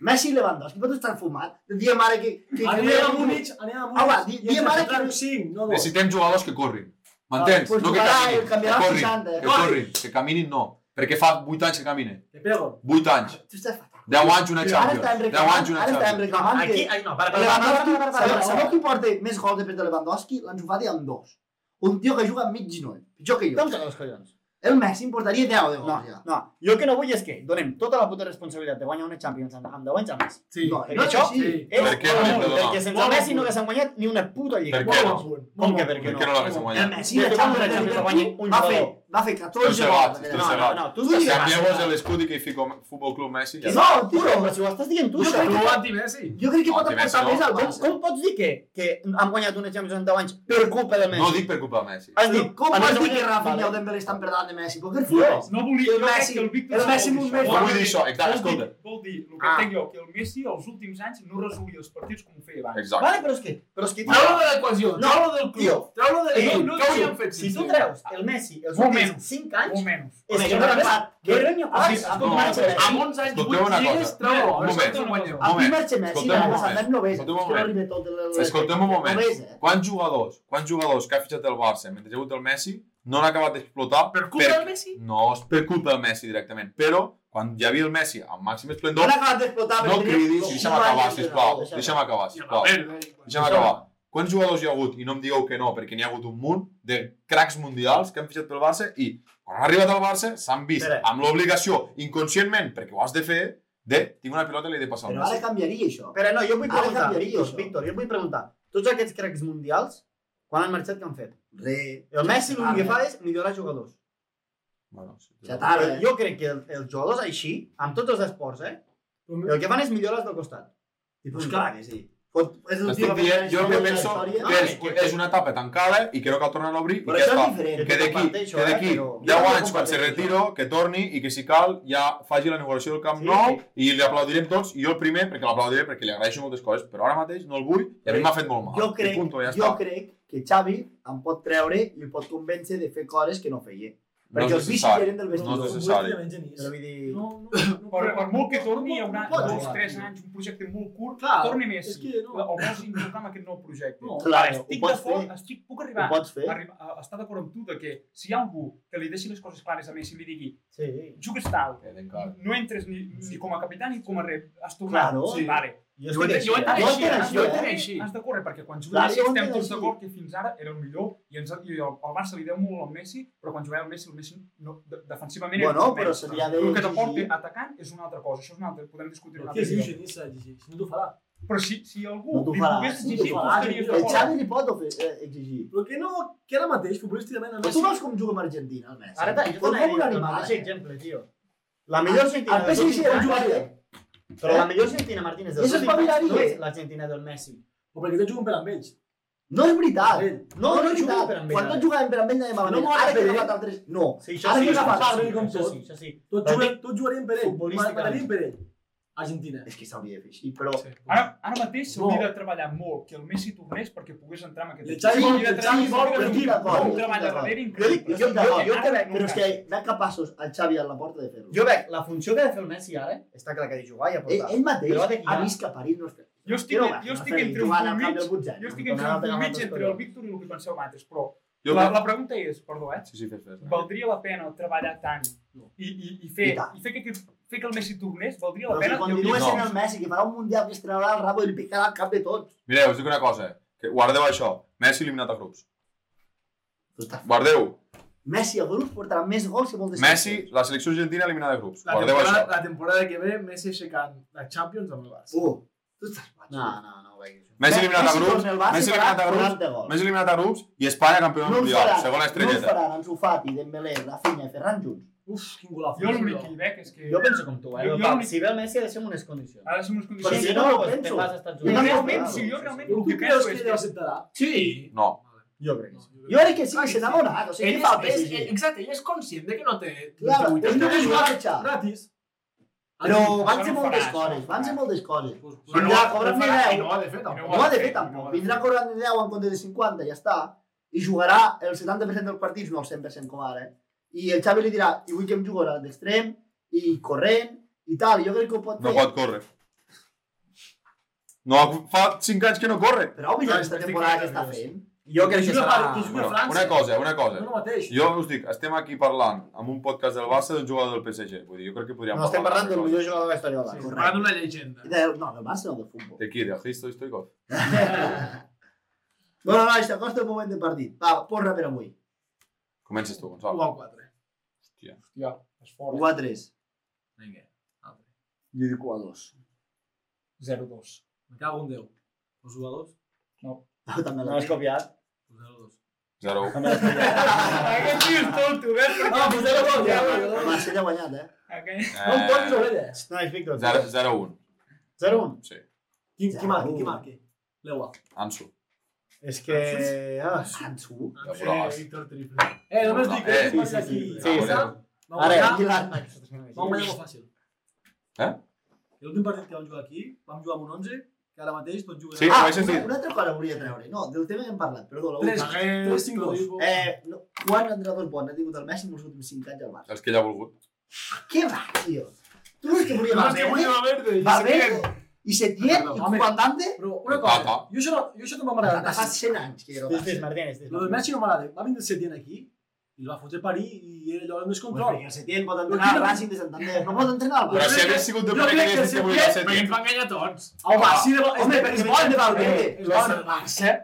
Speaker 1: Messi i Lewandowski, però tu estàs fumat. Diem ara que... que, que
Speaker 4: Anem a Múnich, anem a Múnich.
Speaker 1: Home, di-
Speaker 4: i
Speaker 1: diem
Speaker 4: ens
Speaker 1: ara
Speaker 4: fotran
Speaker 1: que-
Speaker 4: cinc, no dos.
Speaker 3: Necessitem jugadors que corrin. M'entens?
Speaker 1: Pues
Speaker 3: no que
Speaker 1: jugarà
Speaker 3: caminin.
Speaker 1: el campionat
Speaker 3: que corrin,
Speaker 1: 60, eh?
Speaker 3: que corrin. Que caminin no. Perquè fa 8 anys que caminen.
Speaker 4: Te pego.
Speaker 3: 8 anys.
Speaker 1: Tu estàs fatal.
Speaker 3: 10 anys una
Speaker 1: Però Ara estan
Speaker 3: Champions. 10
Speaker 1: reclamant,
Speaker 3: anys una
Speaker 1: ara estan
Speaker 3: Champions.
Speaker 1: reclamant que...
Speaker 5: Aquí, ai, no, para, para, para,
Speaker 1: Lewandowski,
Speaker 5: para, para,
Speaker 1: sabeu,
Speaker 5: para,
Speaker 1: sabeu
Speaker 5: para.
Speaker 1: qui porta més gols després de Lewandowski? L'Ansu Fati amb dos. Un tio que juga amb mig genoll, pitjor que jo.
Speaker 8: Doncs els collons.
Speaker 1: El Messi em portaria 10 de gols,
Speaker 5: No,
Speaker 1: ja.
Speaker 5: no, jo el que no vull és que donem tota la puta responsabilitat de guanyar una Champions amb amb 10 anys a més.
Speaker 1: Sí, no, eh,
Speaker 5: perquè
Speaker 1: no,
Speaker 5: això-
Speaker 1: sí.
Speaker 5: És
Speaker 3: Per què no li hem de donar?
Speaker 5: perquè sense Messi no haguéssim guanyat ni una puta lliga.
Speaker 3: Per què no?
Speaker 5: Com que per què
Speaker 3: Per què
Speaker 5: no?
Speaker 3: no l'hagués
Speaker 1: El
Speaker 3: guanyat?
Speaker 1: Messi
Speaker 5: Des
Speaker 1: de
Speaker 5: de quan
Speaker 1: Champions de
Speaker 5: Champions va
Speaker 1: Liverpool
Speaker 5: guanyar un
Speaker 1: va fer,
Speaker 5: jugador?
Speaker 1: va fer 14
Speaker 3: Tercerat,
Speaker 1: gols. eh?
Speaker 5: No,
Speaker 1: No,
Speaker 5: no, no, tu
Speaker 3: Si
Speaker 5: digues
Speaker 3: envieu-vos
Speaker 5: Barça.
Speaker 3: l'escut i que hi fico Futbol Club Messi, ja
Speaker 1: no,
Speaker 3: està.
Speaker 1: tio,
Speaker 5: Tio, però si ho estàs dient tu,
Speaker 1: Jo
Speaker 5: això.
Speaker 1: crec
Speaker 2: Tu anti-Messi.
Speaker 1: jo crec que pot aportar
Speaker 3: Home, Messi no.
Speaker 1: més al
Speaker 5: Com,
Speaker 1: Barça.
Speaker 5: com pots dir que, que han guanyat una Champions en 10 anys per culpa de Messi?
Speaker 3: No dic per culpa de Messi.
Speaker 5: Has
Speaker 1: Però
Speaker 5: dit,
Speaker 1: Com
Speaker 5: a més
Speaker 1: pots
Speaker 5: de
Speaker 1: dir que
Speaker 5: guanyar-
Speaker 1: Rafinha o
Speaker 5: vale.
Speaker 1: Dembélé estan per davant de Messi? Però què fotis?
Speaker 2: No volia,
Speaker 1: El
Speaker 2: jo crec
Speaker 1: Messi-
Speaker 2: que el Víctor...
Speaker 1: el
Speaker 2: Sala
Speaker 1: Messi
Speaker 2: vol
Speaker 1: molt
Speaker 2: dir
Speaker 1: més
Speaker 2: això.
Speaker 3: No vull dir això, exacte, escolta.
Speaker 2: Vol dir, el que
Speaker 5: Ah.
Speaker 2: entenc jo, que el Messi els últims anys no resolia els partits com ho feia abans.
Speaker 3: Exacte.
Speaker 5: Vale, però és que... Però és que, tio,
Speaker 2: Treu-lo de l'equació, treu-lo del
Speaker 5: Tio,
Speaker 2: club, treu-lo de...
Speaker 5: eh,
Speaker 2: No,
Speaker 5: tio,
Speaker 2: no hi han fet.
Speaker 5: si tu treus el Messi els
Speaker 2: Un
Speaker 5: últims
Speaker 2: menys.
Speaker 5: 5
Speaker 2: O
Speaker 5: anys,
Speaker 2: menys.
Speaker 5: és
Speaker 1: Home,
Speaker 5: que
Speaker 1: jo
Speaker 5: no
Speaker 1: crec
Speaker 5: res.
Speaker 1: que-
Speaker 5: Jo crec que
Speaker 1: Ah, sí,
Speaker 5: quants, amb
Speaker 3: no,
Speaker 5: un marxa Messi.
Speaker 2: Amb 11 anys,
Speaker 3: Escolteu
Speaker 2: 8
Speaker 3: una
Speaker 2: lligues,
Speaker 3: cosa.
Speaker 2: treu-lo.
Speaker 3: Un
Speaker 2: Això
Speaker 3: moment.
Speaker 2: no guanyem.
Speaker 1: A mi
Speaker 3: moment,
Speaker 1: marxa Messi,
Speaker 3: escolteu
Speaker 1: la
Speaker 3: un
Speaker 1: passada
Speaker 3: moment,
Speaker 1: no ves.
Speaker 3: escolteu un
Speaker 1: és que no
Speaker 3: moment.
Speaker 1: arriba tot el...
Speaker 3: Escoltem un moment.
Speaker 1: No ves, eh?
Speaker 3: Quants jugadors, quants jugadors que ha fitxat el Barça mentre hi ha hagut el Messi no han acabat d'explotar
Speaker 2: Per culpa del Messi?
Speaker 3: No és per culpa del Messi directament, però quan ja havia el Messi amb màxim
Speaker 1: No
Speaker 3: esplendor,
Speaker 1: l'acabat d'explotar.
Speaker 3: no
Speaker 1: perquè tenia-
Speaker 3: cridis, deixa'm acabar, sisplau, deixa'm acabar,
Speaker 2: Ja,
Speaker 3: sisplau,
Speaker 2: la merda, eh?
Speaker 3: deixa'm acabar. Quants jugadors hi ha hagut, i no em digueu que no, perquè n'hi ha hagut un munt de cracs mundials que han fitxat pel Barça i quan han arribat al Barça s'han vist
Speaker 5: Espera.
Speaker 3: amb l'obligació, inconscientment, perquè ho has de fer, de tinc una pilota i l'he de passar al
Speaker 1: Però ara
Speaker 3: Messi.
Speaker 1: canviaria això.
Speaker 5: Però no, jo vull
Speaker 1: Ara
Speaker 5: preguntar,
Speaker 1: canviaria això.
Speaker 5: Víctor, jo vull preguntar, tots aquests cracs mundials, quan han marxat, què han fet?
Speaker 1: Re,
Speaker 5: El Messi l'únic que
Speaker 1: Ah,
Speaker 5: fa és millorar jugadors.
Speaker 3: Bueno, sí,
Speaker 1: ja
Speaker 3: però-
Speaker 1: tard,
Speaker 5: Però
Speaker 1: eh?
Speaker 5: jo crec que el, els jugadors així, amb tots els esports, eh? El que fan és millores del costat. I
Speaker 1: Pues clar que sí.
Speaker 5: Fot,
Speaker 1: És un tio
Speaker 3: T'estic
Speaker 1: que
Speaker 3: dient, jo el que
Speaker 1: la
Speaker 3: penso
Speaker 1: història. eh?
Speaker 3: que és, és una etapa tancada i que no cal tornar a obrir i
Speaker 1: Però
Speaker 3: que ja
Speaker 1: això
Speaker 3: està.
Speaker 1: és diferent.
Speaker 3: Que d'aquí,
Speaker 5: Comparteixo,
Speaker 3: que
Speaker 5: eh,
Speaker 3: d'aquí
Speaker 5: però-
Speaker 3: 10
Speaker 5: Jo
Speaker 3: anys, quan se
Speaker 5: comparteixo.
Speaker 3: retiro, que torni i que si cal ja faci la inauguració del Camp
Speaker 5: Sí,
Speaker 3: Nou i li aplaudirem tots, i jo el primer, perquè l'aplaudiré, perquè li agraeixo moltes coses, però ara mateix no el vull i a mi m'ha fet molt mal.
Speaker 1: Jo
Speaker 3: I
Speaker 1: crec,
Speaker 3: punto, ja
Speaker 1: jo
Speaker 3: està.
Speaker 1: crec que Xavi em pot treure i el pot convèncer de fer coses que no feia.
Speaker 3: No
Speaker 1: Perquè
Speaker 3: és
Speaker 1: els vicis
Speaker 3: necessari.
Speaker 1: eren del
Speaker 3: No és
Speaker 1: vestidor.
Speaker 3: necessari.
Speaker 1: Però vull dir...
Speaker 4: No, no, no,
Speaker 2: Per, per molt eh? que torni, hi haurà
Speaker 1: pot
Speaker 2: dos,
Speaker 1: jugar,
Speaker 2: tres
Speaker 1: tio.
Speaker 2: anys, un projecte molt curt,
Speaker 1: Clar,
Speaker 2: torni més.
Speaker 4: és que no.
Speaker 2: O posi important amb aquest nou projecte.
Speaker 4: No.
Speaker 2: Vale,
Speaker 1: Clar, ho
Speaker 2: estic
Speaker 1: pots
Speaker 2: d'acord,
Speaker 1: fer.
Speaker 2: estic, puc
Speaker 1: Ho
Speaker 2: arribar
Speaker 1: pots fer.
Speaker 2: arriba, a, a estar d'acord amb tu de que si hi ha algú que li deixi les coses clares a Messi i li digui
Speaker 5: Sí.
Speaker 2: jugues tal,
Speaker 3: Eh, encara.
Speaker 2: no entres ni, ni com a capità ni com a rep, has tornat.
Speaker 1: Claro.
Speaker 2: Sí. Vale.
Speaker 5: Jo
Speaker 2: Jo,
Speaker 5: estic
Speaker 2: entenc-
Speaker 5: així,
Speaker 2: jo
Speaker 5: eh?
Speaker 1: Jo
Speaker 2: entenc així,
Speaker 1: entenc
Speaker 2: eh?
Speaker 1: així,
Speaker 2: jo
Speaker 1: eh?
Speaker 2: entenc així. Has de córrer, perquè quan
Speaker 1: Clar,
Speaker 2: juguem així
Speaker 1: jo
Speaker 2: estem
Speaker 1: entenc
Speaker 2: tots
Speaker 1: així.
Speaker 2: d'acord que fins ara era el millor i, ens, i el, el Barça li deu molt al Messi, però quan jugava el Messi, el Messi no, de, defensivament era
Speaker 1: Bueno,
Speaker 2: molt
Speaker 1: però
Speaker 2: menys.
Speaker 1: se li ha de
Speaker 2: El que t'aporti
Speaker 1: exigir.
Speaker 2: atacant és una altra cosa, això és una altra, podem discutir una altra
Speaker 4: Què és
Speaker 2: cosa.
Speaker 4: Eugeni Saggi? Si no t'ho farà.
Speaker 2: Però si, si algú
Speaker 1: No t'ho
Speaker 2: li
Speaker 1: farà,
Speaker 2: pogués
Speaker 1: no t'ho
Speaker 2: exigir, tu
Speaker 1: farà. El
Speaker 2: estaries d'acord.
Speaker 1: Xavi li pot ofe- eh, exigir.
Speaker 4: Però que no, que ara mateix, futbolísticament, el
Speaker 1: Però tu
Speaker 4: Messi...
Speaker 1: veus com juga amb Argentina, el Messi?
Speaker 5: Ara t'ha- jo
Speaker 1: Però
Speaker 5: t'anava
Speaker 1: com
Speaker 5: a dir,
Speaker 1: un
Speaker 5: el
Speaker 1: animal,
Speaker 5: mateix
Speaker 1: eh?
Speaker 5: exemple, tio. La millor sentina
Speaker 1: El
Speaker 5: dels
Speaker 1: PSG
Speaker 5: últims
Speaker 1: era un
Speaker 5: anys-
Speaker 1: jugador.
Speaker 5: Però la millor sentina, Martínez,
Speaker 1: I
Speaker 5: dels
Speaker 1: això es
Speaker 5: últims
Speaker 1: va
Speaker 5: anys
Speaker 1: mirar
Speaker 5: no
Speaker 1: i-
Speaker 5: és l'Argentina del Messi.
Speaker 4: O perquè tots juguen per amb ells.
Speaker 1: No és veritat.
Speaker 2: Eh,
Speaker 4: Ell.
Speaker 1: No, no,
Speaker 5: No, no
Speaker 1: és
Speaker 5: jugava
Speaker 1: veritat.
Speaker 5: per amb ell,
Speaker 1: Quan
Speaker 5: ara.
Speaker 1: tots jugàvem per amb ell anàvem a
Speaker 5: No
Speaker 1: guanyar.
Speaker 5: m'ho
Speaker 1: Ara que
Speaker 5: vas
Speaker 1: hem
Speaker 5: fer
Speaker 2: eh.
Speaker 1: agafat el 3... No.
Speaker 5: Sí,
Speaker 1: Ara que
Speaker 4: sí,
Speaker 1: hem
Speaker 4: això
Speaker 1: agafat
Speaker 4: sí,
Speaker 1: el
Speaker 4: això
Speaker 5: Això
Speaker 4: sí,
Speaker 5: sí, això sí.
Speaker 4: Tots
Speaker 5: Però
Speaker 4: juguen, tots jugarien per ell.
Speaker 5: Futbolísticament.
Speaker 4: Madrid per ell. Argentina.
Speaker 1: És que s'hauria de fer així, però...
Speaker 2: Ara, ara mateix s'hauria
Speaker 4: No.
Speaker 2: de treballar molt que el Messi tornés perquè pogués entrar en aquest
Speaker 4: I el Xavi
Speaker 2: S'hauria
Speaker 4: vol-
Speaker 2: de
Speaker 4: el
Speaker 2: treballar
Speaker 4: Xavi
Speaker 2: molt
Speaker 4: vol-
Speaker 2: que
Speaker 1: estic
Speaker 2: l'equip.
Speaker 1: d'acord,
Speaker 2: Un
Speaker 1: estic
Speaker 2: treball
Speaker 1: d'acord.
Speaker 2: darrere
Speaker 1: Jo dic,
Speaker 2: increïble.
Speaker 1: jo,
Speaker 5: estic
Speaker 1: jo,
Speaker 5: d'acord.
Speaker 1: jo
Speaker 2: Ara
Speaker 1: crec,
Speaker 2: no
Speaker 1: però és
Speaker 2: cal.
Speaker 1: que anar capaços el Xavi a la porta de fer-lo.
Speaker 5: Jo veig, la funció que ha de fer el Messi ara està clar que ha de jugar i
Speaker 1: Ell,
Speaker 5: aportar.
Speaker 1: ell mateix
Speaker 5: Però ha de guiar.
Speaker 1: ha vist que a París no es feia.
Speaker 2: Jo estic, jo estic entre un punt mig, jo estic entre un punt mig entre el Víctor i el que penseu vosaltres, però
Speaker 3: Jo
Speaker 2: la,
Speaker 3: crec...
Speaker 2: la pregunta és, perdó, eh?
Speaker 3: Sí, sí, fes, fes.
Speaker 2: Valdria la pena treballar tant i, i, i, fer,
Speaker 1: I tant.
Speaker 2: i fer, que, aquest- fer que el Messi tornés? Valdria
Speaker 1: Però si
Speaker 2: la pena? Jo
Speaker 1: continua
Speaker 2: diria-
Speaker 1: sent el Messi, que farà un mundial que es traurà el rabo i li picarà el cap de tots.
Speaker 3: Mireu, us dic una cosa, que guardeu això. Messi eliminat a grups.
Speaker 1: Tu estàs-
Speaker 3: Guardeu.
Speaker 1: pues Messi a grup portarà més gols que molt de
Speaker 3: Messi, la selecció argentina eliminada a grups.
Speaker 9: La
Speaker 3: Guardeu
Speaker 9: temporada,
Speaker 3: això.
Speaker 9: la temporada que ve, Messi aixecant la Champions amb el Barça.
Speaker 1: Uh, tu estàs guany.
Speaker 5: No, no, no ho veig. això.
Speaker 3: Messi eliminat a grups.
Speaker 1: torna al Barça
Speaker 3: Messi
Speaker 1: i farà
Speaker 3: eliminat a grups.
Speaker 1: 40 gols.
Speaker 3: Més eliminat a grups i Espanya campió
Speaker 1: No
Speaker 3: no
Speaker 1: el
Speaker 3: mundial,
Speaker 1: faran,
Speaker 3: segona
Speaker 1: no el
Speaker 3: estrelleta.
Speaker 1: faran Ansu Fati, Dembélé, Rafinha i Ferran junts.
Speaker 4: Uf, quin golazo.
Speaker 2: Jo l'únic que hi veig és que
Speaker 5: Jo penso com tu, eh?
Speaker 2: Jo- jo
Speaker 5: Pau,
Speaker 2: l'únic-
Speaker 5: si ve el Messi ha de ser amb unes condicions.
Speaker 2: ha de ser unes
Speaker 5: Però
Speaker 2: condicions...
Speaker 5: si
Speaker 1: sí,
Speaker 5: no,
Speaker 1: no,
Speaker 5: doncs
Speaker 1: penso.
Speaker 5: te'n vas als Estats
Speaker 2: Jo
Speaker 5: Units.
Speaker 2: realment, si jo realment
Speaker 9: este?
Speaker 4: Tu
Speaker 2: el que
Speaker 4: creus
Speaker 2: penso
Speaker 4: que
Speaker 2: és
Speaker 4: ell
Speaker 2: que...
Speaker 4: acceptarà?
Speaker 2: Sí,
Speaker 3: No,
Speaker 5: Jo crec que sí.
Speaker 1: Jo crec que sí,
Speaker 10: Ah,
Speaker 1: que
Speaker 10: que sí.
Speaker 1: s'ha enamorat. O sigui,
Speaker 10: Ell
Speaker 1: què fa el
Speaker 10: és,
Speaker 1: PSG?
Speaker 10: ell, exacte, ell és conscient de que no té
Speaker 1: Clar, és
Speaker 10: 18
Speaker 1: una
Speaker 10: anys.
Speaker 1: marxa.
Speaker 4: Gratis.
Speaker 1: Però
Speaker 4: Ah,
Speaker 1: van
Speaker 11: això
Speaker 1: ser
Speaker 11: no ho
Speaker 1: moltes
Speaker 11: farà,
Speaker 1: coses,
Speaker 11: això no ho
Speaker 1: van ser
Speaker 11: farà.
Speaker 1: moltes coses.
Speaker 4: Pues, pues,
Speaker 1: Vindrà cobrant
Speaker 2: farà, i
Speaker 1: 10,
Speaker 2: no ho ha de fer, tampoc.
Speaker 1: no ho ha de fer tampoc. Vindrà cobrant 10 en comptes de 50, ja està. I jugarà el 70% dels partits, no el 100% com ara. Eh? I el Xavi li dirà, i vull que em jugarà d'extrem, i corrent, i tal. Jo crec que ho pot fer.
Speaker 3: No pot córrer. No, fa 5 anys que no corre.
Speaker 1: Però
Speaker 2: No,
Speaker 1: mira, aquesta
Speaker 2: estic
Speaker 1: temporada que
Speaker 2: nerviós.
Speaker 1: està Ah, fent.
Speaker 10: Jo crec que serà...
Speaker 3: Bueno, una cosa, una cosa.
Speaker 4: no el mateix.
Speaker 3: Jo us dic, estem aquí parlant amb un podcast del Barça d'un jugador del PSG. Vull dir, jo crec que podríem
Speaker 1: No estem parlant del
Speaker 3: d'altra
Speaker 1: millor jugador de la història del
Speaker 2: Parla
Speaker 1: Barça.
Speaker 2: d'una llegenda.
Speaker 1: Del- No, del Barça no, del futbol.
Speaker 3: cosa. De qui? De Hristo Stoikov?
Speaker 1: Bueno, nois, s'acosta el moment de partit. Va, porra per avui.
Speaker 3: Comences tu,
Speaker 2: Un
Speaker 3: Gonçalo.
Speaker 2: al 4.
Speaker 11: És fort.
Speaker 1: 1 a 3.
Speaker 10: Vinga, altre.
Speaker 12: Jo dic 1 a 2.
Speaker 11: 0-2.
Speaker 4: Me cago en Déu. Pues jugadors,
Speaker 1: Jo també
Speaker 5: No
Speaker 1: la
Speaker 5: l'has copiat?
Speaker 4: pues 0-2.
Speaker 3: 0
Speaker 5: També l'has copiat.
Speaker 11: Aquest tio és tonto, ves?
Speaker 4: No, pues 0-2, ja,
Speaker 1: El
Speaker 4: ja.
Speaker 1: Marsella ha guanyat, eh?
Speaker 11: Aquest...
Speaker 4: No em
Speaker 3: Eh,
Speaker 4: posis orelles.
Speaker 5: Nois, Víctor.
Speaker 3: 0-1.
Speaker 5: 0-1.
Speaker 3: Sí.
Speaker 4: Qui,
Speaker 1: Ja,
Speaker 4: qui marqui,
Speaker 1: un.
Speaker 4: qui marqui? L'Eua.
Speaker 3: Ansu.
Speaker 5: És que... Ah,
Speaker 1: Sansu.
Speaker 3: Ja veuràs.
Speaker 2: Víctor Triple.
Speaker 4: Eh, només dic que
Speaker 3: Eh,
Speaker 4: sí, sí, sí.
Speaker 3: sí, sí.
Speaker 4: Vam
Speaker 5: Ara,
Speaker 4: guanyar,
Speaker 1: Tranquil·la.
Speaker 4: vam guanyar molt fàcil.
Speaker 3: Eh?
Speaker 4: L'últim partit que vam jugar aquí, vam jugar amb un 11, que ara mateix tots juguen...
Speaker 3: Sí,
Speaker 1: Ah,
Speaker 3: ho he
Speaker 1: una,
Speaker 3: sentit.
Speaker 1: una altra cosa volia treure. No, del tema que hem parlat, perdó. La
Speaker 4: Tres.
Speaker 1: última.
Speaker 4: 3-5-2.
Speaker 1: Eh, no, quan entrenadors bons ha tingut el Messi en els últims 5 anys al Barça?
Speaker 3: Els que ell ha volgut.
Speaker 1: Què va, tio? Tu no és que volia Valverde,
Speaker 2: verde.
Speaker 1: Valverde, i Setién, i
Speaker 4: Home.
Speaker 1: Comandante,
Speaker 4: Però una
Speaker 3: El
Speaker 4: cosa,
Speaker 3: Tata.
Speaker 4: jo això, no- jo això no m'ha
Speaker 1: Tata
Speaker 4: agradat.
Speaker 1: fa 100 anys que era el
Speaker 5: Dis, dis,
Speaker 1: Barça.
Speaker 5: Martínez, dis,
Speaker 4: Lo del Messi no m'agrada. Va vindre el Setien aquí i el va fotre parir i era allò un
Speaker 1: Pues
Speaker 4: descontrol.
Speaker 1: perquè el Setién pot entrenar al Racing de Santander, no pot entrenar al
Speaker 3: Però
Speaker 1: Barça.
Speaker 3: si hagués sigut de
Speaker 4: Jo
Speaker 3: primer
Speaker 4: crec
Speaker 3: que
Speaker 4: que
Speaker 3: hagués dit
Speaker 4: si
Speaker 3: que volia
Speaker 4: aquest-
Speaker 3: ser
Speaker 2: Perquè ens va enganyar tots.
Speaker 4: Ah, Home, sí, de, és,
Speaker 1: Home,
Speaker 4: de,
Speaker 1: però
Speaker 4: és
Speaker 1: és
Speaker 4: bon de Valverde.
Speaker 1: Valverde.
Speaker 4: És bon.
Speaker 2: Barça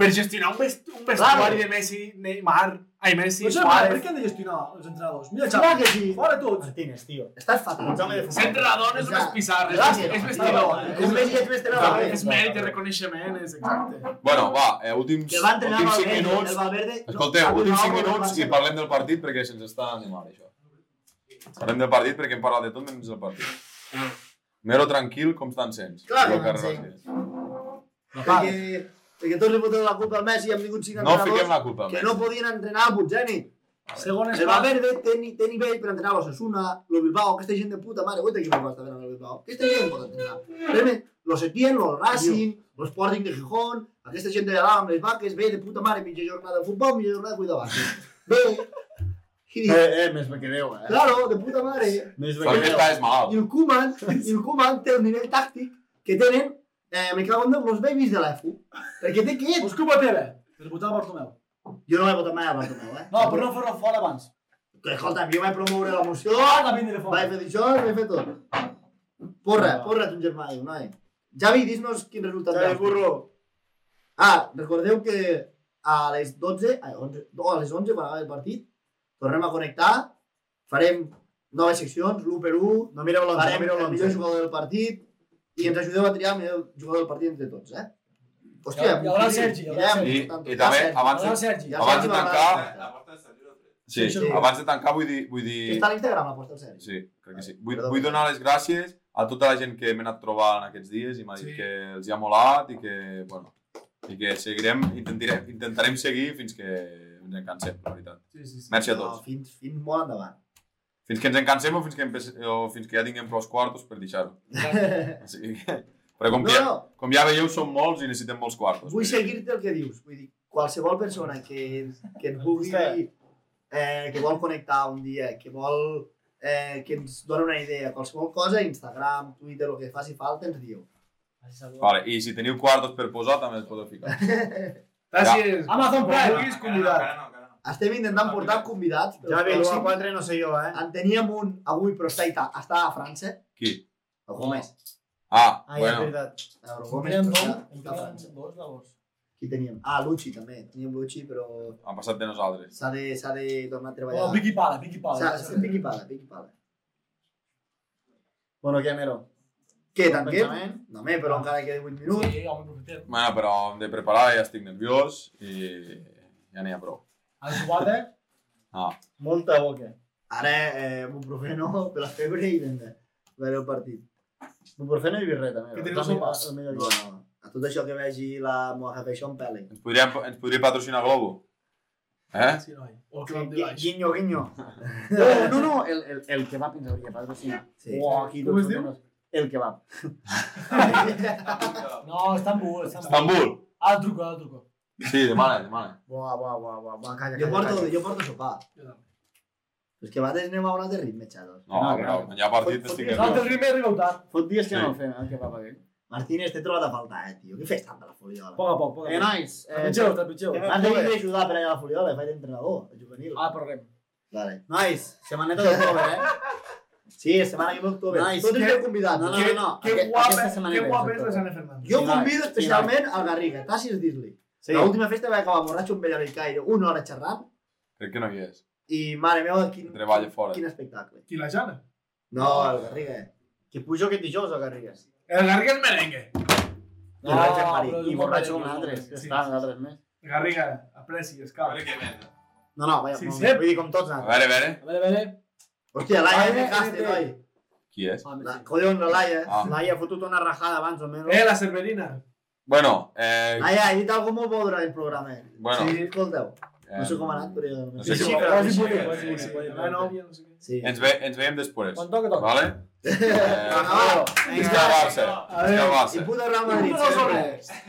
Speaker 2: per gestionar un, vest un vestuari de Messi, Neymar, ai Messi,
Speaker 4: Però això,
Speaker 2: Suárez.
Speaker 4: per què han de gestionar els entrenadors? Mira,
Speaker 1: Clar
Speaker 4: Xavi,
Speaker 1: que sí.
Speaker 4: fora tots.
Speaker 5: Martínez, tio.
Speaker 1: Estàs fatal.
Speaker 5: Ets home de
Speaker 2: Ser entrenador no és unes pissarres, és, és vestidor.
Speaker 1: És un Messi que és vestidor.
Speaker 2: Clar, és mèrit de reconeixement, és exacte.
Speaker 3: Bueno, va, eh, últims,
Speaker 1: Que va entrenar
Speaker 3: últims 5
Speaker 1: Valverde,
Speaker 3: minuts.
Speaker 1: el Valverde... no, ha
Speaker 3: Escolteu, últims
Speaker 1: donat
Speaker 3: 5
Speaker 1: obres al
Speaker 3: minuts
Speaker 1: Barça.
Speaker 3: i parlem del partit perquè se'ns està animant, això. Parlem del partit perquè hem parlat de tot menys del partit. Mero tranquil, com estan sents?
Speaker 1: Clar que
Speaker 3: Jo
Speaker 1: me'n
Speaker 3: res
Speaker 1: sent.
Speaker 3: més.
Speaker 1: Perquè, perquè tots li foten la culpa al Messi i han vingut cinc
Speaker 3: No fiquem
Speaker 1: entrenadors
Speaker 3: la culpa,
Speaker 1: que
Speaker 3: més.
Speaker 1: no podien entrenar al Butzeni.
Speaker 4: Segon
Speaker 1: El Valverde té, ni- té nivell per entrenar a l'Osasuna, el Bilbao, aquesta gent de puta mare, guaita que no va estar fent el Bilbao. Aquesta gent pot entrenar. Primer, los Setién, los Racing, los Sporting de Gijón, aquesta gent de l'Ala amb les vaques, ve de puta mare, mitja jornada de futbol, mitja jornada de cuidar vaques. Ve, i diu,
Speaker 5: Eh, eh, més me quedeu, eh?
Speaker 1: claro, de puta mare,
Speaker 5: Més me
Speaker 3: Perquè
Speaker 5: quedeu.
Speaker 3: estàs mal.
Speaker 1: I el Koeman, i el Koeman té el nivell tàctic que tenen eh, me cago en Déu, los babies de E l'EFU. Perquè té que...
Speaker 4: Pues culpa teva, per votar Bartomeu.
Speaker 1: Jo no vaig votar mai a Bartomeu, eh?
Speaker 4: No, però no fer-lo fora abans.
Speaker 1: Que, escolta'm, jo vaig promoure la moció,
Speaker 4: Ah, que vindre fora.
Speaker 1: vaig fer això, vaig fer tot. Porra, porra, ton germà, diu, noi. Javi, dis-nos quin resultat
Speaker 5: Xavi
Speaker 1: veus.
Speaker 5: Burro.
Speaker 1: Ah, recordeu que a les 12, a, 11, no, a les 11, quan acabi el partit, tornem a connectar, farem noves seccions, l'1 per 1,
Speaker 5: No mireu l'11, no
Speaker 1: farem
Speaker 5: mireu
Speaker 1: el millor
Speaker 5: l'11.
Speaker 1: jugador del partit i ens ajudeu a triar el millor jugador del partit entre tots, eh? Hòstia,
Speaker 4: Hi haurà el Sergi, hi haurà el
Speaker 1: Guillem,
Speaker 3: I,
Speaker 1: tant.
Speaker 3: i també,
Speaker 1: Sergi,
Speaker 3: abans de,
Speaker 4: Hola, Sergi.
Speaker 1: ja
Speaker 3: abans de
Speaker 1: Sergi va
Speaker 3: tancar-
Speaker 1: anar-
Speaker 3: sí,
Speaker 1: sí.
Speaker 3: abans de tancar vull dir... Vull
Speaker 1: Que Està
Speaker 3: dir
Speaker 1: a l'Instagram, la posta del Sergi.
Speaker 3: sí, crec que sí. Vull, vull donar les gràcies a tota la gent que m'he anat trobant aquests dies i m'ha dit
Speaker 2: Sí.
Speaker 3: que els hi ha molat i que, bueno, i que seguirem, intentarem, intentarem seguir fins que ens encansem, la veritat.
Speaker 2: Sí, sí, sí.
Speaker 3: Merci a
Speaker 1: No,
Speaker 3: tots.
Speaker 1: fins, fins molt endavant.
Speaker 3: Fins que ens encansem o fins que, empe... o fins que ja tinguem prou quartos per deixar-ho. Així que... Però com,
Speaker 1: No,
Speaker 3: que ja,
Speaker 1: no,
Speaker 3: com ja veieu, som molts i necessitem molts quartos.
Speaker 1: vull seguir-te el que dius. Vull dir, qualsevol persona que, que ens vulgui dir, eh, que vol connectar un dia, que vol eh, que ens dona una idea, qualsevol cosa, Instagram, Twitter, el que faci falta, ens diu.
Speaker 3: Vale, I si teniu quartos per posar, també els podeu ficar.
Speaker 2: Gràcies.
Speaker 4: Amazon Prime.
Speaker 2: Vulguis convidat.
Speaker 1: Estem
Speaker 5: Ah,
Speaker 1: intentant portar convidats. però
Speaker 5: Xavi,
Speaker 1: el
Speaker 5: l'1 a
Speaker 1: pròxim
Speaker 5: 4 no sé jo, eh?
Speaker 1: En teníem un avui, però està, ita, està a França.
Speaker 3: Qui?
Speaker 1: El Gómez.
Speaker 3: Ah,
Speaker 5: Ah, ja, és
Speaker 3: bueno.
Speaker 5: veritat.
Speaker 1: El Gómez
Speaker 4: Comprem
Speaker 1: però
Speaker 4: nom,
Speaker 1: està- està a
Speaker 4: comprem
Speaker 1: França.
Speaker 4: dos, llavors.
Speaker 1: Qui teníem? Ah, Luchi també. Teníem Luchi, però
Speaker 3: Han passat de nosaltres.
Speaker 1: s'ha de, s'ha de tornar a treballar.
Speaker 4: Oh, Vicky Pala, Vicky Pala.
Speaker 1: S'ha- s'ha- Piqui pala, piqui pala.
Speaker 5: Bueno, què, Mero?
Speaker 1: Què,
Speaker 5: Bon
Speaker 1: tanquem?
Speaker 5: pensament.
Speaker 1: No, home, però encara queda 8 minuts.
Speaker 4: Sí, home, aprofitem.
Speaker 3: Bueno, però hem de preparar, ja estic nerviós i ja n'hi ha prou.
Speaker 4: A les quatre,
Speaker 5: Molta boca.
Speaker 1: Ara, eh, buprofeno per la febre i vinga, a veure el partit.
Speaker 5: Ibuprofeno i birreta,
Speaker 2: Que
Speaker 5: Mero.
Speaker 2: teniu
Speaker 5: És el millor-
Speaker 2: sopars.
Speaker 5: el millor
Speaker 1: No,
Speaker 5: que hi ha.
Speaker 1: no. A tot això que vegi la Mojavetion Pele.
Speaker 3: Ens podria, ens podria patrocinar Globo? Eh?
Speaker 2: Sí, noi. O el Cloud
Speaker 5: Gui-
Speaker 2: Device.
Speaker 5: Guiño, guiño. No, no, no, el, el, el kebab ens hauria patrocinat.
Speaker 1: Sí.
Speaker 5: Uau, aquí
Speaker 2: Com es
Speaker 5: tots
Speaker 2: diu?
Speaker 5: els- El kebab.
Speaker 4: No, Estambul, Estambul.
Speaker 3: Estambul!
Speaker 4: Ara Ah, el truco, ara el truco.
Speaker 3: Sí, demana, demana.
Speaker 5: Buah, buah, buah, buah, buah, calla,
Speaker 1: Jo
Speaker 5: calla,
Speaker 1: porto,
Speaker 5: calla.
Speaker 1: jo porto sopar.
Speaker 2: Jo també.
Speaker 1: És que vades anem a un altre ritme, xados.
Speaker 3: No,
Speaker 5: No,
Speaker 3: però
Speaker 5: no.
Speaker 3: quan hi ha partit
Speaker 1: Fot-
Speaker 3: estic
Speaker 1: fotis-
Speaker 4: No, el
Speaker 3: nerviós.
Speaker 4: ritme arriba tard.
Speaker 5: Fot dies que
Speaker 3: Sí.
Speaker 5: no el fem, eh, el kebab aquell.
Speaker 1: Martínez, t'he trobat a faltar, eh, tio. Què fes tant de la Fuliola?
Speaker 4: Poc a poc, poc
Speaker 5: Eh,
Speaker 4: a poc.
Speaker 5: nois, eh,
Speaker 4: Trepitgeu, trepitgeu.
Speaker 1: Has de vindre a ajudar per allà a la Fuliola, faig d'entrenador, de juvenil.
Speaker 4: Ara parlem.
Speaker 1: Vale.
Speaker 5: nois, setmaneta d'octubre, eh?
Speaker 1: Sí, setmana que ve octubre.
Speaker 5: Nois,
Speaker 1: Tots
Speaker 5: que-
Speaker 1: esteu convidats.
Speaker 5: No, no,
Speaker 1: Que-
Speaker 5: no, no.
Speaker 2: Que
Speaker 5: aquest-
Speaker 2: guapa,
Speaker 5: aquesta setmaneta
Speaker 2: que guapa és
Speaker 5: d'octubre.
Speaker 2: la Sane Fernández.
Speaker 1: Jo
Speaker 5: Sí,
Speaker 1: convido
Speaker 5: noi.
Speaker 1: especialment al Garriga, Tassis Disley.
Speaker 5: Sí.
Speaker 1: La última festa vaig acabar borratxo amb Bellaric Cairo, una hora xerrant,
Speaker 3: Crec que no hi és.
Speaker 1: i mare meva, quin,
Speaker 3: Treballa fora.
Speaker 1: quin espectacle.
Speaker 2: Qui la Jana?
Speaker 1: No, el Garriga. eh.
Speaker 5: Que pujo aquest dijous al Garrigues.
Speaker 2: El Garriga és merengue.
Speaker 5: No,
Speaker 1: Borratxo
Speaker 5: no,
Speaker 1: amb Marí.
Speaker 5: però és un
Speaker 4: I
Speaker 5: borratxo
Speaker 4: borratxo
Speaker 5: com
Speaker 4: com
Speaker 5: nosaltres.
Speaker 2: nosaltres.
Speaker 5: Sí, Està, nosaltres més.
Speaker 2: Garriga, apreci, escau.
Speaker 5: No, no, vaja,
Speaker 2: Sí,
Speaker 5: molt
Speaker 2: sí.
Speaker 5: bé. vull dir com tots
Speaker 3: A
Speaker 5: nosaltres.
Speaker 3: veure, a veure.
Speaker 4: A veure, a veure.
Speaker 1: Hòstia, Laia,
Speaker 4: Vale,
Speaker 1: me dejaste,
Speaker 4: NT.
Speaker 1: noi.
Speaker 3: Qui és?
Speaker 4: Home,
Speaker 1: La,
Speaker 4: sí.
Speaker 1: collons, la Laia. eh.
Speaker 3: Ah.
Speaker 5: Laia ha fotut una rajada abans o menys.
Speaker 2: Eh, la Cerverina.
Speaker 3: Bueno, eh...
Speaker 1: Laia, he dit alguna cosa molt bo durant el programa. eh.
Speaker 3: Bueno,
Speaker 1: Sí, escolteu.
Speaker 3: eh,
Speaker 1: No sé com ha anat, però...
Speaker 3: No
Speaker 1: Sí,
Speaker 3: sé
Speaker 1: sí,
Speaker 3: com- Eh,
Speaker 1: però...
Speaker 4: Quasi poder, quasi
Speaker 2: Sí,
Speaker 4: poder,
Speaker 2: sí,
Speaker 4: quasi poder.
Speaker 2: la nòvia, no sé què.
Speaker 1: Sí.
Speaker 3: Ens, ve, ens veiem després.
Speaker 4: Quan toca, toca.
Speaker 3: Vale? Eh,
Speaker 1: Carnaval.
Speaker 3: Visca el Barça. Visca el Barça.
Speaker 1: I puta Real Madrid,
Speaker 2: Puta
Speaker 1: sempre.
Speaker 2: Barça.